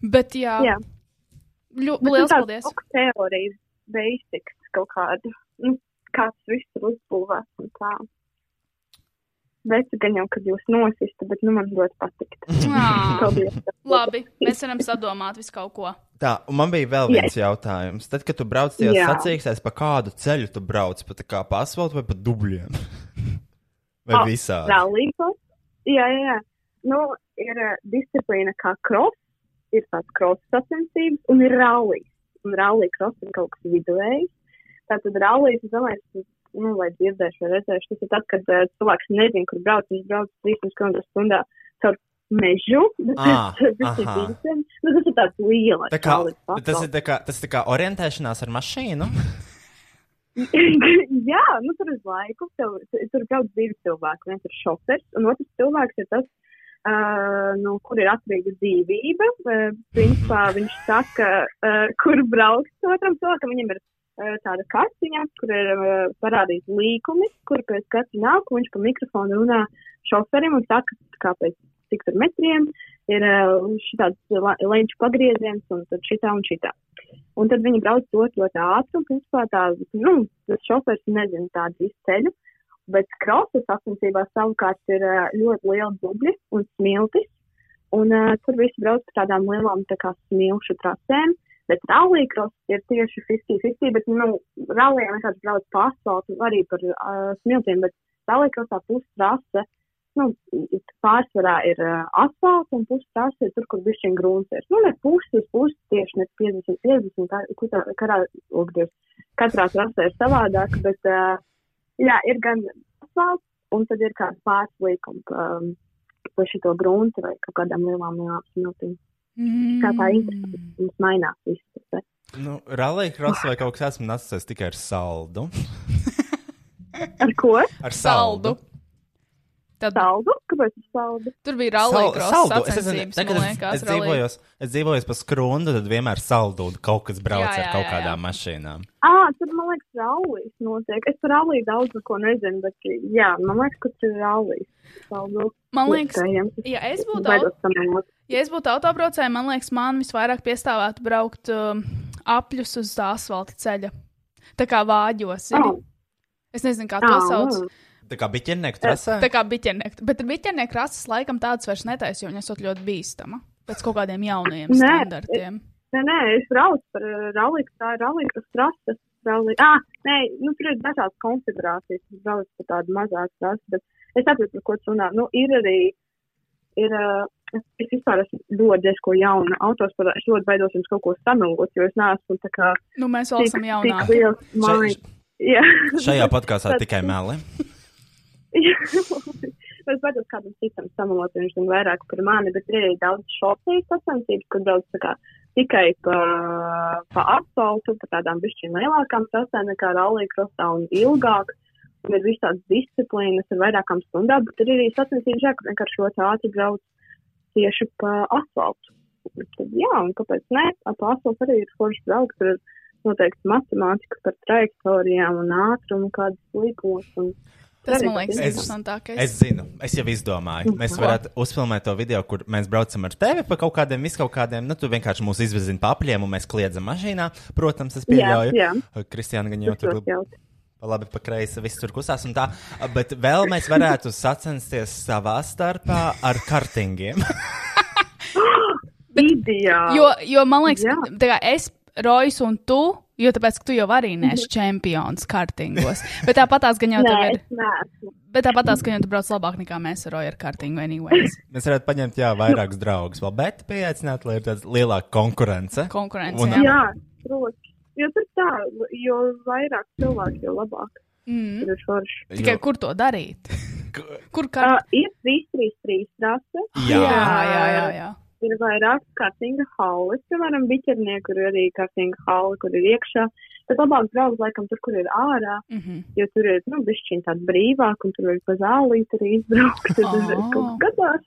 Speaker 3: Bet jā, jā.
Speaker 7: Jā.
Speaker 3: ļoti
Speaker 7: nu,
Speaker 3: liels paldies.
Speaker 7: Kaut kā teorijas, basics kaut kāda. Nu, kāds viss ir uzbūvēts un tā. Bet gan jau, kad jūs nosistu, bet nu man ļoti patīk.
Speaker 3: Ā,
Speaker 7: Paldies.
Speaker 3: Labi, mēs varam sadomāt visu kaut ko.
Speaker 2: Tā, un man bija vēl viens jautājums. Tad, kad tu brauc tajā
Speaker 7: Jā.
Speaker 2: sacīkstēs, pa kādu ceļu tu brauc? Pa tā kā pa asfaltu vai pa dubļiem? vai
Speaker 7: Ah,
Speaker 2: oh, visādi?
Speaker 7: Rallīkos. Jā, jā, jā. Nu, ir eh, disciplīna kā krops, ir tāds krops sacensības un ir rallijas. Un rallija krops ir kaut kas viduvējs. Tātad rallijas, es domāju, tas ir, nu, lai dzirdēšu vai redzēšu, tas ir tad, kad eh, cilvēks nezin, kur brauc, viņš brauc 300 km stundā caur mežu. bet
Speaker 2: Ah,
Speaker 7: tas viss ir
Speaker 2: aha.
Speaker 7: dīvaini. Nu, tas ir tāds liels.
Speaker 2: Tā kā,
Speaker 7: rallijas
Speaker 2: bet tas
Speaker 7: pasaules.
Speaker 2: ir tā kā, tas ir tā kā orientēšanās ar mašīnu.
Speaker 7: Jā, nu tur uz laiku tev, tu- tur brauc divi cilvēki. Viens ir šofers, un otrs cilvēks ir tas, uh, no kur ir atkarīga dzīvība. Uh, principā viņš saka, uh, kur braukt otram cilvēkam. Viņam ir uh, tāda kartiņa, kur ir uh, parādīts līkumi, kur pēc katra nāk, un viņš pa mikrofonu runā šoferim un saka, kāpēc cik tur metriem ir uh, šitāds la- leņķu pagrieziens un tad šitā un šitā. Un tad viņi brauc to ļoti ātri, un principā tā, nu, tas šofers nezina tādu visu ceļu. Bet krausa sacensībās savukārt ir ā, ļoti liela dubļi un smiltis. Un uh, tur visi brauc pa tādām lielām tā kā smilšu trasēm. Bet rallija krausa ir tieši 50-50, bet, nu, rallijā vienkārši brauc pa asfaltu arī par uh, smiltīm, bet rallija krausā pustrase, nu, i- pārsvarā ir uh, asfalts un pustrase ir tur, kur bišķiņ grūns ir. Nu, ne pusi, pusi tieši, ne 50-50, kā, kurā, kurā, ogdies katrā klasē ir savādāk, bet uh, jā, ir gan asfalts, un tad ir kāda pārslīkuma um, par šo grunti vai kaut kādām lielām lielām smiltīm. Kā tā
Speaker 3: Mm.
Speaker 7: interesanti, mums mainās viss. tas, eh.
Speaker 2: nu, Rallija krāsa vai kaut kas tāds man asociēs tikai ar saldu.
Speaker 7: Ar ko?
Speaker 2: Ar
Speaker 3: Saldu.
Speaker 2: saldu.
Speaker 3: Tad
Speaker 7: Saldu? Kāpēc ir saldu?
Speaker 3: tur bija
Speaker 2: Sal-
Speaker 3: rallija
Speaker 2: saldu. Es, nezinu,
Speaker 3: sacensības.
Speaker 2: tagad
Speaker 3: man
Speaker 2: es,
Speaker 3: liekas,
Speaker 2: es,
Speaker 3: rallija.
Speaker 2: dzīvojos, es dzīvoju pa skrundu, tad vienmēr saldu un kaut kas brauc
Speaker 3: Jā,
Speaker 2: jā, jā,
Speaker 3: jā,
Speaker 2: ar kaut
Speaker 3: jā, jā.
Speaker 2: kādām mašīnām.
Speaker 7: Ā, tad man liekas, rallijas notiek. Es par ralliju daudz ko nezinu, bet jā, man liekas, ka tas ir rallijas. Saldu.
Speaker 3: Man liekas,
Speaker 7: Iespējams.
Speaker 3: ja es būtu
Speaker 7: Baidos samanot.
Speaker 3: Ja es būtu autobraucēja, man liekas, man visvairāk piestāvētu braukt um, apļus uz tā asfalta ceļa. Tā kā vāģos. zini?
Speaker 7: Ā.
Speaker 3: Es nezinu, kā to
Speaker 7: Ā,
Speaker 3: sauc.
Speaker 7: ā.
Speaker 2: Tā kā biķernieku trasē?
Speaker 3: Tā kā biķernieku. Bet ar biķernieku rases laikam tādas vairs netaisa, jo viņas ir ļoti bīstama. Pēc kaut kādiem jaunajiem
Speaker 7: Nē,
Speaker 3: standartiem.
Speaker 7: Nē, nē, es braucu par uh, rallija, tā ir rallija, kas trasa. Rally. Ah, nē, nu, tur ir dažādas konfigurācijas. Es braucu par tādu mazāku trasu, bet es saprotu, par ko tu runā. Nu, ir arī, ir, uh, es- es vispār esmu ļoti diezko jauna autosportā. Es ļoti baidos jums kaut ko samelot, jo es neesmu tā kā
Speaker 3: Nu, mēs vēl esam
Speaker 7: tik
Speaker 3: jaunāki.
Speaker 7: liels mājas. Jā.
Speaker 2: Šajā podkāstā
Speaker 7: Tad-
Speaker 2: tikai meli.
Speaker 7: Jā. Es baidos kādam citam samalot, viņš zina vairāk par mani, bet ir arī daudz šoferu sacensības, kur daudz tā kā tikai pa, pa asfaltu, pa tādām bišķiņ lielākām sasēm nekā rallija krastā un ilgāk. Un ir visādas disciplīnas ar vairākām stundām, bet ir arī sacensības, jā, kur vienkārši ļoti ātri brauc tieši pa asfaltu. Tad, jā, un kāpēc ne? Pa asfaltu arī ir forši braukt, tur ir noteikti matemātika par trajektorijām un ātrumu, kādas līkumos. Un...
Speaker 3: Tas man liekas
Speaker 2: Es- Es
Speaker 3: interesantākais.
Speaker 2: zinu, es jau izdomāju. Mēs varētu uzfilmēt to video, kur mēs braucam ar tevi pa kaut kādiem viskaukādiem. Nu, tu vienkārši mūs izvirzi pa apļiem un mēs kliedzam mašīnā. Protams, es pieļauju.
Speaker 7: jā.
Speaker 2: Kristiāna gan jau
Speaker 7: Tas
Speaker 2: tur
Speaker 7: ļoti jauki.
Speaker 2: pa labi, pa kreisi, viss tur kusās un tā. Bet vēl mēs varētu sacensties savā starpā ar kartingiem.
Speaker 7: Ideāli.
Speaker 3: Jo, jo man liekas,
Speaker 7: Jā.
Speaker 3: ka tā kā es, Rojas un tu Jo tāpēc, ka tu jau arī neesi čempions kartingos. Bet tāpat tās gan jau tev
Speaker 7: Mhm. Nē,
Speaker 3: ir.
Speaker 7: es neesmu.
Speaker 3: Bet tāpat tās gan jau tu brauc labāk nekā mēs ar Roju ar kartingu anyways.
Speaker 2: Mēs varētu paņemt, jā, vairākus draugus vēl, bet pieaicināt, lai ir tāda lielāka konkurence.
Speaker 3: Konkurence.
Speaker 2: Un-
Speaker 3: jā.
Speaker 7: Jā, protams. Jo tur tā, jo vairāk cilvēku, jo labāk.
Speaker 3: Mm.
Speaker 7: Tur ir forši.
Speaker 3: Tikai
Speaker 2: Jo-
Speaker 3: kur to darīt? Kur
Speaker 7: Uh,
Speaker 3: kart?
Speaker 7: ir 3-3-3 rase,
Speaker 3: jā,
Speaker 2: jā.
Speaker 3: jā, jā. jā.
Speaker 7: ir vairāk kārtīga haula. Piemēram, biķernieku, kur ir arī kārtīga haula, kur ir iekšā. Tad labāk braukt laikam tur, kur ir ārā,
Speaker 3: Mm -hmm.
Speaker 7: jo tur ir, nu, bišķiņ tāda brīvāk, un tur var pa zālīt arī izbraukt, tad
Speaker 3: Ā.
Speaker 7: oh. kaut kas gadās.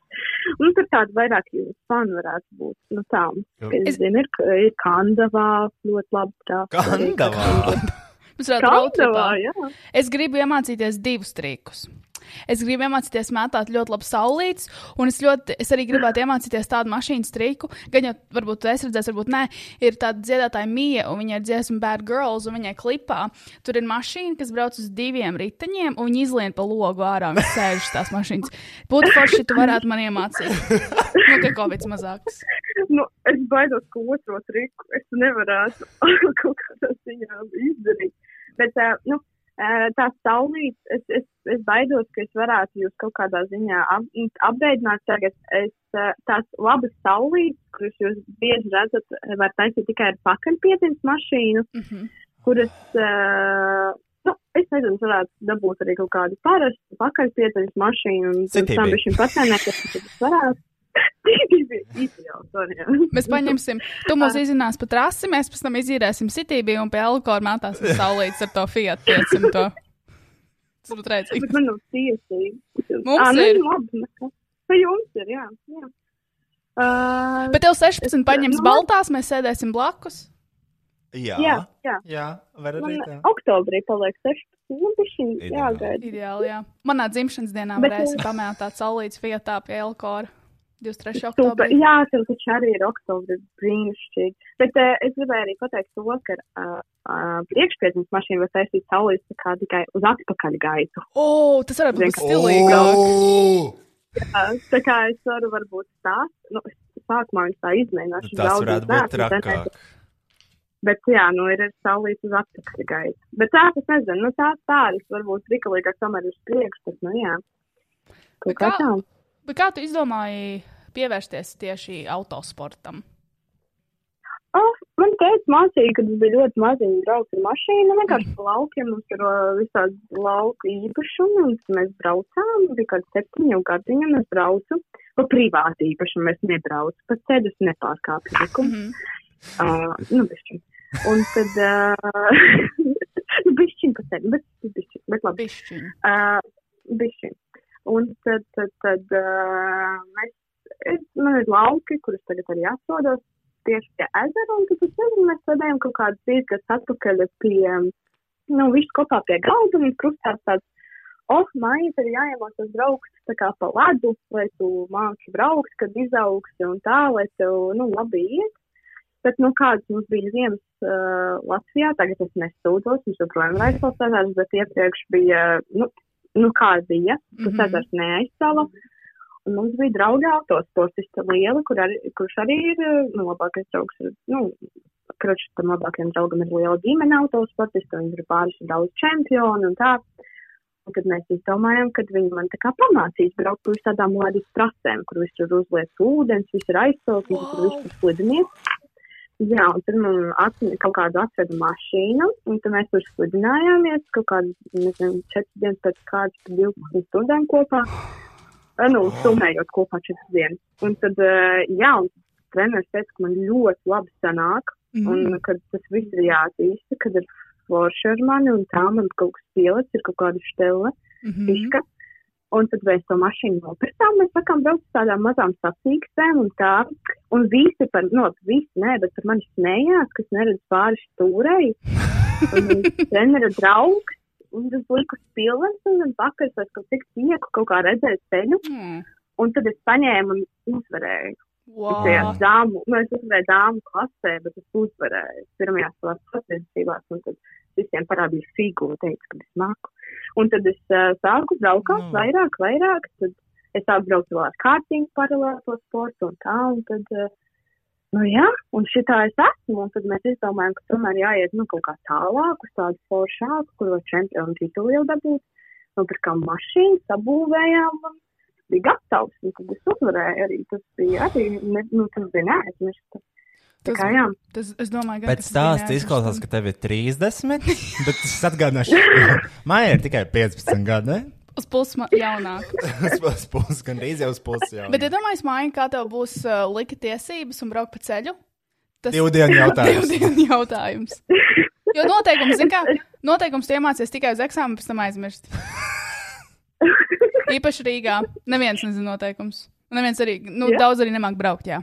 Speaker 7: Un tur tāda vairāk jūs fanu varētu būt, nu tām.
Speaker 2: Jo-
Speaker 3: Es-
Speaker 7: Es zinu, ir, ir Kandavā ļoti labi tā.
Speaker 2: Kandavā.
Speaker 3: Mums ir
Speaker 7: Kandavā,
Speaker 3: grūti.
Speaker 7: jā.
Speaker 3: Es gribu iemācīties divus trikus. Es gribu iemācīties mētāt ļoti labu saulītes, un es, ļoti, es arī gribētu iemācīties tādu mašīnu triku. Gan jau, varbūt to es redzēju, varbūt nē, ir tāda dziedātāja mija, un viņa ir dziesma Bad Girls, un viņai klipā tur ir mašīna, kas brauc uz diviem riteņiem, un viņi izlien pa logu ārā un sēž uz tās mašīnas. Būtu forši, ja tu varētu man iemācīt. Nu, ka Covid mazāks.
Speaker 7: Nu, es baidos, ka otro triku es nevarētu kaut kādā ziņā izdarīt. Bet uh, nu, uh, tā saulīt, es, es, es baidos, ka es varētu jūs kaut kādā ziņā ap, apbeidināt. Tagad es uh, tās labas saulītes, kuras jūs bieži redzat, var taisīt tikai ar pakaļpietins mašīnu,
Speaker 3: Mm -hmm.
Speaker 7: kuras. Uh, Nu, es nezinu, varētu dabūt arī kaut kādu parastu pakaļpieteņu mašīnu un tam
Speaker 2: Citībai.
Speaker 7: bišķiņu patēnēt, kas tas varētu. Tīri bija izjauts, arī.
Speaker 3: Mēs paņemsim, tu
Speaker 7: Ah.
Speaker 3: mums izzinās pa trasi, mēs pēc tam izīrēsim citībī un pie alkohola mētās uz saulītes ar to Fiat 500. Tas būtu
Speaker 7: Bet
Speaker 3: redzīgi.
Speaker 7: man nav tiesības.
Speaker 3: Mums
Speaker 7: Ā,
Speaker 3: ir.
Speaker 7: Nu, labi, nekas. Vai jums ir, jā. jā. Uh,
Speaker 3: Bet tev 16 paņems
Speaker 7: Nu, man-
Speaker 3: baltās, mēs sēdēsim blakus.
Speaker 2: Jā.
Speaker 7: jā, jā.
Speaker 2: Jā, var arī
Speaker 7: Man
Speaker 2: tā.
Speaker 7: oktobrī paliek 16. Nu, bišķiņ
Speaker 2: Ideāli.
Speaker 7: jāgaida.
Speaker 3: Ideāli, jā. Manā dzimšanas dienā
Speaker 7: Bet-
Speaker 3: varēsim pamētāt saulītes Fiatā pie alkohola 23.
Speaker 7: Super.
Speaker 3: oktobrī.
Speaker 7: Jā, tev taču arī ir oktobris brīnišķīgi. Bet uh, es gribēju arī pateikt to, ka uh, uh, priekšpēdnes mašīna var taisīt saulītes tā kā tikai uz atpakaļ gaitu.
Speaker 3: O, tas varētu būt
Speaker 7: Vienkārši-
Speaker 3: stilīgāk.
Speaker 7: Uh, tā kā es varu varbūt tā, nu, es sākumā viņš tā izmēģināšu.
Speaker 2: Nu, Tas varētu būt trakāk.
Speaker 7: Bet, jā, nu, ir arī saulītas uz atpakaļ gaita. Bet tā, es nezinu, nu, tā tādas varbūt rikalīgāk tomēr ir uz priekšu, bet, nu, jā.
Speaker 3: Bet
Speaker 7: Kaut kā
Speaker 3: kā-
Speaker 7: tā.
Speaker 3: Bet kā tu izdomāji pievērsties tieši autosportam?
Speaker 7: Oh, man teica, mācīja, kad es biju ļoti maziņa braucu ar mašīnu, nu, vienkārši pa laukiem, mums ir uh, visādi lauku īpašumi, un mēs braucām, bija kāds septiņu gadiņu, un es braucu pa privātu īpašumu, es nebraucu, pa ceļus nepārkāpu likumu.
Speaker 3: Mhm.
Speaker 7: Uh, nu, bišķiņ. Un tad, uh, nu, bišķiņ pa ceļu, bet, bišķiņ, bet labi.
Speaker 3: Bišķiņ.
Speaker 7: Uh, bišķi. Un tad, tad, tad uh, mēs, es, man ir lauki, kurus tagad arī atrodos tieši pie ezera, un tad es nezinu, mēs sēdējām kaut kādus trīs gadus atpakaļ pie, nu, visu kopā pie galda, un krustās tāds, oh, mājas ir jāiemācās braukt tā kā pa ledu, lai tu māki braukt, kad izaugsi un tā, lai tev, nu, labi iet. Bet, nu, kādas mums bija ziemas uh, Latvijā, tagad es nesūdzos, es joprojām raizpilsētās, bet iepriekš bija, nu, nu kā bija,
Speaker 3: Mhm.
Speaker 7: tas mm -hmm. neaizsala. Un mums bija draugi autosportista liela, kur arī, kurš arī ir, uh, nu, labākais draugs, ir, nu, kručs tam labākajam draugam ir liela ģimene autosportista, viņš ir pāris un daudz čempionu un tā. Un tad mēs izdomājām, ka viņi man tā kā pamācīs braukt uz tādām ledus trasēm, kur visur uzliek ūdens, visur aizsaukt, wow. visur
Speaker 3: Wow!
Speaker 7: visu slidinies. Jā, un tad man atne, kaut kādu atveda mašīnu, un tad mēs tur sludinājāmies kaut kādu, nezinu, četras dienas pēc kādas pa 12 stundām kopā. Eh, Nu, summējot kopā četras dienas. Un tad, eh, jā, un treneris teica, ka man ļoti labi sanāk, un kad tas viss ir jātīsta, kad ir forši ar mani, un tā man kaut kas pielicis, ir kaut kāda štela,
Speaker 3: Mhm.
Speaker 7: piška. Un tad mēs to mašīnu nopirkām. Mēs sākām braukt uz tādām mazām sacīkstēm un tā. Un visi par, no, visi nē, bet par mani smējās, kas neredz pāri stūrei. Un mans trenera draugs. Un tas liku spilvens, un man vakar es kaut cik tieku kaut kā redzēju ceļu.
Speaker 3: Mm.
Speaker 7: Un tad es paņēmu un uzvarēju tajā
Speaker 3: Wow.
Speaker 7: dāmu, nu, es uzvarēju dāmu klasē, bet es uzvarēju pirmajās savās sacensībās, un tad visiem parādīju figu un teicu, ka es māku. Un tad es uh, sāku
Speaker 2: Nu.
Speaker 7: braukāt vairāk, vairāk, tad es sāku braukt vēl ar kārtību paralēlo sportu un tā, un tad, uh, Nu, jā, un šitā es esmu, un tad mēs izdomājām, ka tomēr jāiet nu, kaut kā tālāk, uz tādu foršāku, kur var čempionu titulu jau dabūt. Nopirkām mašīnu, sabūvējām, un bija gatavs, un tad es uzvarēju arī. Tas bija arī, ne, nu, tas bija neaizmirsts. Tā
Speaker 3: Tas,
Speaker 7: kā jā.
Speaker 3: tas, es domāju, ka
Speaker 2: Pēc stāsta izklausās, ka tev ir 30, bet es atgādināšu, Maija ir tikai 15 gadu, ne?
Speaker 3: uz pusma jaunāk.
Speaker 2: Es pusi, gandrīz jau uz pusi jau.
Speaker 3: Bet, ja domājies, māja, kā tev būs uh, lika tiesības un braukt pa ceļu, tas
Speaker 2: Divu dienu
Speaker 3: Divu
Speaker 2: jautājums.
Speaker 3: dienu jautājums. Jo noteikums, zin kā, noteikums tu iemācies tikai uz eksāmenu, pēc tam aizmirst. Īpaši Rīgā. Neviens nezina noteikums. Neviens arī, nu,
Speaker 7: Jā.
Speaker 3: daudz arī nemāk braukt, jā.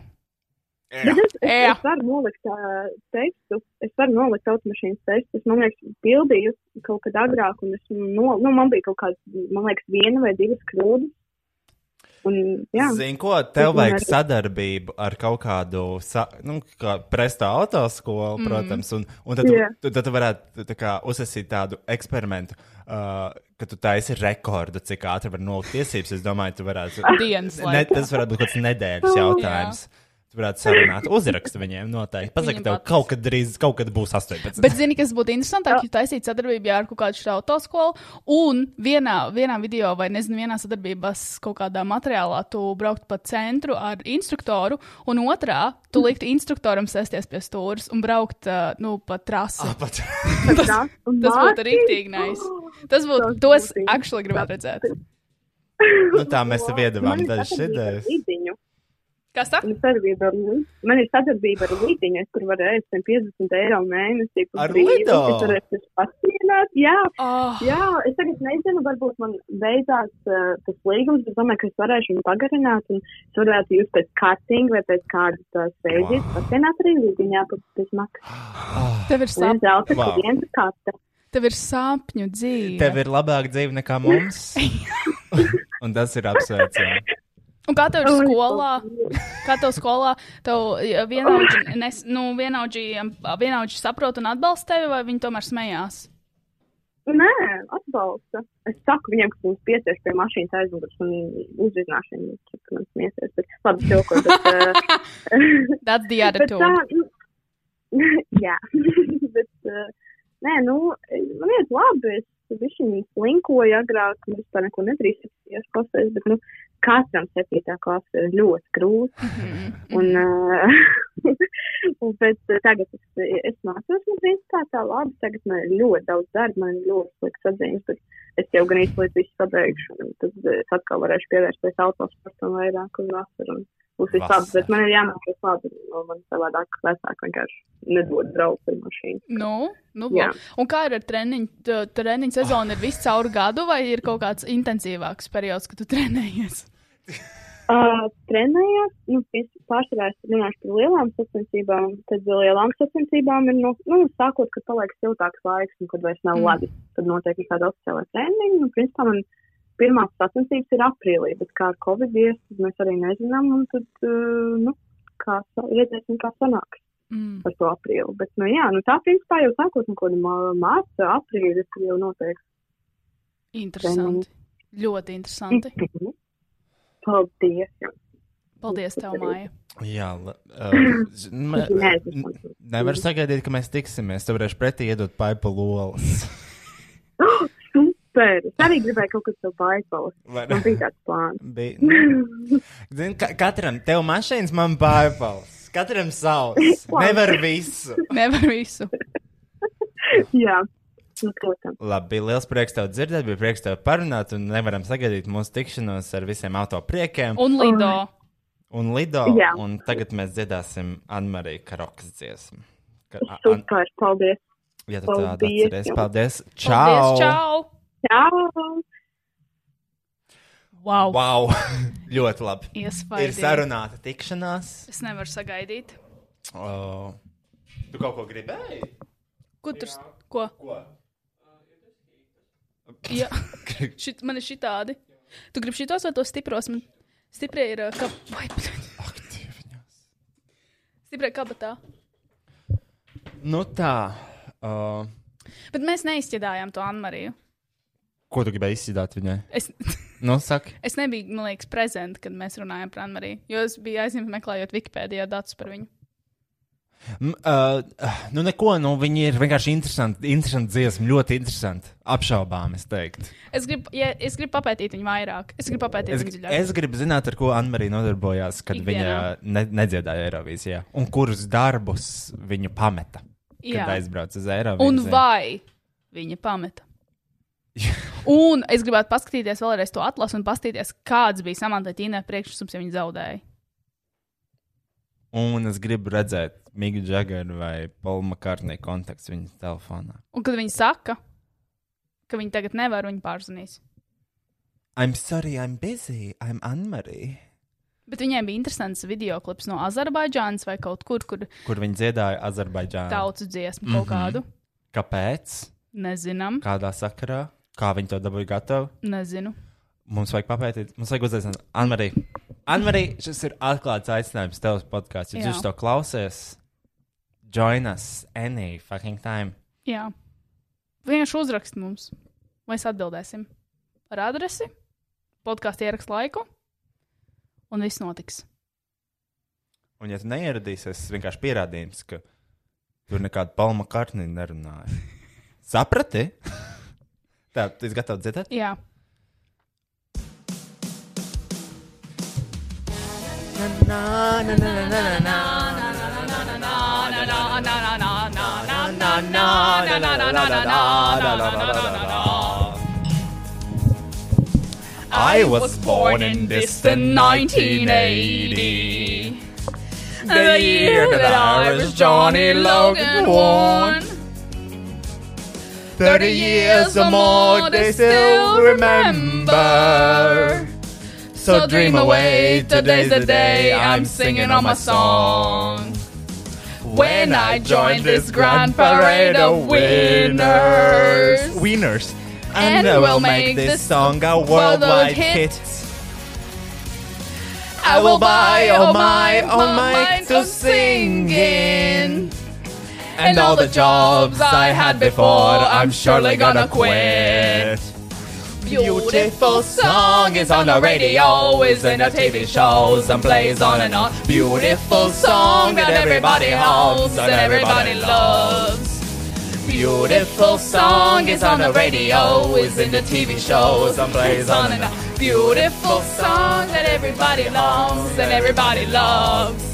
Speaker 7: Es,
Speaker 3: Jā.
Speaker 7: es varu nolikt uh, tekstu, es varu nolikt automašīnas tekstu. Es, man liekas, pildīju kaut kad agrāk, un es, no, nu, man bija kaut kāds, man liekas, viena vai divas kļūdas. Un, jā,
Speaker 2: Zini, ko tev vajag
Speaker 7: Tomēr-
Speaker 2: sadarbību ar kaut kādu, sa, nu, kā presta autoskolu, mm. protams, un, un tad,
Speaker 7: Jā.
Speaker 2: yeah. tu, tad tu varētu tā kā, uzsākt tādu eksperimentu, uh, ka tu taisi rekordu, cik ātri var nolikt tiesības. Es domāju, tu varētu.
Speaker 3: Dienas
Speaker 2: Ne,
Speaker 3: laikā.
Speaker 2: tas varētu būt kāds nedēļas jautājums. Tu varētu sarunāt, uzrakst viņiem noteikti. Pasaki,
Speaker 3: Viņiem
Speaker 2: tev
Speaker 3: patiks.
Speaker 2: kaut kad drīz, kaut kad būs 18.
Speaker 3: Bet, zini, kas būtu interesantāk, ja taisītu sadarbību jā, ar kaut kādu šādu autoskolu, un vienā, vienā video, vai nezinu, vienā sadarbībās kaut kādā materiālā tu brauktu pa centru ar instruktoru, un otrā tu liktu instruktoram sēsties pie stūres un braukt, uh, nu, pa trasi.
Speaker 2: Pat-
Speaker 7: tas, tas
Speaker 3: Tas būtu
Speaker 7: oh,
Speaker 3: rīktīgi nice. Tas būtu,
Speaker 7: Tas
Speaker 3: to es
Speaker 7: būtu
Speaker 3: actually gribētu redzēt.
Speaker 2: nu, tā mēs tev iedavām dažas idejas.
Speaker 3: Kas tā?
Speaker 7: Man ir sadarbība ar Lidiņu. Man ir sadarbība ar Lidiņu, es tur varu ēst 150 eiro mēnesī. par
Speaker 2: Ar
Speaker 7: brīvu,
Speaker 2: Lido?
Speaker 7: Es varu ēst uz pasienāt, jā,
Speaker 3: Oh,
Speaker 7: Jā, es tagad nezinu, varbūt man beidzās uh, tas līgums, bet domāju, ka es varēšu viņu pagarināt. un Es varētu jūs pēc kārtīņa vai pēc kādas uh, sēdes
Speaker 2: Wow.
Speaker 7: pasienāt arī līdziņā pēc, pēc maksas.
Speaker 3: tev ir,
Speaker 7: Un
Speaker 3: sāp,
Speaker 7: zelta
Speaker 2: Wow.
Speaker 7: klienta karta.
Speaker 3: tev ir sāpņu dzīve.
Speaker 2: Tev ir labāka dzīve nekā mums. Un tas ir apsveicami.
Speaker 3: Un kā tev ir
Speaker 7: Oi,
Speaker 3: skolā? Kā tev skolā? Tev ja, vienaudži, nes, nu, vienaudži, vienaudži saprot un atbalsta tevi, vai viņi tomēr smējās?
Speaker 7: Nē, atbalsta. Es saku viņiem, ka mums piesēž pie mašīnas aizmugurs un uzrunāšana, ka man smieties. Bet labi, joko, bet, uh,
Speaker 3: That's the
Speaker 7: Bet tā,
Speaker 3: attitude.
Speaker 7: nu, jā, bet, uh, nē, nu, man iet labi, es višķiņu slinkoju agrāk, un es par neko nedrīkstījos klasēs, bet, nu, katram septītā klase ir ļoti grūti, un, uh, un, bet uh, tagad es, es mācos, man principā tā labi, tagad man ir ļoti daudz darba, man ir ļoti slikts atziņas, bet es jau gan īstenībā visu pabeigšu, un tad eh, es atkal varēšu pievērsties autosportam vairāk un vasaru. un Būs viss labi, bet man ir jāmācās labi. jo Man savādāk vecāki vienkārši nedod braukt ar mašīnu.
Speaker 3: Nu, nu,
Speaker 7: Jā.
Speaker 3: lūk. un kā ir ar treniņu? Tu- Treniņu sezona ir visu cauru gadu, vai ir kaut kāds intensīvāks periods, kad tu trenējies?
Speaker 7: Uh, trenējos, nu, pis- pārsvarā es runāšu par lielām sacensībām, tad lielām sacensībām ir, nu, nu sākot, kad paliek siltāks laiks, un kad vairs nav
Speaker 3: Mm.
Speaker 7: mm. labi, tad noteikti kāda oficiāla treniņa, un, principā, man pirmās sacensības ir aprīlī, bet kā ar Covid ies, tad mēs arī nezinām, un tad, uh, nu, kā sa- redzēsim, kā sanāks.
Speaker 3: Mm.
Speaker 7: par to aprīli. Bet, nu, jā, nu, tā principā jau sākot no kaut kāda mārta, aprīļa, kur jau notiek.
Speaker 3: Interesanti. Ļoti interesanti.
Speaker 7: nu, Paldies! jums.
Speaker 3: Paldies, tev, Māja.
Speaker 2: Jā, la- uh, z- me-
Speaker 7: Nē, es
Speaker 2: n-
Speaker 7: esmu.
Speaker 2: nevar sagaidīt, ka mēs tiksimies. Tev varēšu pretī iedot paipa lolas.
Speaker 7: Super! Es arī gribēju kaut ko tādu baigpalas.
Speaker 2: Vai ne?
Speaker 7: Man bija tāds plāns.
Speaker 2: Bija- nu, Zini, ka katram tev mašīnas, man paipals. Katram savs. Nevar visu.
Speaker 3: Nevar visu.
Speaker 7: jā, nu, protams.
Speaker 2: Labi, bija liels prieks tev dzirdēt, bija prieks tev parunāt, un nevaram sagaidīt mūsu tikšanos ar visiem autopriekiem
Speaker 3: Un Lido.
Speaker 2: un Lido.
Speaker 7: Jā.
Speaker 2: Un tagad mēs dziedāsim Anmariju Karokas dziesmu. Ka- a- an,
Speaker 7: Super! Paldies!
Speaker 2: ja tu tādu
Speaker 7: Paldies
Speaker 2: atceries,
Speaker 7: jums.
Speaker 2: paldies!
Speaker 3: Paldies,
Speaker 2: Čau!
Speaker 3: čau!
Speaker 7: Ciao!
Speaker 3: Wow!
Speaker 2: Wow! Ļoti labi! Ir
Speaker 3: Iespējams.
Speaker 2: sarunāta tikšanās.
Speaker 3: Es nevaru sagaidīt.
Speaker 2: O, tu kaut ko gribēji?
Speaker 3: Kur tur? s- Ko?
Speaker 2: Ko?
Speaker 3: Jā, Šit, man ir šitādi. Tu gribi šitos vai tos stipros? Man stiprie ir ā, kab... vai,
Speaker 2: Aktīviņās.
Speaker 3: stiprie kabatā.
Speaker 2: Nu tā. Uh,
Speaker 3: Bet mēs neizķēdājām to Anmariju.
Speaker 2: ko tu gribēji izsīdāt viņai?
Speaker 3: Es,
Speaker 2: Nu, saki.
Speaker 3: es nebiju, man liekas, prezent, kad mēs runājām par Anmariju, jo es biju aizņemta meklējot Wikipēdijā datus par viņu.
Speaker 2: M, Uh, nu, neko, nu, viņi ir vienkārši interesanti. Interesanti dziesma, ļoti interesanti. Apšaubām, es teiktu.
Speaker 3: Es gribu, ja, es gribu papētīt viņu vairāk. Es gribu papētīt
Speaker 2: Es,
Speaker 3: viņu dziļāk.
Speaker 2: es gribu zināt, ar ko Anna-Marija nodarbojās, kad
Speaker 3: Ikdienā.
Speaker 2: viņa ne, nedziedāja Eirovīzijā. Un kurus darbus viņa pameta,
Speaker 3: Jā.
Speaker 2: kad aizbrauca uz Eirovīziju.
Speaker 3: Un vai viņa pameta? un es gribētu paskatīties vēlreiz to atlasu un paskatīties, kāds bija Samantha Tīnē priekšsums, ja viņa zaudēja.
Speaker 2: Un es gribu redzēt Migu Džagaru vai Paulu Makārtnē kontakts viņas telefonā.
Speaker 3: Un kad viņa saka, ka viņa tagad nevar, viņa pārzvanīs.
Speaker 2: I'm sorry, I'm busy, I'm Anna-Marija.
Speaker 3: Bet viņai bija interesants video klips no Azerbaidžānas vai kaut kur, kur
Speaker 2: Kur viņa dziedāja Azerbaidžānā.
Speaker 3: tautu dziesmu kaut
Speaker 2: Mhm.
Speaker 3: kādu.
Speaker 2: Kāpēc?
Speaker 3: Nezinām,
Speaker 2: Kādā sakarā? Kā viņi to dabūja gatavu?
Speaker 3: nezinu.
Speaker 2: Mums vajag papētīt, mums vajag uzzināt, Anmarija. Anmarija, šis ir atklāts aicinājums tev uz podkāstu. Ja
Speaker 3: Jā.
Speaker 2: tu uz to klausies, join us any fucking time.
Speaker 3: Jā. Vienkārši uzrakst mums, mēs atbildēsim ar adresi, podkāstu ierakstu laiku, un viss notiks.
Speaker 2: Un, ja tu neieradīsies, tas vienkārši pierādījums, ka tur nekāda palma kārtni nerunāja. Saprati? Tā, tu esi gatavs dzirdēt?
Speaker 3: Jā,
Speaker 2: I was born in distant 1980. The year that I was Johnny Logan born. 30 years or more, they still remember. So dream away, today's the day I'm singing on my song. When I joined this grand parade of winners, winners, and, we'll make this song a worldwide hit. I will buy all my own mic to sing in. And all the jobs I had before, I'm surely gonna quit. Beautiful song is on the radio, is in the TV shows and plays on and on. Beautiful song that everybody holds and everybody loves. Beautiful song is on the radio, is in the TV shows and plays on and on.
Speaker 3: Beautiful song that everybody loves and everybody loves.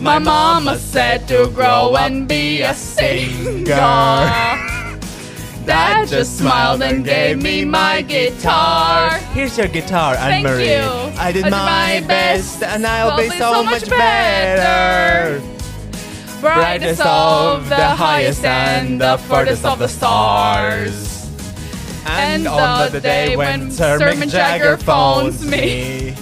Speaker 3: My mama said to grow and be a singer. Dad just smiled and gave me my guitar.
Speaker 2: Here's your guitar, Anne
Speaker 3: Thank
Speaker 2: Marie.
Speaker 3: you.
Speaker 2: I did my best, and I'll be
Speaker 3: Probably
Speaker 2: so much better. Brightest of the highest and the furthest of the stars. And on the day when Sir Mick Jagger phones me,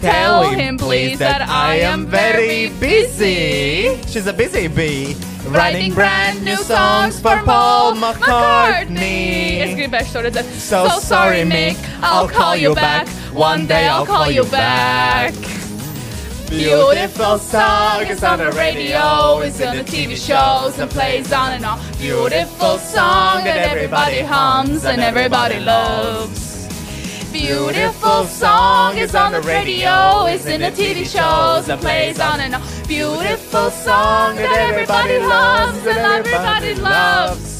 Speaker 2: tell him please that I am very busy. She's a busy bee. Writing brand new songs for Paul McCartney.
Speaker 3: Es gribēju to redzēt.
Speaker 2: So sorry, Mick. I'll call you back. One day I'll call you back.
Speaker 3: Beautiful song is on the radio, it's on the TV shows and plays on and on. Beautiful song that everybody hums and everybody loves. Beautiful song is on the radio, it's in the TV shows and plays on and on. Beautiful song that everybody loves and everybody loves.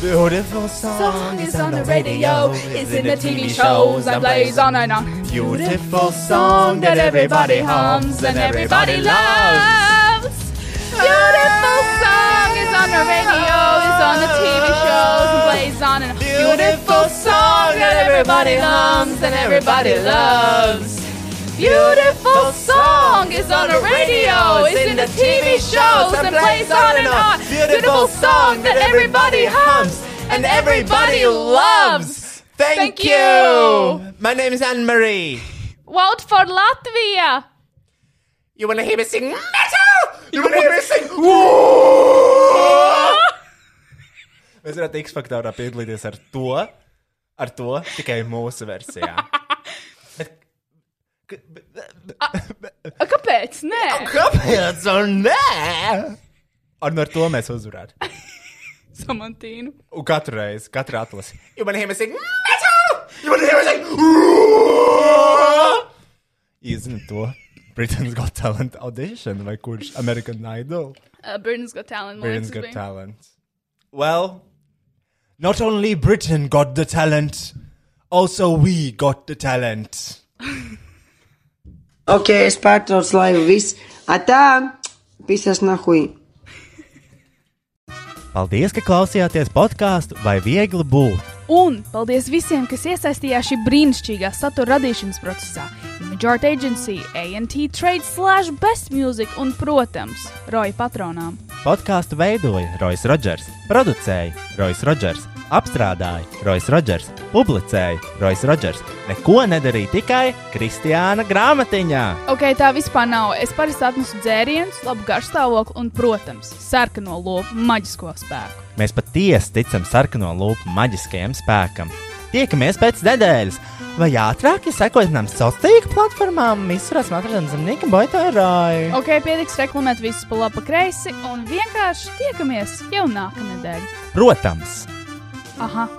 Speaker 2: Beautiful song
Speaker 3: Song is on the radio, it's in the TV shows and plays on and on.
Speaker 2: Beautiful song that everybody hums and everybody loves.
Speaker 3: Beautiful song is on the radio, it's on the TV shows, and plays on and beautiful song that everybody hums and everybody loves. Beautiful song is on the radio, it's in the TV shows and plays on and on. Beautiful song that everybody hums and everybody loves.
Speaker 2: Thank,
Speaker 3: Thank you.
Speaker 2: My name is Anne Marie.
Speaker 3: Vote for Latvia!
Speaker 2: You wanna hear me sing metal? You wanna hear me sing? Woo! Mēs varētu X faktorā piedalīties ar to, ar to tikai mūsu versijā.
Speaker 3: Kāpēc? Nē,
Speaker 2: Kāpēc? Un nē! Un ar to mēs uzvarētu.
Speaker 3: Samantīnu.
Speaker 2: Un katru reizi, katru atlasi. You wanna hear me sing metal? You wanna hear me sing? Jūs zināt to? Britain's Got Talent audition vai kurš American Idol?
Speaker 3: Uh, Britain's Got Talent. man
Speaker 2: Britain's
Speaker 3: liekas,
Speaker 2: Got
Speaker 3: bija.
Speaker 2: Talent. Well, not only Britain got the talent, also we got the talent.
Speaker 8: Ok, es pārtraucu, lai viss. Atā, pisas nahui.
Speaker 2: Paldies, ka klausījāties podkāstu vai viegli būt.
Speaker 3: Un paldies visiem, kas iesaistījās šī brīnišķīgā satura radīšanas procesā. Majority Agency, ANT Trade, Slash, Best Music un, protams, Roja patronām.
Speaker 2: Podkāstu veidoja Rois Rodžers, producēja Rois Rodžers, apstrādāja Rois Rodžers, publicēja Rois Rodžers. Neko nedarīja tikai Kristiāna grāmatiņā.
Speaker 3: Ok, tā vispār nav. Es parasti atnesu dzērienus, labu garšstāvokli un, protams, sarkano lopu maģisko spēku.
Speaker 2: Mēs patiesi ticam sarkano lupu maģiskajam spēkam. Tiekamies pēc nedēļas, vai ātrāk, ja sekojat manām sociālajām tīkla platformām, visurās matradienas zemnieka boitārāju.
Speaker 3: Ok, pietiks reklamēt visus pa labi, pa kreisi un vienkārši tiekamies jau nākamnedēļ.
Speaker 2: Protams!
Speaker 3: Aha!